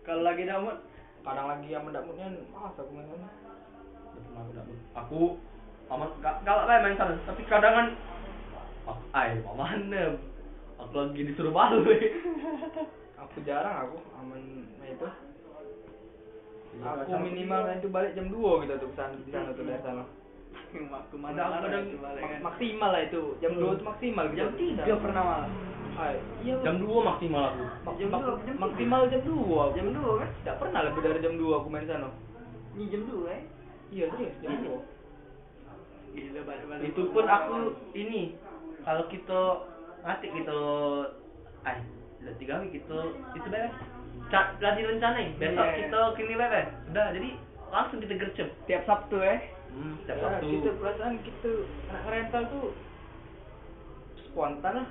C: Kalau lagi damut,
B: kadang lagi yang mendak moodnya malas aku main sana
A: Udah pernah aku dapet. aku aman ga- galak lah main sana tapi kadang kan
C: Hmm.
A: aku ay mau mana aku lagi disuruh balik
B: aku jarang aku aman main itu aku
A: Iya, Sama- Iya,
B: minimal main itu balik jam 2 gitu Iya. tuh kesana di sana tuh
C: Hmm.
B: dari sana
C: kemana-mana
B: kadang-kadang
C: itu balik kan.
B: mak- maksimal lah itu jam 2 itu maksimal gitu
C: Jam tiga pernah malah.
B: Ah, iya
A: jam dua maksimal aku
B: Mak-
C: Jam
B: mak-
C: dua, jam tiga.
B: maksimal jam 2
C: Jam dua kan?
B: tidak pernah lebih dari jam 2 aku main sana
C: Ini jam dua ya.
B: iya serius jam 2
C: Gila balik-balik.
A: itu pun aku ini kalau kita ngasih kita ay udah tiga hari kita itu beres Ca- lagi rencanain besok
C: Iya.
A: kita kini beres udah jadi langsung kita gercep
C: tiap Sabtu ya.
A: hmm, setiap
B: Ya,
A: waktu
B: kita perasaan kita anak rental tuh spontan lah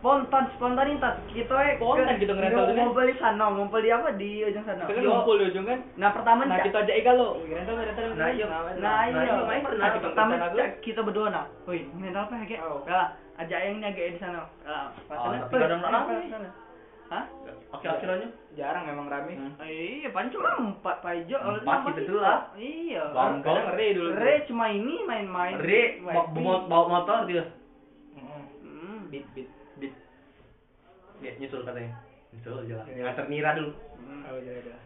C: Spontan, spontanitas. Kita ya
B: Spontan
C: ke-
B: kita gitu ngerantau tuh, eh.
C: Mau beli sana, mau beli apa di ujung sana.
B: kita kan
C: Nah, Yo.
B: ngumpul di ujung kan
C: Nah, pertama
B: nah
C: Cak-
B: kita ajak Ega lo rental rental
A: Nah, iya.
C: Nah,
A: Nah,
C: iya.
A: iya, main
C: Nah,
A: pernah.
C: kita pertama Cak, kita berdua nah. Woi, main apa ya, Gek?
B: Oh.
C: Lah, ajak yang nyage di sana. Lah,
A: Ah, tapi
C: Nah,
A: kadang
B: iya.
A: nggak rame.
C: Hah?
A: oke akhirnya
B: jarang emang rame
A: Hmm.
C: Ah, Iya, paling cuma empat paijo.
A: Empat, kita dua lah.
C: Iya.
A: Bang.
B: Kadang ngeri dulu tuh.
C: Re cuma ini main-main.
A: Re
C: Main
A: bawa,
C: pi.
A: bawa- bawa motor dia
B: Mm-mm.
C: Hmm.
B: beat beat
A: Bit. Dia nyusul katanya. Nyusul aja lah.
B: Iya.
A: Nganter Nira dulu.
C: Hmm.
B: oh iya iya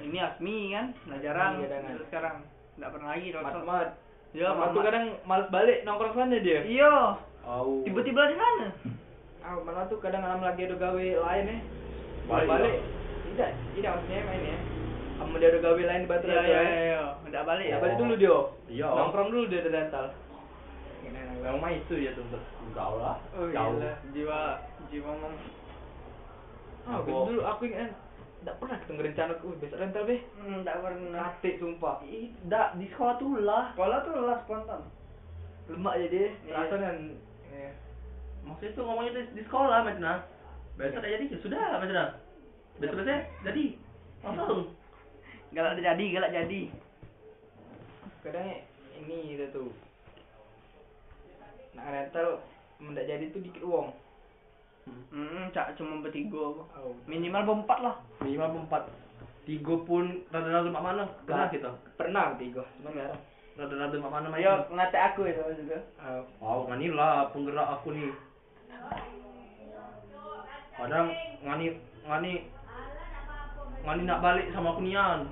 C: Ini Asmi kan, nah jarang
B: Iya, kadang.
C: Terus sekarang nggak pernah lagi
B: mat
C: dokter.
B: mat
C: Iya,
B: mat tuh
C: Mamat.
B: kadang males balik nongkrong sana dia
C: Iya,
A: Oh.
C: tiba-tiba di sana.
B: ah mat tuh kadang malam lagi ada gawe lain ya
A: Balik.
B: balik tidak tidak maksudnya main ya sama dia ada gawe lain di batu
C: Iya,
B: rental
C: iya,
B: ya
C: iya. Udah balik ya.
B: Ya, balik dulu dia
A: Iya.
B: nongkrong dulu dia di rental
A: Memang mah itu ya tuh. Tahu lah.
C: Oh,
A: Jauh.
C: gila. Jiwa jiwa mem.
B: ah
A: Aku-
B: gitu dulu aku ingat tidak pernah kita ngerencana aku besok rental be
C: Enggak pernah.
B: Nate sumpah
A: Ih, dah di sekolah tuh lah.
C: Sekolah Hmm. tuh lah spontan.
B: lemak aja dia
C: Iya.
B: terasa dan iya.
A: Maksudnya tuh ngomongnya di, di sekolah, Medna. Besok aja jadi ya sudah, Medna. Besok besok jadi langsung.
C: Galak udah jadi, galak jadi.
B: kadang ini gitu tuh nak rental mendak jadi tuh dikit uang
C: Hmm, cak cuma bertiga apa.
B: oh.
C: Minimal berempat lah.
A: Minimal empat. Tiga pun rada-rada mak mana? Pernah gitu?
B: Nah.
A: kita.
B: pernah tiga cuma
A: ya.
B: jarang
A: Rada-rada mak mana main.
C: Ayo, ngate aku itu juga.
B: oh.
A: Wow, ngani lah penggerak aku nih. Kadang ngani ngani ngani nak balik sama aku nian.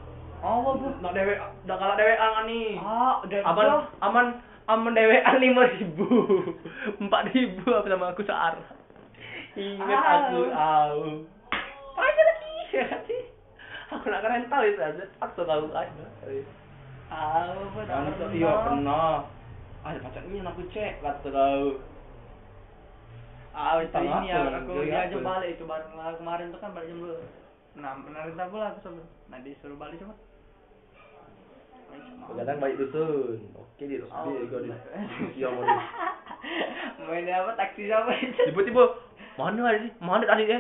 C: Oh, apa? apa?
A: Nak dewe nak kalah dewean ngani.
C: Ah, udah
A: Aman aman aman dewean 5000. 4000 apa sama aku sear. Ingat
C: Au.
A: aku, au. Aja lagi. ya kan sih? Aku nak ke rental itu aja. Aku tahu aja.
C: Ah, apa? tak
A: Kan iya pernah. Ada pacarnya aku cek kata kau.
C: Ah, itu
A: Tengah
C: ini
A: aku,
C: ya, aku
A: jadi
C: dia
A: aku.
C: aja balik itu bareng lah kemarin tuh kan balik jam dua. Nah, menarik tak pula aku sama. Nah, disuruh balik cuma. Ay, cuma.
A: Kadang baik dusun. Oke di terus
C: Oh.
A: dia kau di. Iya mau di.
C: Main apa taksi siapa itu?
A: Tiba-tiba mana ada sih? Mana tadi ya?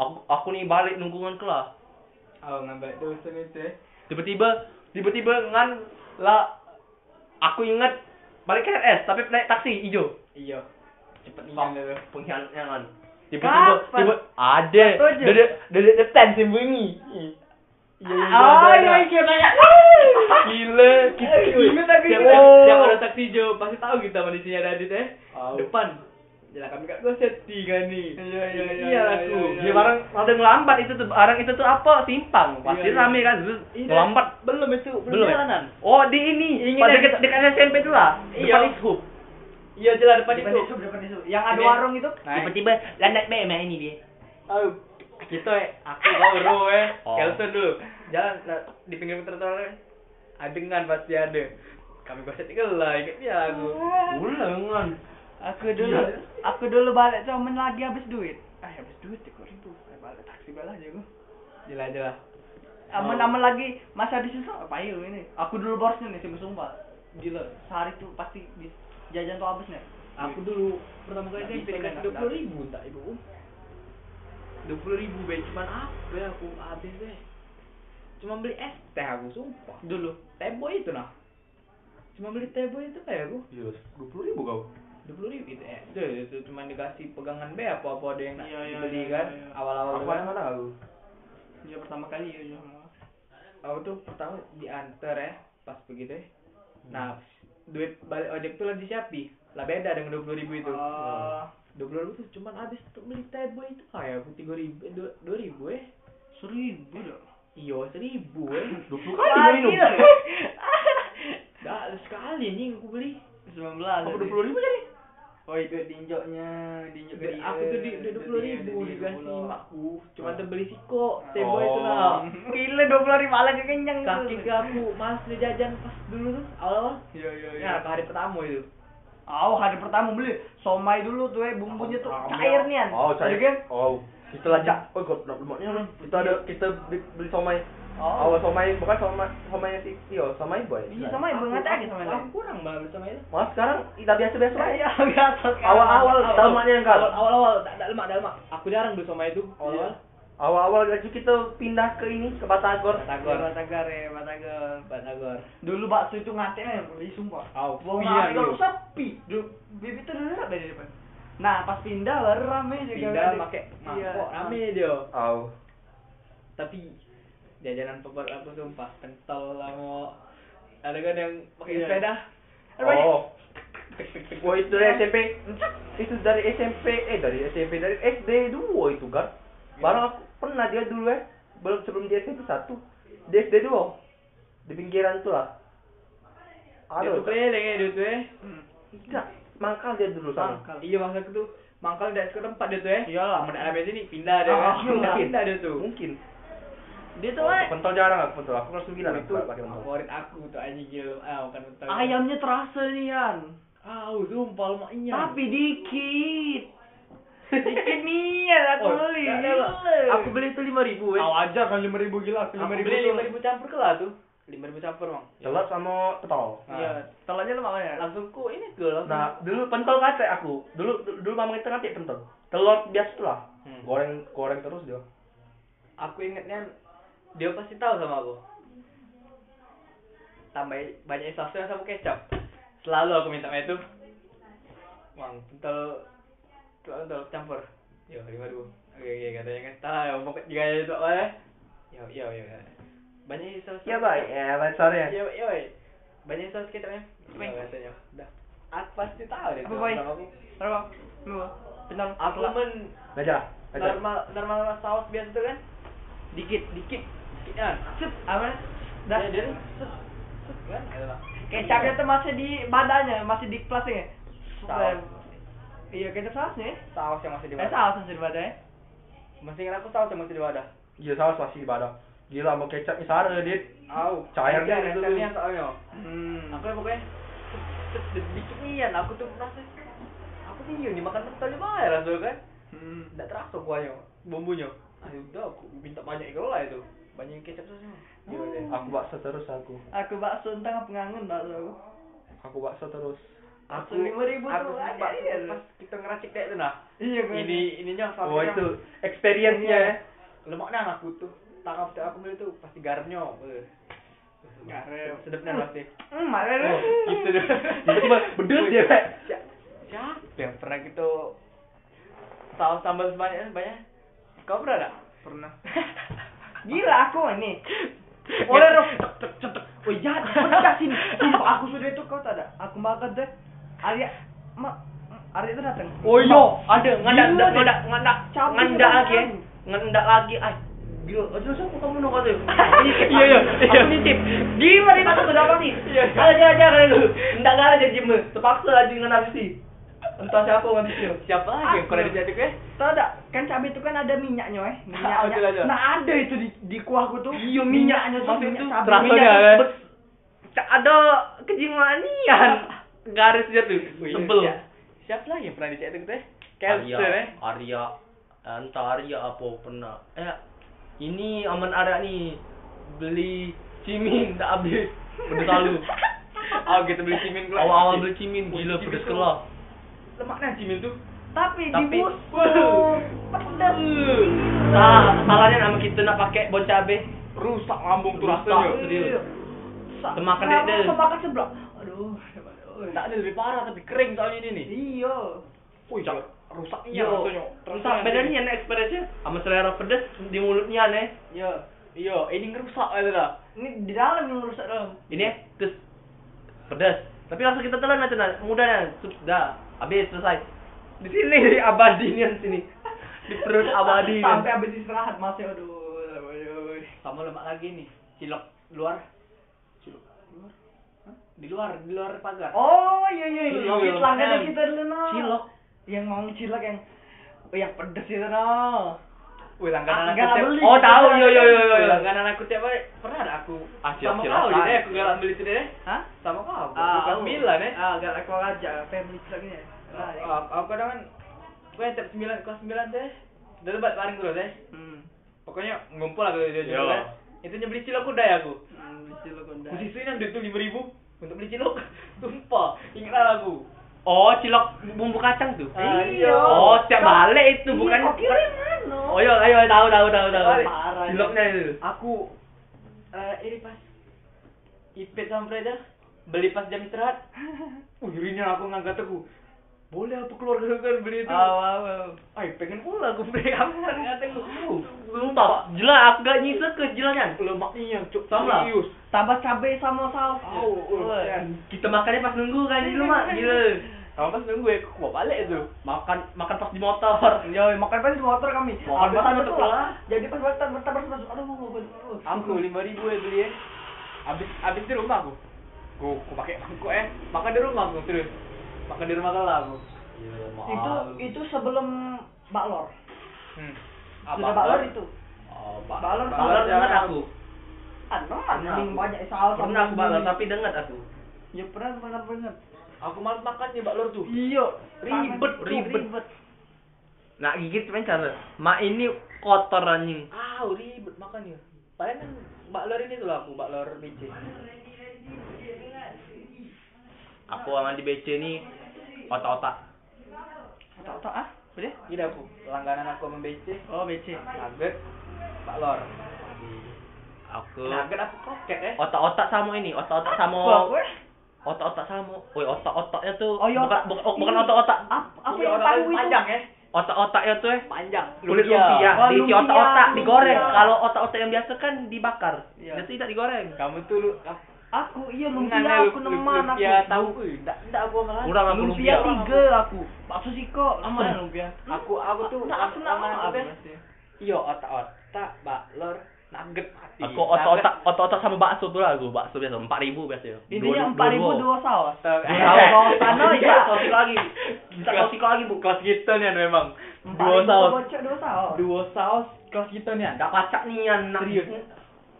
A: Aku aku nih balik nungguan kelas.
B: oh ngambil dosen itu ya
A: Tiba-tiba tiba-tiba ngan lah aku ingat balik ke RS tapi naik taksi hijau.
B: iya cepet nih
A: Kok.
B: tuh kan.
A: Pengkhianatan. Tiba-tiba
C: Kapan?
A: tiba ada
C: Setuju.
A: dede dede depan sembunyi. Iya, iya,
B: Ah,
C: Oh,
A: ada.
C: iya iya banyak.
A: Gila, Gitu. kita
C: Gila, tapi
B: Tiap
C: kita-
B: tiap
A: Oh.
B: ada taksi hijau pasti tahu kita kondisinya ada adit ya
A: Au.
B: depan Jelas kami kan gue sedih kan nih.
C: Iya, iya, iya,
B: Iya lah
C: iya,
B: tuh.
C: iya,
A: Dia barang ada ngelambat itu tuh barang itu tuh apa simpang pasti
B: Iya, iya.
A: rame kan terus ngelambat
B: belum itu
A: belum ya?
B: jalanan.
A: Oh di ini
B: Ingin
A: pada
B: ada-
A: dekat dekat SMP itu lah
B: Iya.
A: depan ishub
B: Iya jelas depan
C: Depan
B: itu.
C: itu, depan itu. Yang ada
B: Ini.
C: warung itu.
A: tiba-tiba landat BM ini dia
B: Aduh. Gitu eh aku baru eh
A: Oh.
B: Kelson dulu. Jalan nah, di pinggir trotoar adengan pasti ada. Kami gue sedih lah ingat dia aku.
A: ulangan
C: Aku dulu,
A: Iya.
C: aku dulu balik comen lagi habis duit. Ah, habis duit tiga ribu. Eh, balik taksi balik aja gua.
B: Jelas jelas.
A: Oh.
C: Aman-aman lagi masa disusul apa yuk ini? Aku dulu borsnya nih sih sumpah. Gila, sehari tuh pasti di jajan tuh habis nih.
B: Aku dulu pertama kali
C: Nggak
B: SMP
C: bisa,
B: kan
C: nggak
B: dua puluh ribu tak ibu. Dua puluh ribu be cuman apa ya aku habis deh. Cuma beli es teh aku sumpah. Dulu tebo itu nah. Cuma beli tebo itu kayak aku.
A: Iya, dua puluh ribu kau.
B: Dua puluh ribu itu eh itu, itu cuma dikasih pegangan be apa apa ada yang nak
C: Iya, iya,
B: dibeli
C: iya,
B: kan
C: iya.
B: awal-awal.
A: Aku
B: kan.
A: ada mana kau?
C: Iya pertama kali ya, ya.
B: aku tuh pertama diantar ya pas begitu ya. Nah duit balik ojek tuh lagi siapi lah beda dengan dua puluh ribu itu.
C: Ah,
B: dua puluh ribu tuh cuman habis untuk beli table itu kayak aku tiga ribu eh, dua dua ribu eh
C: seribu dah.
B: iyo seribu eh
A: Dua puluh
C: Wah,
A: kali kau minum.
C: Ah, gila.
B: dah sekali nih aku beli
C: 19.
A: Aku
C: tadi.
A: dua puluh ribu jadi.
C: Oh, itu dinjoknya, dinjok ke dia.
B: aku tuh di dua puluh
C: Dia-
B: ribu
C: dia- dia
B: dikasih
C: puluh. Oh.
B: makku
A: Ah.
B: cuma terbeli siko table itu
A: Oh.
B: lah
C: Gila 20 ribu ala kenyang
B: saking ke aku masih jajan pas dulu tuh awal awal
C: Iya iya iya.
B: ya ke hari pertama itu
C: Aw hari pertama beli somai dulu tuh eh bumbunya tuh cair nian.
A: Oh, saya
C: Iya kan?
A: Oh, kita lacak. Oh, kok nak lemaknya kan? Kita ada kita beli, beli somai.
C: Oh.
A: Oh, somai bukan somai somai si Tio, somai boy.
C: Iya somai
B: Aku-
C: banget aja
B: aku-
C: somai.
B: aku kurang banget sama itu
A: Malah sekarang kita biasa-biasa aja.
C: Iya biasa sekarang.
A: Awal-awal
B: Awal-
A: lemaknya yang kau.
B: awal awal awal tak tak lemak tak lemak aku jarang dulu sama itu awal awal
A: Awal-awal gaji kita pindah ke ini ke Batagor.
B: batagor
C: Batagor. Batagor ya Batagor.
B: batagor
C: Dulu bakso itu ngateknya yang beli sumpah.
B: aw
C: Wong
B: iya
C: rame
B: dulu
C: kalau sepi. Dulu bibi tuh dulu ada di depan. Nah pas pindah baru rame juga.
B: pindah pakai
C: Iya.
B: mangkok rame dia
A: Oh.
B: tapi jajanan favorit aku sumpah pentol sama ada kan yang pakai
C: Iya.
B: sepeda
A: Oh.
B: Tek, tek, tek.
A: Wah, itu dari SMP. Itu dari SMP, eh dari SMP, dari SD 2 itu kan.
B: Iya.
A: Baru aku pernah dia dulu ya, belum sebelum dia SMP 1. Di SD 2. Di pinggiran tuh lah.
B: dia
A: Aduh,
B: tuh keliling ya dia tuh eh
C: Hmm.
A: enggak. Mangkal dia dulu sama.
C: Mangkal.
B: iya maksud aku tuh mangkal dari ke tempat dia tuh eh
A: Iya,
C: Iyalah.
B: sama daerah sini pindah dia
C: Oh,
B: kan
C: iya.
B: pindah dia tuh
A: Mungkin.
C: Dia tuh
A: Oh,
C: eh,
A: pentol jarang aku pentol. Aku kelas 9 aku
B: itu
A: baru pakai pentol.
B: favorit aku tuh anjing gila ah bukan pentol
C: ayamnya terasa nian.
B: ah sumpah lemaknya
C: Tapi dikit. Dikit nih ya, aku
B: Oh,
C: beli.
B: tak ada, Pak. aku beli itu lima ribu eh
C: aja kan lima ribu gila,
B: aku beli lima ribu campur ke lah tuh lima ribu campur bang
A: Telur sama pentol.
C: Iya, telurnya lu makan ya?
B: langsung ku ini ke langsung
A: Nah, dulu pentol kate aku. Dulu dulu mama kita kate pentol. Telur biasa tuh lah.
B: Hmm.
A: Goreng goreng terus dia.
B: aku ingetnya dia pasti tahu sama aku tambah banyak sausnya sama kecap selalu aku minta sama itu bang pentol pentol pentol campur yo lima ribu oke oke katanya kan tahu ya pokok juga itu apa ya yo yo yo banyak saus
A: Iya, Bay. Ya, Bay, sorry ya.
B: yo yo banyak saus kecapnya
C: Bay.
B: Yo, katanya dah aku pasti tahu deh
C: Apa,
B: sama
C: Bay?
B: aku
C: Berapa? Berapa? Benar.
B: aku men
A: Belajar lah. Belajar.
B: normal normal saus biasa tuh kan dikit dikit dikit kan
C: Sip, apa? Dah.
B: Ya, dia tuh, set, set, kan ada lah.
C: Kecapnya tuh masih di badannya, masih di plastiknya.
B: Saus.
C: Iya, kecap sausnya.
B: saus yang masih di
C: Eh,
B: wadah
C: saus masih di badannya.
B: masih ingat aku saus yang masih di wadah
A: Iya saus masih ibadah. Gila mau kecapnya sare, Dit.
B: au
A: Cair
B: iya,
A: gitu.
B: resetannya soalnya
C: Hmm.
B: aku pokoknya set, set, sedikit nian aku tuh merasa aku tuh iya dimakan pentol lima ya lah tuh kan
C: Hmm.
B: tidak terasa kuahnya bumbunya ah udah aku minta banyak itu lah itu banyak kecap sausnya Iya, iya.
A: Aku bakso terus aku.
C: Aku bakso entah pengangen bakso aku.
A: Aku bakso terus.
B: aku
C: Bakso 5.000 tuh
B: aku
C: ada,
B: sempat
C: iya.
B: pas kita ngeracik kayak itu nah
C: Iya, gue.
B: ini ininya
A: Oh
B: sausnya.
A: itu experience-nya ya.
B: lemaknya anak tuh tangkap setiap aku beli tuh pasti garamnya eh.
C: Garam.
B: sedapnya pasti
C: Hmm, marah.
B: oh, gitu deh
A: Tiba-tiba bedes dia, Pak.
B: Si- siapa yang pernah gitu saus sambal sebanyak banyak kau pernah nggak
C: Pernah.
B: gila Ya.
C: Gila aku ini. Oleh roh. Oh iya, pedas ini. Sumpah aku sudah itu kau tak ada. Aku makan deh. Alia, ma, Ardi itu datang.
B: Oh iya, ada ngendak
A: Gila,
B: ngendak
A: deh.
B: ngendak
A: Capek
B: ngendak
A: banget.
B: lagi, ya. ngendak lagi. Ah, gila, aduh aku kamu nong katanya.
A: Iya, iya, iya.
B: Aku nitip. Gimana nih kata sudah apa nih?
A: Iya.
B: Ada aja aja kali lu. Ngendak nggak ada jadi me. Terpaksa aja ngendak sih. Entah siapa nggak bisa.
C: Siapa lagi yang kurang
B: jadi gue?
C: Tahu tak? Kan cabai itu kan ada minyaknya, eh.
B: Ah, ada, ada.
C: Minyaknya. Nah, ada itu di di kuahku tuh.
A: Iya minyaknya
C: tuh
A: maksudnya
C: minyak
A: itu
C: cabai.
A: terasa
C: Minyak-
A: ya.
B: bet- ca- eh. Ada kejimanian. Garisnya Kan, tuh sebel.
C: iya.
B: Siapa lagi yang pernah eh? dicetak
A: Ah,
B: teh? eh?
A: Arya, Arya, entah Arya apa pernah. Eh, ini aman ada nih beli cimin tak habis. Udah selalu.
B: Oh gitu beli cimin gula.
A: Awal-awal beli cimin
B: Wih,
A: gila
B: cimin
A: pedes
B: tuh
A: kelah.
B: Lemaknya cimin tuh.
C: Tapi
A: Tapi-
C: dibusuk.
A: Oh.
B: Wuh.
C: Pedas.
A: Salah,
B: Ah,
A: salahnya nama kita nak pakai bon cabe.
B: Rusak lambung tuh
A: Rusak iya.
B: rasanya.
A: tuh dia.
C: Sa-
A: Temakan
C: kenapa
A: dede.
C: Temakan seblak. Aduh. aduh.
B: Tak ada lebih parah tapi kering soalnya ini nih.
C: Iya.
B: Wih, rusaknya
A: Yo,
B: rasanya.
A: rusak Iya, bedanya nih experience-nya sama selera pedes di mulutnya nih.
B: Iya. Iya, ini ngerusak itu dah.
C: Ini di dalam yang rusak dalam.
A: Ini ya, terus pedes. Tapi langsung kita telan aja nah, mudah nah, sup dah habis selesai. Di sini di abadi nih di sini. Di perut abadi. nih.
C: Sampai habis istirahat masih aduh. aduh.
B: Sama lemak lagi nih. Cilok luar. Cilok luar. Hah? Di luar, di luar pagar.
C: Oh iya iya iya.
B: Cilok.
C: Langgannya kita dulu no.
A: Cilok.
C: Yang ngomong cilok yang Oh, yang pedes itu no.
B: Wih,
C: Ah,
B: langganan
C: nggak
B: aku
C: beli.
B: tiap. Oh, tahu. Yo yo yo yo.
A: Iya.
B: Langganan aku tiap hari. Pernah ada aku.
A: Ah,
B: Sama
A: cilok-cilokan.
B: kau jadi aku galak beli sini deh.
C: Hah?
B: Sama kau. Bukan Milan eh.
C: Ah, galak kau aja family ciloknya. Nah, ya.
B: Ah, Aku kadang kan gue tiap 9 kelas 9 teh. Dari balik bareng terus eh.
C: Hmm.
B: Pokoknya ngumpul aku dari
A: Yo.
B: jauh-jauh. eh. Itu nyebeli cilok kuda aku.
C: Hmm, cilok Honda.
B: Kusisuin yang duit tuh lima ribu untuk beli cilok. Sumpah, ingatlah aku.
A: Oh, cilok bumbu kacang tuh.
B: Ah,
C: iya.
A: Oh, setiap balik itu bukan.
C: Iya, kau kira mana?
A: Oh, iya, ayo tahu tahu tahu tahu.
B: Balik.
C: Parah. iya.
A: Ciloknya itu.
B: Aku eh ini pas ipet sama Freda beli pas jam istirahat. Uh, irinya aku ngangkat aku. Boleh apa keluarga lu kan beli itu?
C: Ah, Wow, wow, wow.
B: Ay, pengen pula aku beli apa ngataku.
A: Sumpah, jelas aku gak nyisa ke jelasnya.
B: Lemaknya cuk
A: Sama lah.
B: serius.
C: Tambah cabai sama saus.
B: Au, au,
C: Wah.
B: kan.
A: Kita makannya pas nunggu kan di rumah,
C: Iya.
A: gila.
B: Kamu pas nunggu ya, aku bawa balik itu.
A: Makan makan pas di motor.
B: Iya,
C: Yo, makan pas di motor kami.
A: Makan
C: Habis
A: pas di
C: satu
A: motor.
C: lah. Jadi pas bertahan bertahan bertahan. Aduh, mau
B: Aku lima ribu ya beli ya. Abis abis di rumah aku. Ku ku pakai mangkok ya. Makan di rumah aku terus. Makan di rumah kalah aku.
C: Itu itu sebelum baklor.
B: Hmm.
C: Sudah baklor itu.
A: Oh,
C: Ah, Balon,
A: balon
C: balon
A: balon dengar
B: jalan.
A: aku.
C: Anu,
A: Pernah
C: anjing
A: aku.
C: banyak saus.
A: Pernah aku balon tapi dengar aku.
C: Ya pernah pernah pernah.
B: Aku malas makannya baklor tuh.
C: Iya,
A: Ribet,
C: tangan tuh
A: ribet. Nak gigit cuman cara. Mak ini kotor anjing.
B: Ah, ribet makannya. Paling kan baklor ini tuh lah aku, baklor BC.
A: Aku sama di BC ini otak-otak.
C: Otak-otak ah. Boleh?
B: Gini aku, langganan aku sama BC.
C: Oh, BC.
B: Nugget, baklor.
A: Aku
B: Nugget aku koket ya.
A: otak-otak sama ini, otak-otak
C: Wah,
A: sama
C: gue.
A: otak-otak sama. Woi, otak-otaknya tuh
C: Oh, iya,
A: bukan
C: otak.
A: bukan, oh, bukan
C: Ini.
A: otak-otak.
C: Ap- Apa
B: Punya
C: yang
B: Iya, orang
C: tahu itu?
B: panjang ya?
A: Otak-otaknya tuh eh
B: Panjang.
A: kulit lumpia,
C: Oh,
A: diisi
C: lumpia,
A: otak-otak, digoreng.
C: lumpia.
A: Kalau otak-otak yang biasa kan dibakar.
C: Iya.
A: Jadi tidak digoreng.
B: Kamu tuh lu ah,
C: Aku iya
B: ngana
C: lumpia
B: lu-
C: aku
B: lu-
C: neman aku.
B: lumpia tahu. Uy, Ndak ndak aku malah.
A: Kurang aku
C: Lumpia
A: lumpia.
C: tiga aku. Pak Susiko.
A: Aman.
C: Aman lumpia.
B: Aku aku tuh
C: Nah, aku nak
B: langganan
C: makan
B: aku teh. Iya, otak-otak, baklor, nugget mati.
A: Aku otak-otak otak-otak sama bakso tuh lah aku bakso biasa empat ribu biasa. ya.
C: Intinya empat ribu dua Eh, saus.
B: Nugget.
A: Dua
C: saus.
B: Karena
C: Karena
B: iya,
C: iya.
B: kosik lagi.
A: Kita
B: Kelas-
A: kosik lagi bu.
B: Kelas kita nih memang.
C: Empat
B: Dua
C: ribu
B: saus.
C: Bocor dua saus.
B: Dua saus kelas kita nih.
A: Gak pacak nih anak.
B: Serius?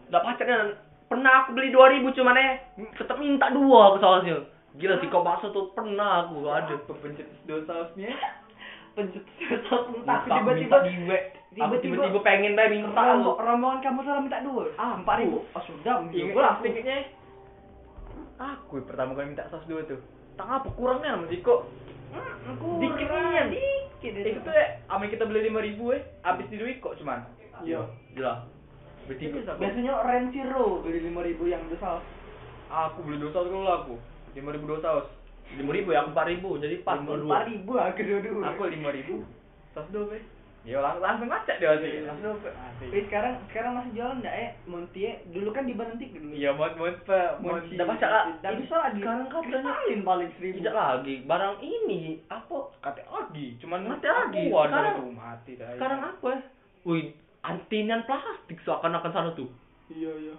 A: Gak pacak nih anak. Pernah aku beli dua ribu cuman eh tetap minta dua aku soalnya. Gila sih kok bakso tuh pernah aku ada.
B: Aduh, pencetus dua sausnya.
C: Pencetus saus entah
A: Aku
C: tiba-tiba
A: minta diwe. Aku
C: tiba-tiba-
A: tiba-tiba pengen deh minta
C: Rombo-
A: aku.
C: rombongan kamu salah minta dua.
B: Ah,
C: empat ribu. Oh sudah,
B: Ingat
C: minta aku.
B: ingatnya. Aku yang pertama kali minta saus dua tuh. Tang apa kurangnya sama Ziko?
C: Hmm,
B: Dikit
C: kurang.
B: ni.
C: Dikit itu.
B: Itu tuh ya, amin kita beli lima ribu eh, habis di duit kok cuman.
C: Iya.
A: Gila. Bertiga.
C: Biasanya Ren Zero beli lima ribu yang dua saus.
B: Aku beli dua saus dulu lah aku. Lima ribu dua saus.
A: Lima ribu ya empat ribu jadi pas
B: Lima
A: dua.
C: Empat ribu aku dua dua.
B: Aku lima ribu. Saus dua be. Ya lang- langsung ngaca dia sih. Langsung
C: Tapi sekarang sekarang masih jualan enggak ya? Montie dulu kan diberhenti dulu.
B: Iya, mau mau pe- mau
C: Monti.
A: Udah baca lah.
C: Tapi soal di
A: Sekarang katanya
C: Kalian paling seribu.
A: tidak lagi barang ini apa?
B: kata lagi, cuman
A: Mati lagi.
B: keluar dari
A: Sekarang-
B: rumah, mati dah.
A: Sekarang apa? ya? Wih, antinian plastik seakan-akan salah tuh.
B: Iya, iya.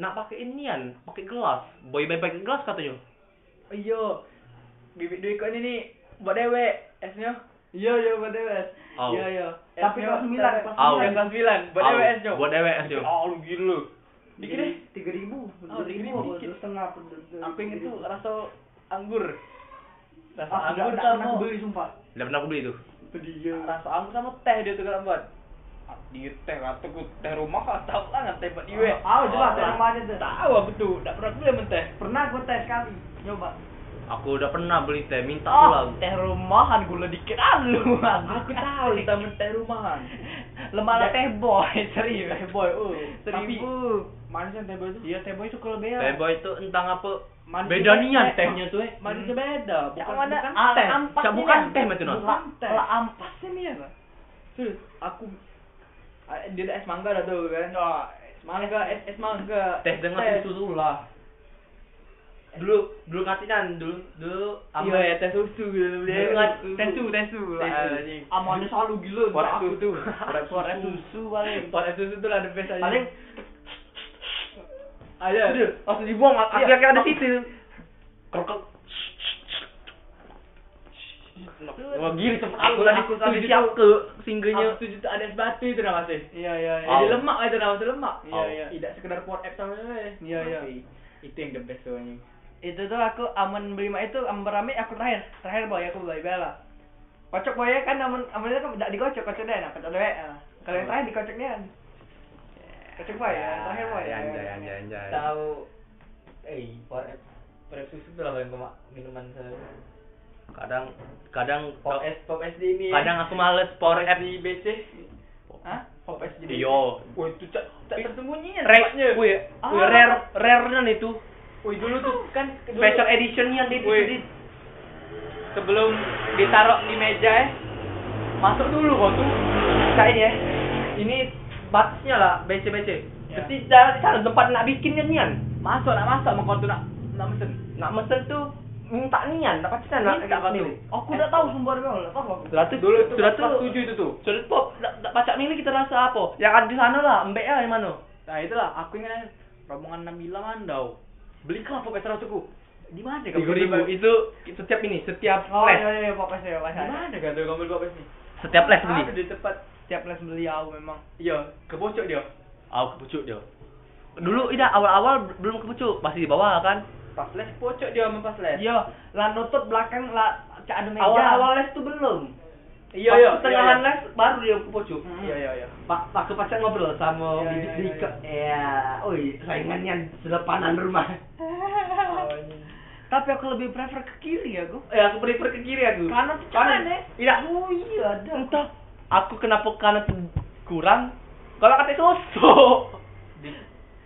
A: Nak pakai inian, pakai gelas. Boy boy pakai gelas katanya.
B: Iya. Bibit duit kau ini nih buat dewek esnya.
C: Iya iya betul Mas.
A: Au.
C: Iya iya.
B: Eh,
C: Tapi
B: Mio,
C: kelas 9 kelas
A: Au.
B: Yang
C: 9.
B: kelas 9 buat dewek esnya.
A: Buat DWS Jo.
B: Ah, lu gila lu. Dikit deh.
C: 3000.
B: Au,
C: 3000
B: dikit, dikit.
C: apa setengah apa dua-
B: Samping itu
C: 3.000.
B: rasa anggur.
C: Ah,
B: Rasa
C: enggak
B: anggur
C: enggak pernah
B: sama
C: beli sumpah.
A: Udah pernah aku beli itu.
C: Itu dia.
B: rasa anggur sama teh dia tuh kalau buat. Ah, Dia teh kata ku teh rumah kau tahu lah nggak Oh, teh buat dewek.
C: Ah, jelas
A: Ah,
C: dari mana tuh?
B: Tahu aku tuh, enggak pernah beli sama teh.
C: Pernah gue tes sekali nyoba. Oh,
A: Aku udah pernah beli teh, minta
B: Ah,
A: pulang.
B: teh rumahan gula dikit ah lu.
C: Aku tahu,
B: kita teh rumahan.
C: Lemala
B: Ya.
C: teh boy serius.
B: Teh boy, oh.
C: Seribu.
B: manis yang teh boy itu?
C: Iya teh boy itu kelebihan.
A: Teh boy itu entang apa?
B: Manisnya
A: Beda
B: beda.
A: nian tehnya tuh. eh.
B: Manisnya beda, bukan
C: Yang mana?
B: bukan
C: Ah,
B: teh.
C: ampasnya
A: Cak, bukan
C: dia.
A: teh, Mas Junot.
C: Bukan teh.
B: Lah,
C: ampasnya nih ya,
B: Serius, aku ah, dia ada es mangga dah tuh kan. Ah, Oh, es mangga, es es mangga.
A: Teh Nah, dengan susu lah. Dulu dulu katinan dulu dulu apa?
B: Iya ya teh susu gitu.
A: Dia ingat teh susu,
B: teh susu
A: lah, anjing.
B: anjing. Amane selalu gila
A: Korek
B: aku
A: susu.
B: tuh.
A: Korek
B: Korek
C: susu paling.
B: Korek susu tuh lah the best aja.
C: Paling
B: ada.
A: Aduh, langsung dibuang,
C: Iya.
A: akhirnya ada situ. Kerkek. Wah, gini cepet aku tadi aku tadi siap ke
B: Aku
A: singgenya.
B: setuju tuh ada es batu itu nama sih.
C: Iya iya iya.
A: Au.
B: Jadi lemak itu nama sih lemak.
A: Au.
B: Tidak sekedar pot app sama lain.
C: Iya, iya.
B: Itu yang the best tuh anjing.
C: Itu tuh aku aman beli mah itu aman rame aku terakhir. Terakhir boy aku beli bela. Kocok boy kan aman aman itu kan tidak digocok kocok deh nah kocok deh. ah. Kalau yang terakhir dikocok dia. Kocok boy ya, yang terakhir boy.
A: Ya, anjay, anjay, anjay.
B: Tahu eh pot app pot app susu tuh lah yang gua- minuman saya.
A: Kadang kadang
B: Pop S Pop S di ini.
A: kadang aku males power app
B: di BC.
C: Hah?
B: Pop S di.
A: Yo,
B: Woi itu cak cak tersembunyi ya.
A: rare,
B: tempatnya. Ah.
A: wih,
C: Ah.
A: wih, rare, rare nya itu
B: Woi dulu tuh kan dulu
A: special edition yang di
B: Wih.
A: di-
B: sebelum ditaruh di meja ya. Masuk dulu kok tuh. eh.
A: kayak ini ya. Ini batasnya lah BC BC.
B: Ya.
A: Jadi jalan di sana tempat nak bikinnya nian.
B: Masuk nak masuk mau kau tuh nak nak mesen.
A: Nak mesen tuh minta nian, dapat cina nak
B: Minta kau tuh.
A: milih.
C: Aku tidak tahu sumber bela, enggak tahu aku.
A: Sudah tuh
B: Dulu itu
A: sudah
B: sudah
A: tuh
B: tujuh itu tuh.
A: sudah tuh tak pacak milih kita rasa apa? Yang ada di sana lah, embek lah yang mana?
B: Nah itulah aku ingat rombongan Nabila Mandau. Beli kelapa pakai seratus ku. Di mana kamu?
A: Tiga ribu itu setiap ini setiap
C: Oh
A: les
C: iya iya pokoknya saya
B: Di mana kau tuh kamu beli kelapa ini?
A: setiap les beli.
B: Ada di tempat.
C: Setiap les beli aku memang.
B: Iya, kebocok dia.
A: Aku kepucuk dia. Dulu ida awal-awal belum kepucuk masih di bawah kan.
B: Pas les pocok dia sama pas les.
C: Iya, lah nutut belakang lah cak ada meja.
A: Awal-awal les tuh belum.
B: Iya,
A: Pas
B: iya.
A: Pertengahan
B: iya,
A: les baru dia kepucuk.
C: Hmm.
B: Iya, iya, iya.
D: Pak, Pak kepacar ngobrol sama
C: Iya,
D: biji
C: iya,
D: di
C: iya,
D: ke ya, oi saingannya selepanan rumah.
A: Iya,
C: Tapi aku lebih prefer ke kiri aku.
A: Eh aku prefer ke kiri aku.
C: Kanan tuh
A: Kanan.
C: cuman ya.
A: Iya.
C: Oh iya ada.
A: Entah aku kenapa kanan tuh kurang. Kalau kata sosok.
B: Di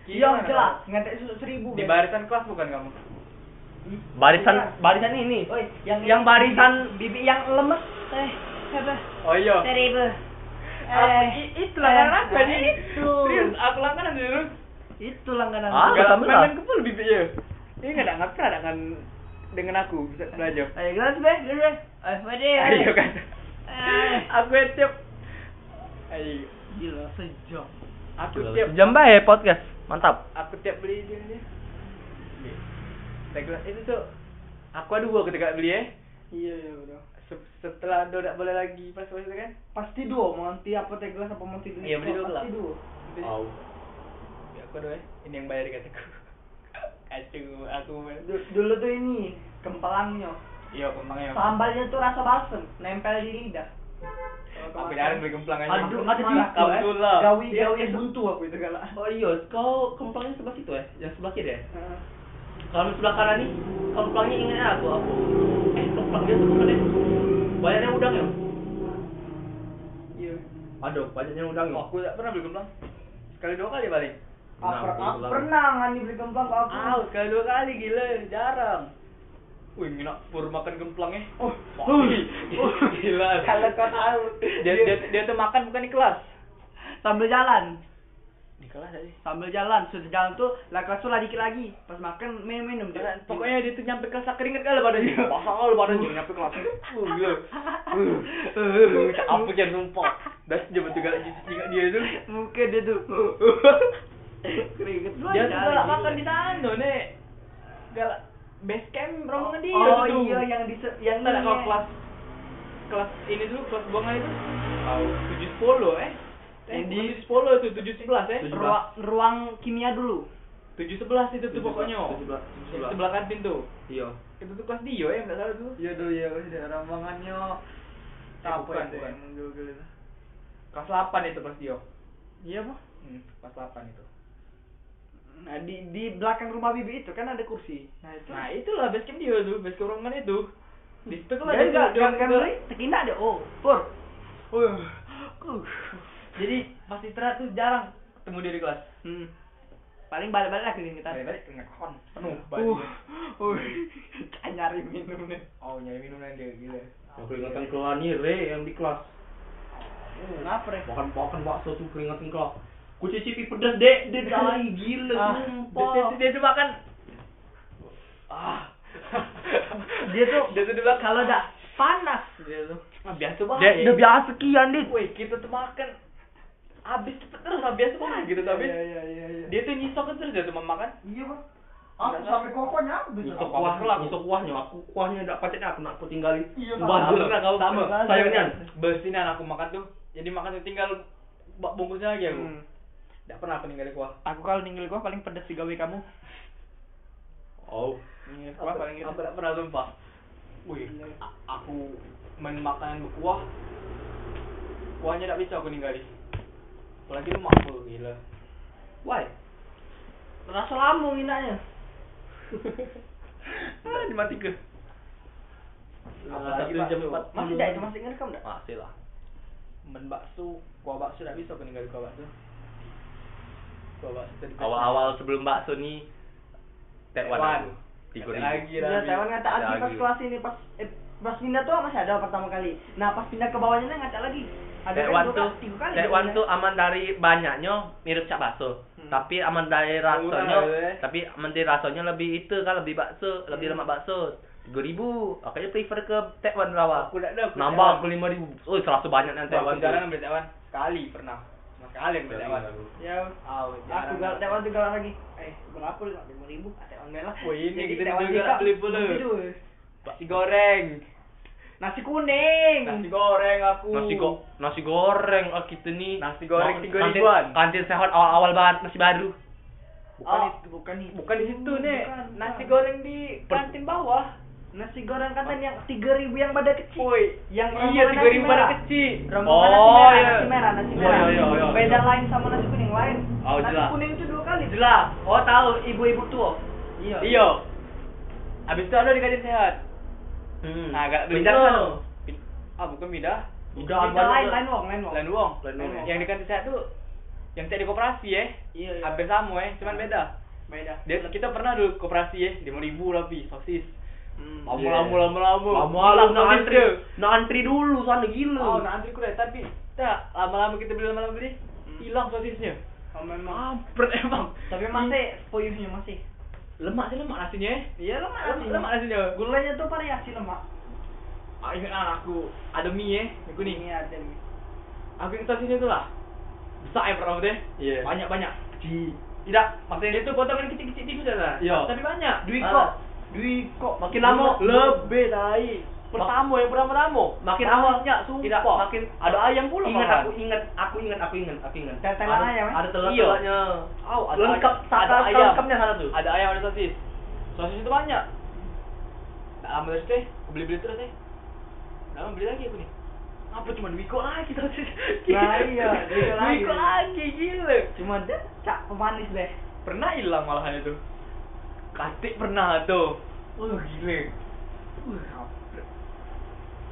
C: Iya
B: mana
C: jelas.
B: kamu?
C: Ngetek susu seribu. eh.
B: Di
C: guys.
B: barisan kelas bukan kamu? Hmm? Iya.
A: Barisan barisan ini.
B: Oh,
C: Oi, yang
A: Yang barisan
C: bibi yang lemes. Eh, apa?
B: Oh iya.
C: Seribu.
B: Aku-
C: Eh,
B: i- itu langganan
C: eh,
B: aku aja.
C: Itu.
B: Serius, aku langganan dulu.
C: Itu langganan.
A: Ah,
C: aku.
B: Gak
A: sama lah.
B: langganan kepul bibiknya. Ini nggak ada nggak pernah lah dengan dengan aku bisa belajar.
C: Ayo gelas be, gelas be. Eh, mari.
B: Ayo kan.
C: Eh.
B: Aku tiap. Ayo.
C: Gila sejam.
B: Aku tiap.
A: Sejam
C: ya,
A: bae podcast. Mantap.
B: Aku tiap beli dia dia. Regular itu tuh. Aku ada dua ketika beli ya.
C: Iya iya bro.
B: Se- Setelah dia nggak boleh lagi pas waktu itu kan.
C: Pasti dua, mau nanti apa teh gelas apa mau tidur.
B: Iya, beli dua gelas.
C: Pasti dua.
A: Oh.
B: Ya, aku doa ini yang bayar kataku kacau aku bayar.
C: Du- Dulu tuh ini kempelangnya.
B: iya kembangnya
C: Sambalnya tuh rasa balsem, nempel di lidah.
B: aku jarang beli kemplang aja
C: Aduh, ada di itu, eh.
B: Marah kau tuh lah
C: Gawi gawi buntu aku itu galak.
A: Oh iya, kau kempangnya sebelah situ ya? Yang sebelah kiri ya?
C: Heeh.
A: Kalau sebelah kanan nih, kemplangnya ingatnya aku, aku. Eh, kemplang dia tuh kemplangnya. Banyaknya udang ya?
C: Iya.
A: Aduh, banyaknya udang ya? Nah,
B: Oh, aku tak pernah beli kemplang sekali dua kali paling
C: Ah, per-
A: Kenapa
C: ah,
A: pulang?
C: pernah ngani beli kembang ke aku.
B: ah sekali dua kali gila jarang Wih, nginap pur makan gemplangnya.
C: Oh,
B: Mati.
C: oh.
B: Gila.
D: Kalau kau tahu.
B: Dia, dia, dia tuh makan bukan di kelas.
C: sambil jalan
B: Di kelas aja.
C: sambil jalan sudah jalan tuh lah kelas tuh lah dikit lagi pas makan minum minum
B: Karena pokoknya dia tuh nyampe kelas keringet kali badannya. Basah lu badannya nyampe kelas. Uh, gila. Uh, uh, apa jangan numpang. Das jabat juga juga dia tuh.
C: muka dia tuh keringet
B: Dia
C: banget
B: tuh
C: jalan,
B: galak
C: gila.
B: makan di sana, Nek. Galak base camp rombongan dia
C: oh
B: tuh.
C: iya yang di yang
B: Ntar
C: ini ya.
B: kalau Oh, kelas kelas ini dulu kelas buangan itu tahu tujuh sepuluh eh
C: Yang di-
B: tujuh sepuluh tuh tujuh sebelas eh
A: Tujuh-
C: ruang ruang kimia dulu
B: tujuh sebelas itu tuh
A: Tujuh-
B: pokoknya
A: tujuh belas- tujuh
B: Yang
A: belas.
B: sebelah kantin tuh
A: Iya.
B: itu tuh kelas Dio ya nggak salah tuh Eh,
C: iya tuh iya udah rombongannya
B: Apa ya tuh yang
C: menggugel itu
B: kelas delapan itu kelas Dio
C: iya pak
B: hmm, kelas delapan itu
C: nah di di belakang rumah bibi itu kan ada kursi nah itu
B: nah itulah basecamp Dio tuh basecamp rombongan itu di situ kan
C: Jadi
B: ada
C: enggak enggak kan beli tekinda deh. Oh, pur.
B: Wah. jadi pas istirahat tuh jarang ketemu dia di kelas
C: Hmm. Paling balik-balik lagi nih kita.
B: balik-balik ngekon penuh
C: Uh.
B: badannya.
C: Uh. Tak nyari minum nih.
B: oh nyari minuman dia gila
A: Aku ingatan keluar nih re yang di kelas.
C: Kenapa, Re?
A: Makan makan bakso tuh keringatan keluar. Ku cicipi pedas dek, dek tai gila
C: Ah,
A: sumpah.
B: Dia- dia- dia tuh makan ah
C: Dia tuh
B: dia tuh di belakang
C: kalau dah panas dia tuh.
B: Ah, biasa
A: Dek,
B: banget
A: udah biasa kian dek.
B: Woi, kita tuh makan habis cepet terus ah, biasa banget gitu tapi
C: iya iya
B: dia tuh nyisok terus dia cuma makan
C: Iya, Bang.
B: Aku sampai
C: kokonya
A: Nyusuk
B: Apa-apa
A: kuah,
B: kelar.
A: nyusuk kuahnya. Aku kuahnya enggak pacetnya aku nak aku tinggalin.
C: Iya, Pak.
A: Bazar.
B: Sama, kamu sama. kan?
A: Sayangnya.
B: Besinan aku makan tuh. Jadi makan tuh tinggal bak- bungkusnya
A: iya,
B: lagi aku. Enggak pernah aku ninggalin kuah.
C: Aku kalau ninggal gua paling pedes di gawe kamu.
A: Oh.
B: Ninggalin
C: kuah
B: kuah
C: paling
B: Iya, paling
C: gitu.
B: Aku enggak pernah sumpah. Wih, a- aku main makanan berkuah. Kuahnya enggak bisa aku ninggalin. Apalagi rumah aku gila.
A: Why?
C: Rasa lambung enaknya.
A: Ah, dimati ke.
B: Apa
A: Apa
B: lagi
A: satu jam
B: bakso?
A: empat
C: Masih dah itu masih ngerekam dah.
A: Masih lah.
B: Men bakso, kuah bakso enggak bisa aku ninggalin kuah bakso. Kuah bakso tadi.
A: Awal-awal sebelum bakso nih Tekwan.
B: Tekwan.
A: Tiga
B: Ada
A: ribu.
B: lagi,
C: Iya,
B: Rami.
C: Taiwan ngata
A: Ada
C: lagi pas
A: lagi.
C: kelas ini pas eh, pas pindah tuh masih ada pertama kali. Nah pas pindah ke bawahnya nih ngata lagi. Ada kan
A: Tekwan
C: dua
A: tuh,
C: kali- tiga kali.
A: tekwan
C: dia
A: tuh aman dari banyaknya mirip cak bakso,
B: Hmm.
A: tapi aman dari
B: Murah, ya.
A: rasanya, tapi aman dari rasanya lebih itu kan lebih bakso, lebih
B: Hmm.
A: lemak bakso. Tiga ribu, makanya prefer ke tekwan rawa.
B: Aku enggak ada. aku
A: Nambah
B: Taiwan.
A: aku lima ribu, oh serasa banyak nanti
B: Aku
A: tekwan. tuh.
B: jarang ambil Taiwan. Sekali pernah. Sama sekali ambil Taiwan.
C: bilang. Ya.
B: Ah,
C: Aku gal Taiwan tuh galak lagi. Eh berapa lu? Lima ribu. Ah, Taiwan merah.
B: Wah, ini
C: Jadi
B: kita
C: Taiwan
B: juga
C: kita
B: beli pula.
C: beli dulu.
B: Nasi goreng.
C: Gitu. Nasi kuning.
B: Nasi goreng aku.
A: Nasi go nasi goreng oh kita nih.
B: Nasi goreng
A: Mau- kan
B: tiga
A: kantin-
B: ribuan.
A: Kantin sehat awal-awal banget masih baru.
C: Bukan
B: Oh.
C: itu, bukan itu.
B: Bukan di situ, Nek.
C: Hmm, Bukan,
B: Nasi
C: bukan.
B: goreng di kantin bawah.
C: Nasi goreng kata yang tiga ribu yang pada kecil.
B: Woi,
C: Yang
B: iya
C: rombongan
B: tiga ribu
C: nasi merah.
B: kecil.
C: Rombongan
B: Oh,
C: nasi
B: iya.
C: merah, nasi merah, nasi
A: Iya,
C: merah.
A: iya, iya, iya.
C: Beda lain sama nasi kuning lain.
A: Oh,
C: nasi
A: jelas.
C: kuning itu dua kali.
B: Jelas.
C: Oh tahu ibu-ibu tua. Iya.
B: Iya. Abis itu ada di kantin sehat.
A: Hmm.
B: Nah, agak beli
A: Pindah
B: sana.
A: sana.
B: Pin- Ah, bukan pindah.
A: Udah
C: Udah
A: abang-
C: lain lain wong, lain wong.
B: Lain uang.
A: Lain uang.
B: Yang di kantin sehat tuh yang saya di koperasi ya.
C: Iya, iya.
B: Hampir sama ya, cuman beda.
C: Beda.
B: Dia kita pernah dulu koperasi ya, lima ribu tapi sosis.
C: Hmm.
A: Iya.
B: Lama lama lama lama.
A: Lama lu nak
B: sosis
A: antri,
B: dia.
A: nak antri dulu sana gila.
B: Oh, nak antri kuda tapi tak lama-lama kita beli lama-lama beli
C: Hmm.
B: hilang sosisnya.
C: Oh, memang.
A: Mampret emang.
C: Tapi masih puyuhnya masih.
B: Lemak sih lemak nasinya. eh.
C: Iya lemak
B: Lemak,
C: nasinya.
B: lemak nasinya. Gua
C: Gulanya tuh variasi lemak.
B: ah, ingat anak aku ada mie ya, mie kuning.
C: Ini ada nih.
B: Aku ingat sosisnya itu lah. Besar ya pernah deh.
A: Iya.
B: Banyak banyak.
A: Ji.
B: Tidak, maksudnya dia tuh potongan kecil-kecil tipis lah.
A: Iya.
B: Tapi banyak.
A: Dwi
B: Ah.
A: kok, ya. Dwi kok makin lama
C: Oh,
B: lebih tai. Pertama yang pertama tamu.
A: makin awal
B: Banyak, sumpah.
A: tidak makin
B: ada ayam pula
A: Ingat
B: malahan.
A: aku ingat, aku ingat, aku ingat, aku ingat.
C: Ada telan
A: ada,
C: ayam, eh?
A: Ada telan
B: Iya.
A: telanya.
B: Oh, ada
A: Lengkap,
B: ayam.
A: ada
B: Ada ayam.
A: lengkapnya sana tuh.
B: ada ayam ada sosis sosis itu banyak Nah, tak lama terus deh aku beli beli terus deh Tak lama beli lagi aku nih apa cuma dua kok lagi sosis
C: Nah, iya, dua ikut
B: Dua
C: lagi.
B: ikut lagi gila
C: Cuma dia cak pemanis deh.
B: pernah hilang malahan itu katik pernah tuh uh gila uh kampret.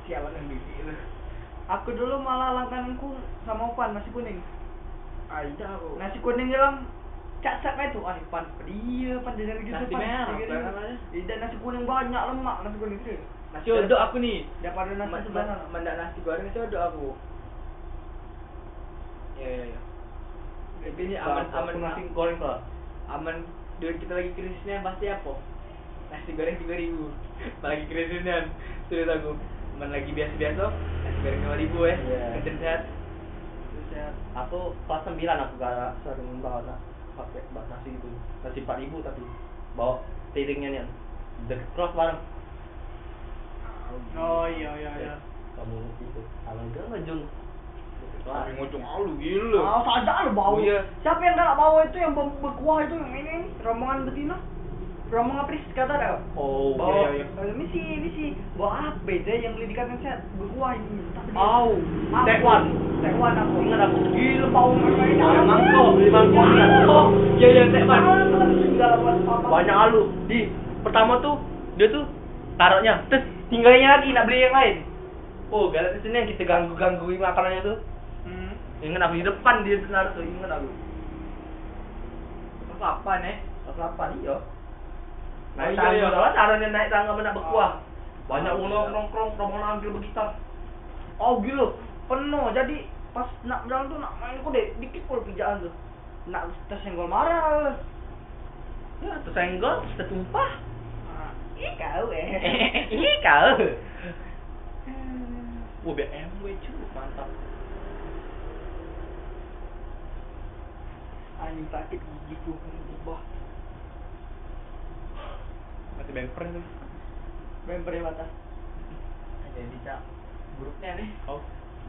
B: sialan yang gila
C: Aku dulu malah langgananku sama Opan nasi kuning.
B: aida aku
C: Nasi kuning hilang Cak sep itu ah pan dia pan dia dari
B: Nasi merah, apa namanya?
C: Tidak nasi kuning banyak lemak nasi kuning itu.
B: Nasi odok nah, aku nih.
C: Daripada nasi
B: Ma-
C: sebelah
B: ma-
C: sana.
B: Mendak nasi goreng itu odok aku. Ya ya ya. Tapi ini aman aman
A: nasi goreng tuh.
B: aman duit kita lagi krisisnya pasti apa? Nasi goreng tiga ribu. Apalagi krisisnya sulit aku. Aman lagi biasa-biasa nasi goreng lima ribu ya.
A: Iya.
B: Kenceng sehat.
C: Buset.
A: Aku kelas 9 aku gak sering membawa na- pakai bak nasi itu. Nasi 4000 tapi bawa piringnya nih. Deket kelas bareng.
C: Oh iya iya iya.
A: Kamu itu. Kalau enggak ngejung. Deket kelas.
B: Kami ngocong alu gila.
C: Ah, sadar lu bau.
B: Oh, iya.
C: Siapa yang galak bau itu yang bau berkuah itu yang ini rombongan betina? Rombongan pris kata ada.
A: Oh,
B: Oh.
A: iya, iya.
C: Eh, misi misi. Bawa apa dia yang beli di kantin set berkuah ini. Tapi dia-
A: Au,
C: Apa?
A: Taiwan.
C: Taiwan aku.
A: Ingat aku.
C: Gila bau mereka.
A: Emang kok, emang kok.
B: Oh, iya iya Teh, Pak.
A: Banyak alu. Di pertama tuh dia tuh taruhnya, terus tinggalnya lagi nak beli yang lain. Oh, galak di sini yang kita ganggu-gangguin makanannya tuh.
B: Hmm.
A: Ingat aku di depan dia naruh tuh, ingat aku.
B: Apa apa nih?
A: Kelas 8 iya.
B: Oh,
A: Naik
B: iya,
A: tangga,
B: iya.
A: soalnya caranya naik tangga benar bekuah. Banyak
B: Oh,
A: uang
B: iya.
A: nongkrong, rombongan ambil begitu.
C: Oh gila, penuh. Jadi pas nak jalan tuh nak main kode dikit pun pijakan tuh. Nak tersenggol marah.
A: Ya, tersenggol, terus tertumpah.
C: Ah, Ih kau eh.
B: Iya,
A: Ih, Iya kau. Wah, BMW cuy, mantap.
C: Anjing sakit gigi ku bah.
A: Masih bemper tuh.
C: Member batas.
B: Jadi cak buruknya nih.
A: Oh,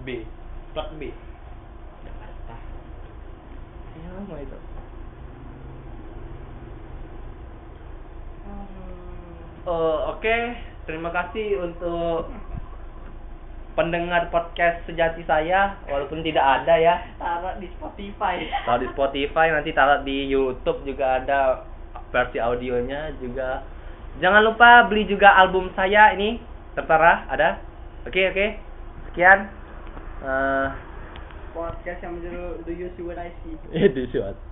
A: B. Plat B. Jakarta. Ya, lama itu.
C: Aduh.
A: Eh, oke, terima kasih untuk pendengar podcast sejati saya walaupun tidak ada ya.
C: Taruh di Spotify.
A: Taruh di Spotify, nanti taruh di YouTube juga ada versi audionya juga. Jangan lupa beli juga album saya ini tertera ada. Oke oke. Sekian. Eh,
C: Podcast yang menjudul Do You See What I See.
A: itu sih. Wat.